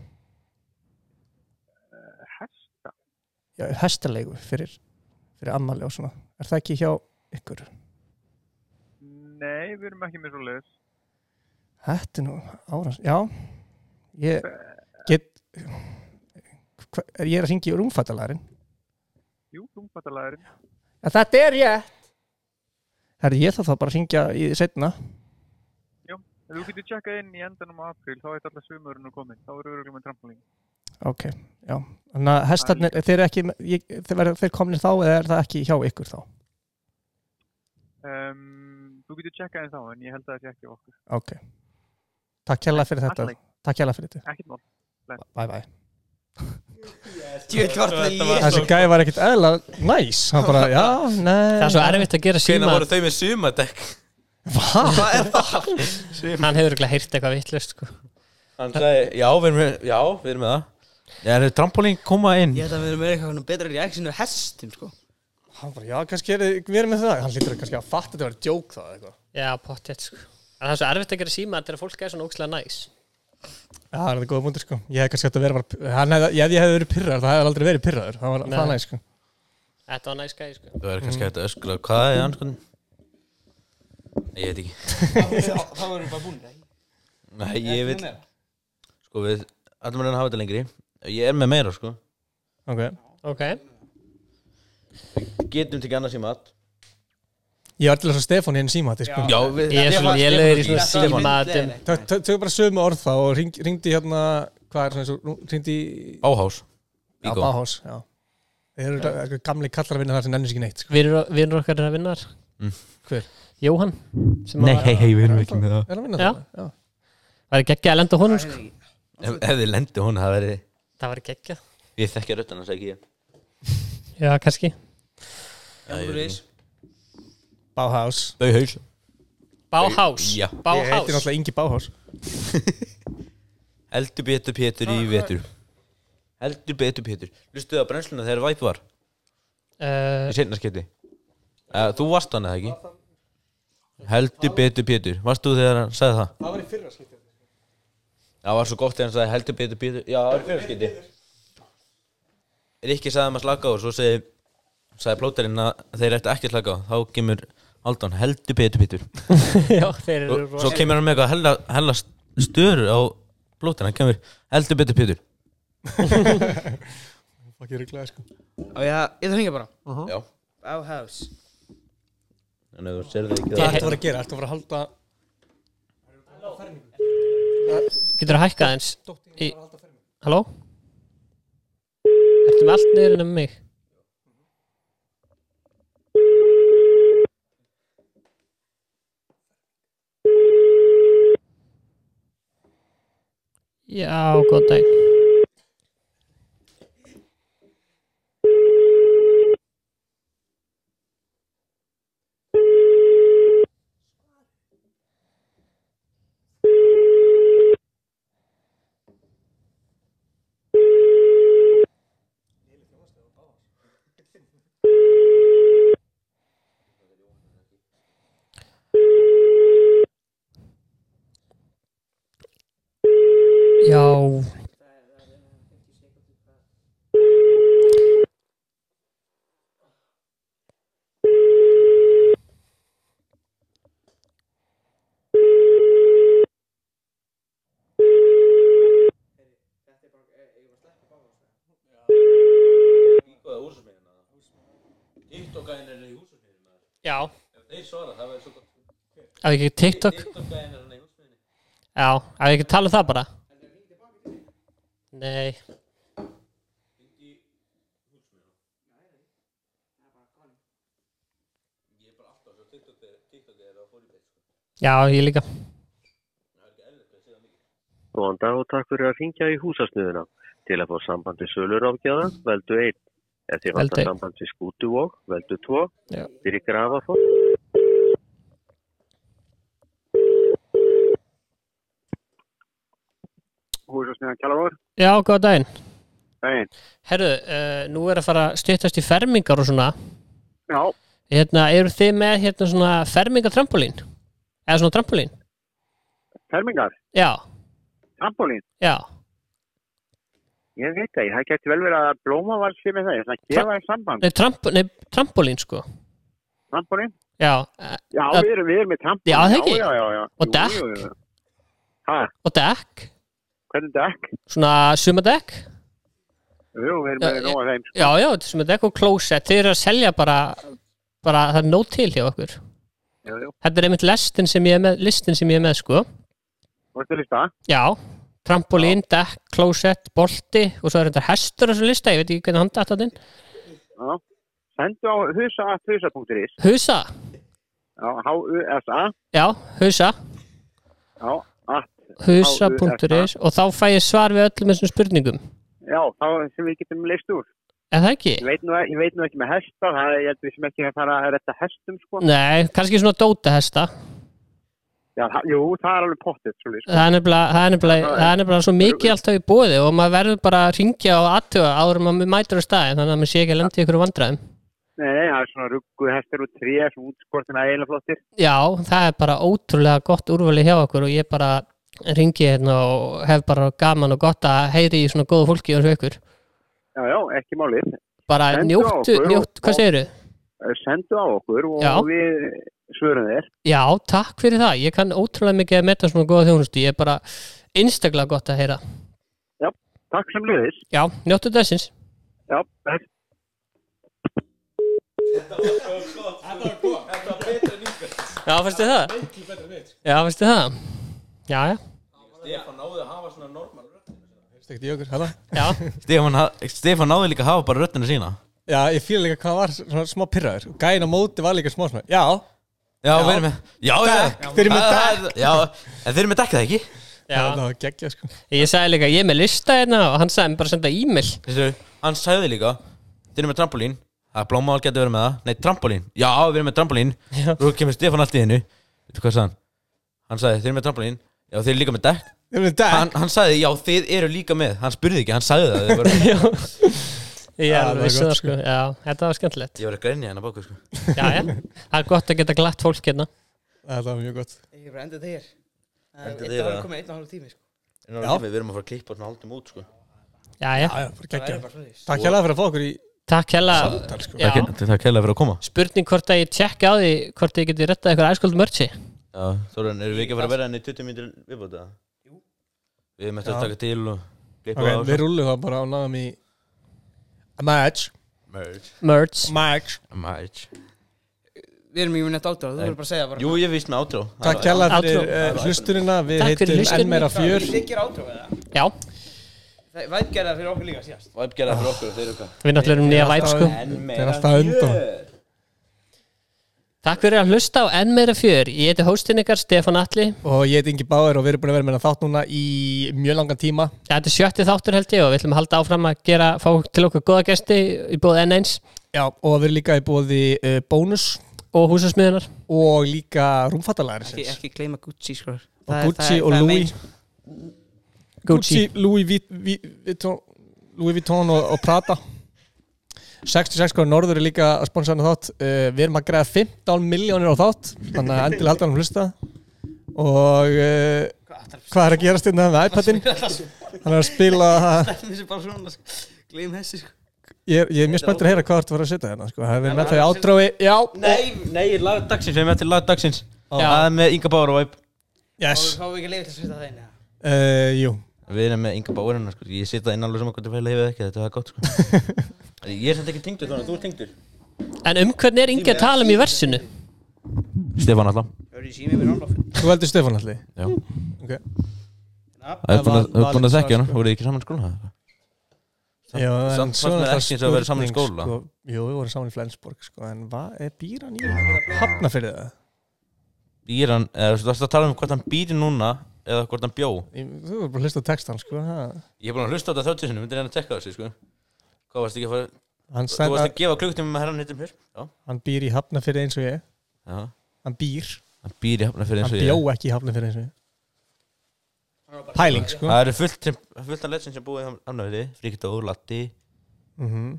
Speaker 17: uh, hesta
Speaker 12: Já, hestalegu fyrir, fyrir ammali og svona. Er það ekki hjá ykkur?
Speaker 17: Nei, við erum ekki með svo leiðis
Speaker 12: Þetta er nú árans, já. Ég
Speaker 17: Eh,
Speaker 12: get, hva, er ég að ringi í rúmfattalærin?
Speaker 17: Jú, rúmfattalæðurinn
Speaker 12: Ja, þetta er ég. Herri, ég þarf þá bara að ringja í setna.
Speaker 17: Jú, ef þú getur tjekkað inn í endanum á apríl þá ætti allar sömurinn að komin þá eru við örugglega með trampolín
Speaker 12: Ok, já. Þannig að hestarnir, þeir eru ekki, ég, þeir, verða- þeir komnir þá eða er það ekki hjá ykkur þá?
Speaker 17: um, Þú getur tjekkað inn þá en ég held að það sé ekki á okkur
Speaker 12: Ok. Takk kjærlega fyrir þetta.
Speaker 17: Allt í lagi.
Speaker 12: Takk kjærlega fyrir þetta.
Speaker 17: Ekkert mál Bless.
Speaker 12: Bye bye.
Speaker 2: Djöfull var þetta létt.
Speaker 12: Þessi gæði var ekkert eðla næs. Hann bara, já, nei.
Speaker 13: Það er svo erfitt að gera síma
Speaker 14: Hvenær voru þau með sumadekk?
Speaker 12: Hva?
Speaker 14: Hvað er það?
Speaker 13: Hann hefur ekki heyrt eitthvað vittlust sko.
Speaker 14: Hann sagði, já, við erum með, já, við erum með það Já, er trampolín koma inn?
Speaker 2: Ég held að við erum með eitthvað svona betra reaction við hestum sko
Speaker 12: Hann bara, já, kannski er við erum með það. Hann lítur kannski að fatta að þetta var djók það eitthvað.
Speaker 13: Já, pottet sko. En Það er svo erfitt að gera síma þegar fólk er svona ókslega næs
Speaker 12: Já, það er það góða múndir sko. Ég hef kannski átt að vera bara, hann hefði, ef ég hefði verið pyrraður, það hefði aldrei verið pyrraður. Það var
Speaker 13: Nei.
Speaker 12: það næs sko.
Speaker 13: Þetta var næs gæði sko.
Speaker 14: Það verður kannski hægt að öskula Hvað er anskotin? Nei, ég veit ekki
Speaker 2: Þá erum við bara búin
Speaker 14: Nei, ég veit
Speaker 2: meira?
Speaker 14: Sko, við ætlum að reyna að hafa þetta lengri Ég er með meira, sko
Speaker 12: Ok.
Speaker 13: Ok
Speaker 14: Getum til annars í mat
Speaker 12: Ég var til þess að Stefán hérna síma þetta sko.
Speaker 14: Já, við- Ég er svo Stefán- lélegur í svona Stefán- símatum.
Speaker 12: Tök- tök- Tökum bara sömu orð þá og ring- ringdi hérna, hvað er svona, svo- ringdi í...
Speaker 14: Báhás.
Speaker 12: Já,
Speaker 14: Bíkó.
Speaker 12: Báhás, já. Þeir eru eitthvað gamli kallar að vinna þar sem nennir sér ekki neitt sko.
Speaker 13: Vinur vinur okkar er að vinna þar
Speaker 14: Mm.
Speaker 12: Hver?
Speaker 13: Jóhann sem
Speaker 14: Nei,
Speaker 13: var-
Speaker 14: hei, hei, við erum ekki með það.
Speaker 12: Er hann að vinna
Speaker 13: Já.
Speaker 12: þarna? Já.
Speaker 13: Það er geggja að lenda á honum sko.
Speaker 14: Ef, ef þið lendi hún, það verði
Speaker 13: Það var geggja
Speaker 14: Ég þekki röttan hans ekki ég
Speaker 13: Já, kannski
Speaker 14: Já, ég veit ekki.
Speaker 12: Báhás.
Speaker 14: Bauhaus
Speaker 13: Báhás
Speaker 14: Já.
Speaker 12: Ég heiti
Speaker 13: Báhás
Speaker 12: náttúrulega Ingi Báhás.
Speaker 14: Heldur betur Pétur í vetur Heldur betur Pétur Lustuðu á brennsluna þegar væp var
Speaker 13: Eh,
Speaker 14: Í seinnarsketti
Speaker 1: Eh,
Speaker 14: uh, Þú varst hann eða ekki? Heldur betur Pétur Varst þú þegar hann sagði það?
Speaker 12: Það var í fyrra skiptið.
Speaker 14: Já,
Speaker 1: Það var svo gott þegar hann sagði heldur betur betur Já, það var fjölskyldi Rikki sagði maður slaka á og svo segi sagði plóterinn að þeir ættu ekki að slaka á þá kemur Aldon heldur betur betur
Speaker 13: Já, þeir eru
Speaker 1: Og Svo
Speaker 13: rosalegir.
Speaker 1: kemur hann með eitthvað hella, hella störu á plóterinn hann kemur heldur betur betur
Speaker 12: Fuck, ég er glæði sko
Speaker 2: Á ég að, ég þarf að hengja bara
Speaker 1: Já
Speaker 2: Á house
Speaker 1: Þannig að þú serði ekki
Speaker 12: Hvað ertu að fara að gera? Ertu að fara að halda
Speaker 13: Getur að hækka aðeins í... Halló? Ertu með allt niður ennum mig? Já, góð dag Já Já
Speaker 1: Þeir svara, það var svo gott hérna
Speaker 13: Ef ekki TikTok Já, ef ekki tala um það bara Nei Já, ég líka
Speaker 18: Góðan dag og takk fyrir að ringja í húsasnöðuna. Til að fá sambandi söluráfgjáða, veldu einn. Ef þið
Speaker 13: Veldu
Speaker 18: vantar
Speaker 13: einn.
Speaker 18: sambandi skútuvók, veldu tvo.
Speaker 13: Já.
Speaker 18: Fyrir grafafólk.
Speaker 17: Húsasmiðan Kjallavar.
Speaker 13: Já, góða daginn
Speaker 17: Daginn.
Speaker 13: Herru, uh, nú er að fara að stýttast í fermingar og svona
Speaker 17: Já.
Speaker 13: Hérna, eru þið með hérna svona fermingatrampolín? Eða svona trampolín?
Speaker 17: Fermingar,
Speaker 13: Já,
Speaker 17: trampolín.
Speaker 13: já
Speaker 17: Ég veit það, það geti vel verið að blóma var sér með það. Ég ætla að gefa þér samband.
Speaker 13: Nei, tramp, nei trampolín sko
Speaker 17: Trampolín?
Speaker 13: Já, eh,
Speaker 17: Já,
Speaker 13: að-
Speaker 17: við erum, við erum með trampolín.
Speaker 13: Já, það ekki?
Speaker 17: Já, já, já.
Speaker 13: Og dekk?
Speaker 17: Hæ?
Speaker 13: Og dekk?
Speaker 17: Hvernig dekk?
Speaker 13: svona sumadekk
Speaker 17: Jú, við erum með nóga þeim.
Speaker 13: Já, já, þetta er sem þetta er eitthvað klósett Þið eru að selja bara, bara það er nóg til hjá okkur
Speaker 17: Jú, jú.
Speaker 13: Þetta er einmitt listin sem ég er með, listin sem ég er með sko.
Speaker 17: Þú ert að lista?
Speaker 13: Já, trampolín, dekk, klósett, bolti og svo er þetta hestur á þessum lista, ég veit ekki hvernig hann datt að þinn
Speaker 17: Já. Sendu á husa.husa.is.
Speaker 13: Husa,
Speaker 17: Já, H-U-S-A.
Speaker 13: já, husa
Speaker 17: Já, at. hérna.
Speaker 13: husa.is og þá fæ ég svar við öllum þessum spurningum
Speaker 17: Já, þá sem við getum leist úr.
Speaker 13: Er það ekki?
Speaker 17: Ég veit nú, e- ég veit nú ekki með hesta, það er, ég held við sem ekki að fara að retta hestum, sko.
Speaker 13: Nei, kannski svona dóta hesta
Speaker 17: Já, það- jú, það er alveg pottið, svolítið, sko.
Speaker 13: Það er nefnilega, það er nefnilega, það er nefnilega svo mikið alltaf í bóði og maður verður bara að ringja og aðtöga áður en maður mætur á staðin þannig að maður sé ekki að lenda í ykkur vandræðum.
Speaker 17: Nei, það er svona ruggu hestar og tré, svona útskortin að eiginlega flottir.
Speaker 13: Já, það er bara ótrúlega gott úrvali hjá okkur og ég bara ringi hérna og hef bara gaman og gott að heyri í svona góðu fólki eins og ykkur.
Speaker 17: Já, já, ekki málið.
Speaker 13: Bara
Speaker 17: Sendu á
Speaker 13: njóttu,
Speaker 17: okkur og-
Speaker 13: njóttu, hvað segirðu?
Speaker 17: Eh, Sendu á okkur og
Speaker 13: Já.
Speaker 17: við svörum
Speaker 13: <laughs>
Speaker 17: þér.
Speaker 13: Já, takk fyrir það. Ég kann ótrúlega mikið að metta svona góða þjónustu. Ég er bara einstaklega gott að heyra.
Speaker 17: Já, takk sem liðis.
Speaker 13: Já, njóttu þessins.
Speaker 17: Já, takk.
Speaker 13: Já, fannstu það?
Speaker 1: Miklu betra en mitt.
Speaker 13: Já, fannstu það? Já, já.
Speaker 1: Stefán náði að hafa svona normal
Speaker 12: Heyrstu ekkert í okkur, hæða?
Speaker 13: Já.
Speaker 1: Stefán, ha- Stefán náði líka að hafa bara röddina sína
Speaker 12: Já, ég fíla líka hvað var svona smá pyrraður Gæin á móti var líka smá smá Já
Speaker 1: Já, við erum með Já,
Speaker 12: Dekk,
Speaker 1: já
Speaker 12: þeir eru með
Speaker 1: Það-
Speaker 12: dekk
Speaker 1: það- Já, en þeir eru með dekk það ekki
Speaker 13: Já. Það
Speaker 12: var geggja sko
Speaker 13: Ég sagði líka, ég er með lista hérna og hann sagði mér bara að senda e-mail.
Speaker 1: Þessu, hann sagði líka Þeir eru með trampolín Það er blómavál getur verið með það Nei, trampolín Já, við erum með trampolín Þú kemur Stefán allt í hennu Veitu hvað sagði hann? Hann sagði, þeir eru með trampolín Já, þeir eru líka með dekk
Speaker 12: Þeir eru með dekk?
Speaker 1: Hann, hann sagði, já, þeir eru líka með Hann spurði ekki, hann sagði það þeir voru-
Speaker 13: Ég
Speaker 1: Já,
Speaker 13: er
Speaker 1: það
Speaker 13: alveg
Speaker 1: var
Speaker 13: vissi
Speaker 1: gott,
Speaker 13: það sko. Já, þetta var skemmtilegt.
Speaker 1: Ég var að grænja hennar báku, sko
Speaker 13: Já, já. Það er gott að geta glatt fólk hérna.
Speaker 12: Það var mjög gott
Speaker 2: Ég er bara endað þér
Speaker 1: Enda
Speaker 2: Það
Speaker 1: þér,
Speaker 2: er
Speaker 1: eða?
Speaker 2: komið einn og hálf tími sko
Speaker 1: En alveg, Við erum að fara að klippa og haldum út sko
Speaker 13: Jæja.
Speaker 12: Já, já, bara geggjað.
Speaker 13: Það væri bara svoleiðis.
Speaker 12: Takk hérlega fyrir að fá okkur í
Speaker 13: Takk hella
Speaker 12: Samtal, sko.
Speaker 13: Já.
Speaker 1: Takk- Takk hella fyrir að koma
Speaker 13: Spurning hvort að ég tjekka á því hvort ég geti rettað eitthvað æsköld mörgsi
Speaker 1: Já, Þorðan, erum við ekki að fara að vera henni í 20 mínútur viðbútið það? Jú Við erum eftir
Speaker 12: Já.
Speaker 1: að taka til og klippa
Speaker 12: Ok,
Speaker 1: á og
Speaker 12: við
Speaker 1: svo.
Speaker 12: rullum það bara á náðum í A match
Speaker 1: Merge
Speaker 13: Merge
Speaker 12: Match
Speaker 1: Merge
Speaker 2: Við erum ekki með neitt átrá, þú verður bara að segja bara
Speaker 1: Jú, ég vist með átrá
Speaker 12: Takk hérlega fyrir uh, hlustunina Við
Speaker 1: Takk
Speaker 12: heitum enn
Speaker 1: fyrir hlustunina.
Speaker 12: meira fjör
Speaker 2: Þið gerir átrá eða?
Speaker 13: Já
Speaker 2: Það væp gerða fyrir okkur líka síðast
Speaker 1: Væp gerða fyrir okkur, þeir eru hvað?
Speaker 13: Við náttúrulega erum nýja væp sko Takk fyrir að hlusta á enn meira fjör Ég heiti hóstinn ykkar Stefán Atli
Speaker 12: Og ég heit Ingi Báður og við erum búin að vera með þennan þátt núna í mjög langan tíma
Speaker 13: Þetta er sjötti þáttur held ég og við ætlum að halda áfram að gera, fá til okkur góða gesti í bóð N1
Speaker 12: Já, og við erum líka í bóði uh, bónus
Speaker 13: Og húsasmiðunar
Speaker 12: Og líka rúmfattalæri
Speaker 2: Ekki, ekki gleyma Gucci sko
Speaker 12: Og Gucci og
Speaker 2: <laughs>
Speaker 12: Louis
Speaker 2: Gucci.
Speaker 12: Gucci, Louis Vit- Vi- Vuitton Louis Vuitton og, og Prada 66 krónur norður er líka að sponsa hann þátt uh, við erum að greiða 15 miljónir á þátt þannig að endilega halda hann að hlusta og uh, hvað er að gerast hérna með iPadin hann er að spila
Speaker 2: Þetta er bara svona sko. Gleym þessi sko
Speaker 12: ég er, ég er mjög spenntur að heyra hvað þú ert að vera að setja hérna sko. það er verið með það í átrói já
Speaker 2: Nei,
Speaker 1: nei, lag dagsins, við erum eftir lag dagsins
Speaker 12: Já.
Speaker 1: Það er með Inga Bára og Væp
Speaker 12: Yes
Speaker 2: Þá erum við ekki leifir til að svita það einu
Speaker 12: Uh, jú
Speaker 1: Við erum með Inga Bára hennar sko Ég sita inn alveg saman hvort það fæla hefur ekki Þetta er gott <laughs> sko Ég er samt ekki tengdur þannig, þú ert tengdur
Speaker 13: En um hvernig er Ingi að tala um í versinu?
Speaker 1: Stefán Alla
Speaker 2: Hörðu í sími við nála
Speaker 12: Þú heldur Stefán allir?
Speaker 1: Já.
Speaker 12: Ok
Speaker 1: Þú ert búin að- þú ert búin að þekkja hana, voruð þið ekki saman í skóla?
Speaker 12: Já, en
Speaker 1: Samt
Speaker 12: svo er
Speaker 1: fannst mér
Speaker 12: það
Speaker 1: ekki eins og að vera saman í
Speaker 12: spurning,
Speaker 1: skóla.
Speaker 12: sko, Jú, við vorum saman í Flensborg sko, En hvað er býran í hafna fyrir það?
Speaker 1: Býr hann, eða þú ert að tala um hvort hann býr núna Eða hvort hann bjó
Speaker 12: Ég- Þú voru bara að hlusta á textan sko, ha?
Speaker 1: Ég er búin að hlusta á þetta þjóttu sinni, myndir hann að tekka þessu sko Hvað varst ekki að fara
Speaker 12: Hann
Speaker 1: Þú
Speaker 12: sagði
Speaker 1: varst
Speaker 12: að-
Speaker 1: að gefa klukktum með herran hittum hér Já,
Speaker 12: Hann býr í hafna fyrir eins og ég
Speaker 1: já
Speaker 12: Hann býr
Speaker 1: Hann býr í hafna eins
Speaker 12: Hann
Speaker 1: og ég
Speaker 12: bjó ekki í hafna fyrir eins og ég Pæling sko
Speaker 1: Það eru fullt, sem, fullt af legend sem búið í Hafnafjörði Fríkdó, Latti,
Speaker 12: Mhm.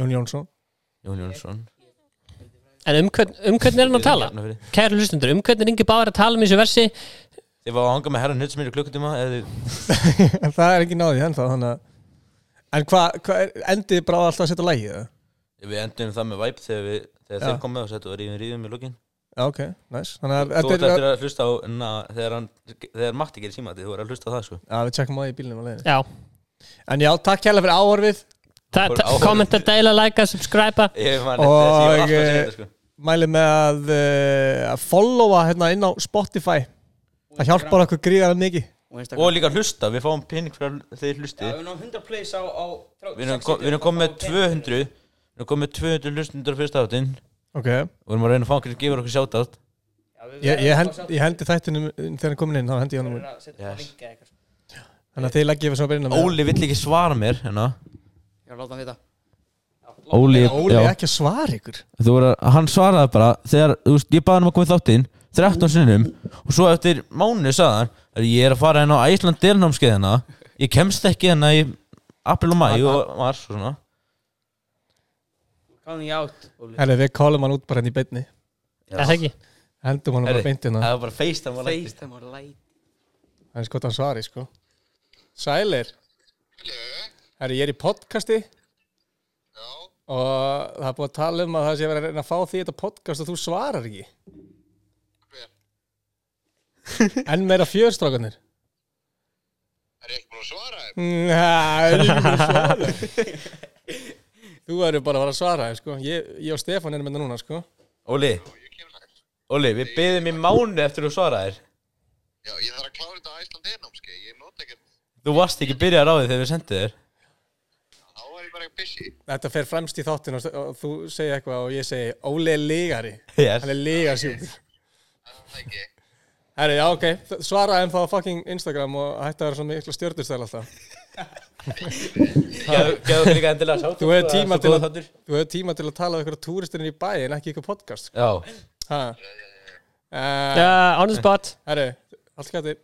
Speaker 12: Jón Jónsson <laughs>
Speaker 1: Jón Jónsson
Speaker 13: En um, hvern, um hvernig er hann að tala? Kæru hlustundur, um hvernig er Ingi Báður að tala um í þessu versi?
Speaker 1: Þið var að hanga með herran hittum hér í klukkutíma eða
Speaker 12: En það er ekki náðið ennþá þannig að En hvað, hva, endið bara á alltaf að setja lagið það?
Speaker 1: þið- við endum það með væp þegar, við, þegar
Speaker 12: Já.
Speaker 1: þeir komið og settu að ríðum ríðum í lukkin
Speaker 12: Já, ok, næs Þannig að
Speaker 1: Þú
Speaker 12: þetta
Speaker 1: ert
Speaker 12: er
Speaker 1: eftir að hlusta á, na, þegar, hann, þegar Matti gerir síma þú ert að hlusta á það sko
Speaker 12: Já, við tjekkum á því í bílnum á leiðinni
Speaker 13: Já
Speaker 12: En já, takk hérlega fyrir áhorfið
Speaker 13: Ta- ta- Áhorfið. kommenta, deila, likea, subscriba
Speaker 1: Ég man eftir
Speaker 12: Og
Speaker 1: þessu, ég var alltaf að segja
Speaker 12: eh,
Speaker 1: þetta, sko.
Speaker 12: mæli með að, eh, að followa hérna inn á Spotify Það hjálpar okkur gríðarlega mikið
Speaker 1: Og líka hlusta, við fáum pening fyrir að þeir hlusti
Speaker 2: Við náum 100 plays á, á
Speaker 1: Við erum kom- við erum komið með 200 Við erum komið með 200 hlustundur fyrsta áttinn
Speaker 12: Ok.
Speaker 1: Og við erum að reyna að fá okkur að gefa okkur sjátátt
Speaker 12: Ég, ég, hend, ég hendi þættinum þegar hann komin inn, þá hendi ég honum inn.
Speaker 1: yes.
Speaker 12: Þannig að þið leggja yfir svo að byrja með
Speaker 1: Óli vill ekki svara mér hérna.
Speaker 2: Ég er að láta hann vita
Speaker 1: Óli,
Speaker 12: Óli
Speaker 1: já.
Speaker 12: ekki að svara ykkur
Speaker 1: Þú voru að, hann svaraði bara þegar, þú veist, ég baði hann um að koma í þáttinn 13 sinnum og svo eftir mánu sagði hann að ég er að fara hérna á Æsland delnámskeiðina ég kemst ekki hérna í april og mæ og mars og svona
Speaker 2: Káðum ég átt Óli
Speaker 12: Herri, við kálum hann út bara henni í beinni
Speaker 1: Já. Er það ekki?
Speaker 12: Hendum hann bara
Speaker 1: Herri,
Speaker 12: beint hérna. inn
Speaker 1: það var bara FaceTime og læti.
Speaker 2: FaceTime og læti
Speaker 12: Það er sko að hann svari, sko Sælir Herri, ég er í podcasti Og það er búið að tala um að það sé að vera að reyna að fá því þetta podcast og þú svarar ekki <laughs> Enn meira fjörstrákanir Er ég ekki búin að svara? Næ, ég er ekki búin að svara Þú verður bara að fara að svara þér, sko. ég, ég og Stefán erum með núna sko.
Speaker 1: Óli Óli, við beðum í mánu eftir þú svaraðir
Speaker 19: Já, ég þarf að klára þetta Æsland einnámskeið, ég nota ekkert,
Speaker 1: Þú varst ekki byrjað ráðið þegar við sendið þér
Speaker 19: þá var ég bara busy.
Speaker 12: Þetta fer fremst í þáttin og, og þú segir eitthvað og ég segi Óli er lígari
Speaker 1: Yes.
Speaker 12: Hann er lígarsjúkur Herri, já, ok, Þ- svaraði um það á fucking Instagram og hætti að vera svona mikla stjörnustæl alltaf
Speaker 1: Gefðu- gefðu okkur líka endilega sátt.
Speaker 12: Þú hefur tíma,
Speaker 1: Það er svo
Speaker 12: til
Speaker 1: góður
Speaker 12: að-
Speaker 1: þáttur.
Speaker 12: þú hefur tíma til að tala við ykkur túristurinn í bæ en ekki ykkur podcast sko.
Speaker 1: Já.
Speaker 12: Ha. Eh,
Speaker 13: Já, Uh, on the spot.
Speaker 12: Herri, allt gæti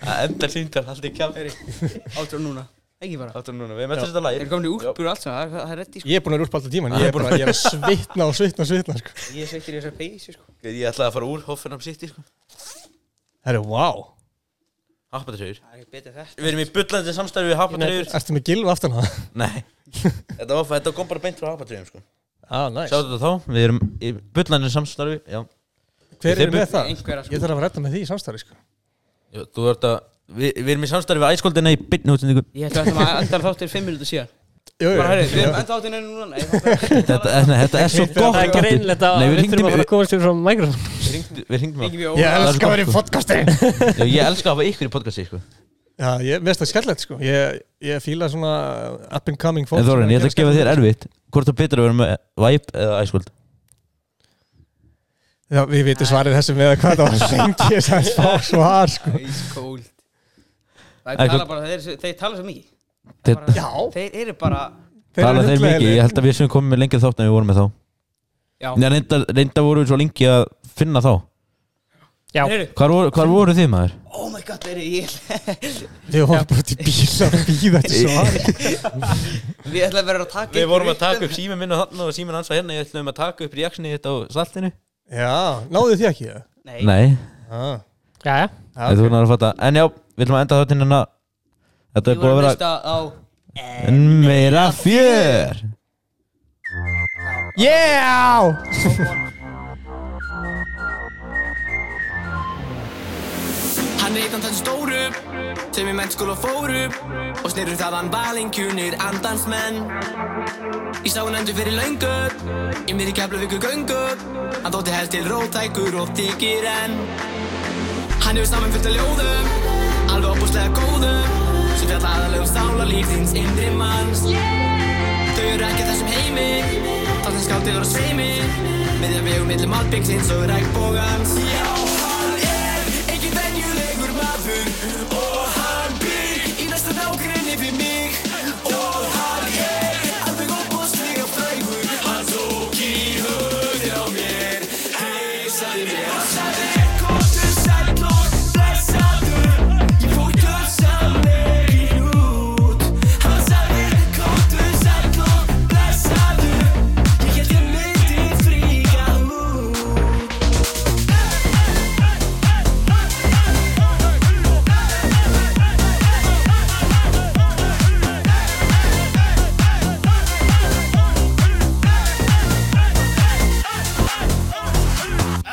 Speaker 1: Það endar síndan, haldið kjafri
Speaker 2: Átrá núna Ekki bara
Speaker 1: Átrá núna, við mettum þetta lagi
Speaker 2: Erum komin í úlpur og allt svona, það er- sko. það er reddi
Speaker 12: Ég er búin að vera úrpa alltaf tíman,
Speaker 1: Ah,
Speaker 12: ég
Speaker 1: ég
Speaker 12: er,
Speaker 1: er búinn
Speaker 12: bara,
Speaker 1: að-
Speaker 12: ég er að svitna og svitna og svitna sko.
Speaker 2: Ég er sveittur í þessar peysi sko
Speaker 1: Ég ætlaði að fara úr Hoffenheim City sko.
Speaker 12: Herri, wow
Speaker 1: Happatreyjur
Speaker 2: Það er ekki betur þetta
Speaker 1: Við erum í bullandi samstæðu við happatreyjur
Speaker 12: Ertu með gilva aftan á það?
Speaker 1: Nei Þetta, var, þetta kom bara beint frá happatreyjum sko
Speaker 12: Ah, nice.
Speaker 1: Sjáttu þetta þá, við erum í bullandi samstæðu Já
Speaker 12: Hver
Speaker 1: Þeir
Speaker 12: er með
Speaker 1: bu-
Speaker 12: það? Ég þarf að vera rætta með því í samstarfi sko.
Speaker 1: Já, Þú ert að Við, við erum í samstarfi við æskoldina í byrni útsendingu
Speaker 2: Ég ætla að ætlum að enda þáttir fimm minútur síðan
Speaker 12: Jú, jú.
Speaker 2: Bara herri, við erum enda þáttir neina núna
Speaker 1: Þetta, nei, þetta er svo gott
Speaker 13: Það er greinlegt að
Speaker 1: Nei,
Speaker 13: við
Speaker 1: hringdum
Speaker 13: þurfum að
Speaker 1: í-
Speaker 13: fara að komast yfir frá Microsoft
Speaker 1: Hringdu- Við hringdum á
Speaker 2: Hringjum í Óla. Ég
Speaker 1: Það er
Speaker 2: elska
Speaker 1: svo
Speaker 2: að vera í
Speaker 1: gott, sko.
Speaker 12: podcasti.
Speaker 1: Já, Ég elska að hafa ykkur í podcasti sko.
Speaker 12: Já, ég veist það skellett sko Ég, ég fíla svona up and coming fólk
Speaker 1: En Þorinn,
Speaker 12: sem
Speaker 1: ég ætla að
Speaker 12: gera
Speaker 1: gefa þér
Speaker 12: skemmtilegt.
Speaker 1: erfitt Hvort þú betur að vera með Vibe eða æskold
Speaker 12: Já, við vitum svarið þessu með að hvað það var lengi þess að fá svar sko
Speaker 2: Ískóld Það
Speaker 1: Æ,
Speaker 2: tala
Speaker 1: hvað-
Speaker 2: bara, þeir, þeir tala svo mikið Það
Speaker 1: Þeir-
Speaker 2: er bara-
Speaker 1: Já.
Speaker 2: Þeir eru bara
Speaker 1: Tala þeir mikið, ég held að við sem komum með lengið þátt en við vorum með þá
Speaker 2: Já.
Speaker 1: Nei, reyndar, reyndar voru við svo lengi að finna þá
Speaker 2: Já. Heyrðu.
Speaker 1: Hvar voru, hvar voru þið maður?
Speaker 2: Oh my god, þeir eru ég
Speaker 12: Við vorum bara út í bíl að bíða eftir svari.
Speaker 2: Við ætla að vera að taka
Speaker 1: Við
Speaker 2: ykkur
Speaker 1: vorum að
Speaker 2: upp
Speaker 1: taka
Speaker 2: um-
Speaker 1: upp síminn minn og hann og síminn hans var hérna Ég ætlum að taka upp reaksjoni þitt á saltinu
Speaker 12: Já, náðu því ekki það?
Speaker 2: Nei
Speaker 1: Nei,
Speaker 12: ah.
Speaker 13: Já, já
Speaker 1: ah, þú voru að fatta En já, við ætlum að enda þáttinn hérna
Speaker 2: Við
Speaker 1: Þetta er
Speaker 2: vorum
Speaker 1: búið að
Speaker 2: að
Speaker 1: vera
Speaker 2: hlusta á
Speaker 1: En meira fjör
Speaker 12: Yeah!
Speaker 3: Hann reytan þessu stóru sem í mennskóla fóru og snirru þaðan valingjunir andans menn Ég sá hann endur fyrir löngu í mér í keflavíku göngu hann þótti helst til rótækur og þykir enn Hann hefur saman fullt af ljóðum alveg opbúslega góðum sem fjalla aðalegum sála lífins innri manns Þau eru ekki af þessum heimi þáttan skáttir og sveimi með að vegu millum albyggsins og regnbógans Já, hann er engin venjulegur maður og hann byr í næsta nágrinni við mig og hann er alveg opbúslega frægur hann tók í höfðin á mér heisaði mér hann sagði komdu sæll og blessaður ég fór törsam megin út hann sagði komdu sæll og blessaður ég held ég myndi fríka út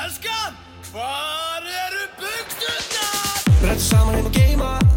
Speaker 3: Elskan, hvar eru buksunar? Rættu saman um að geima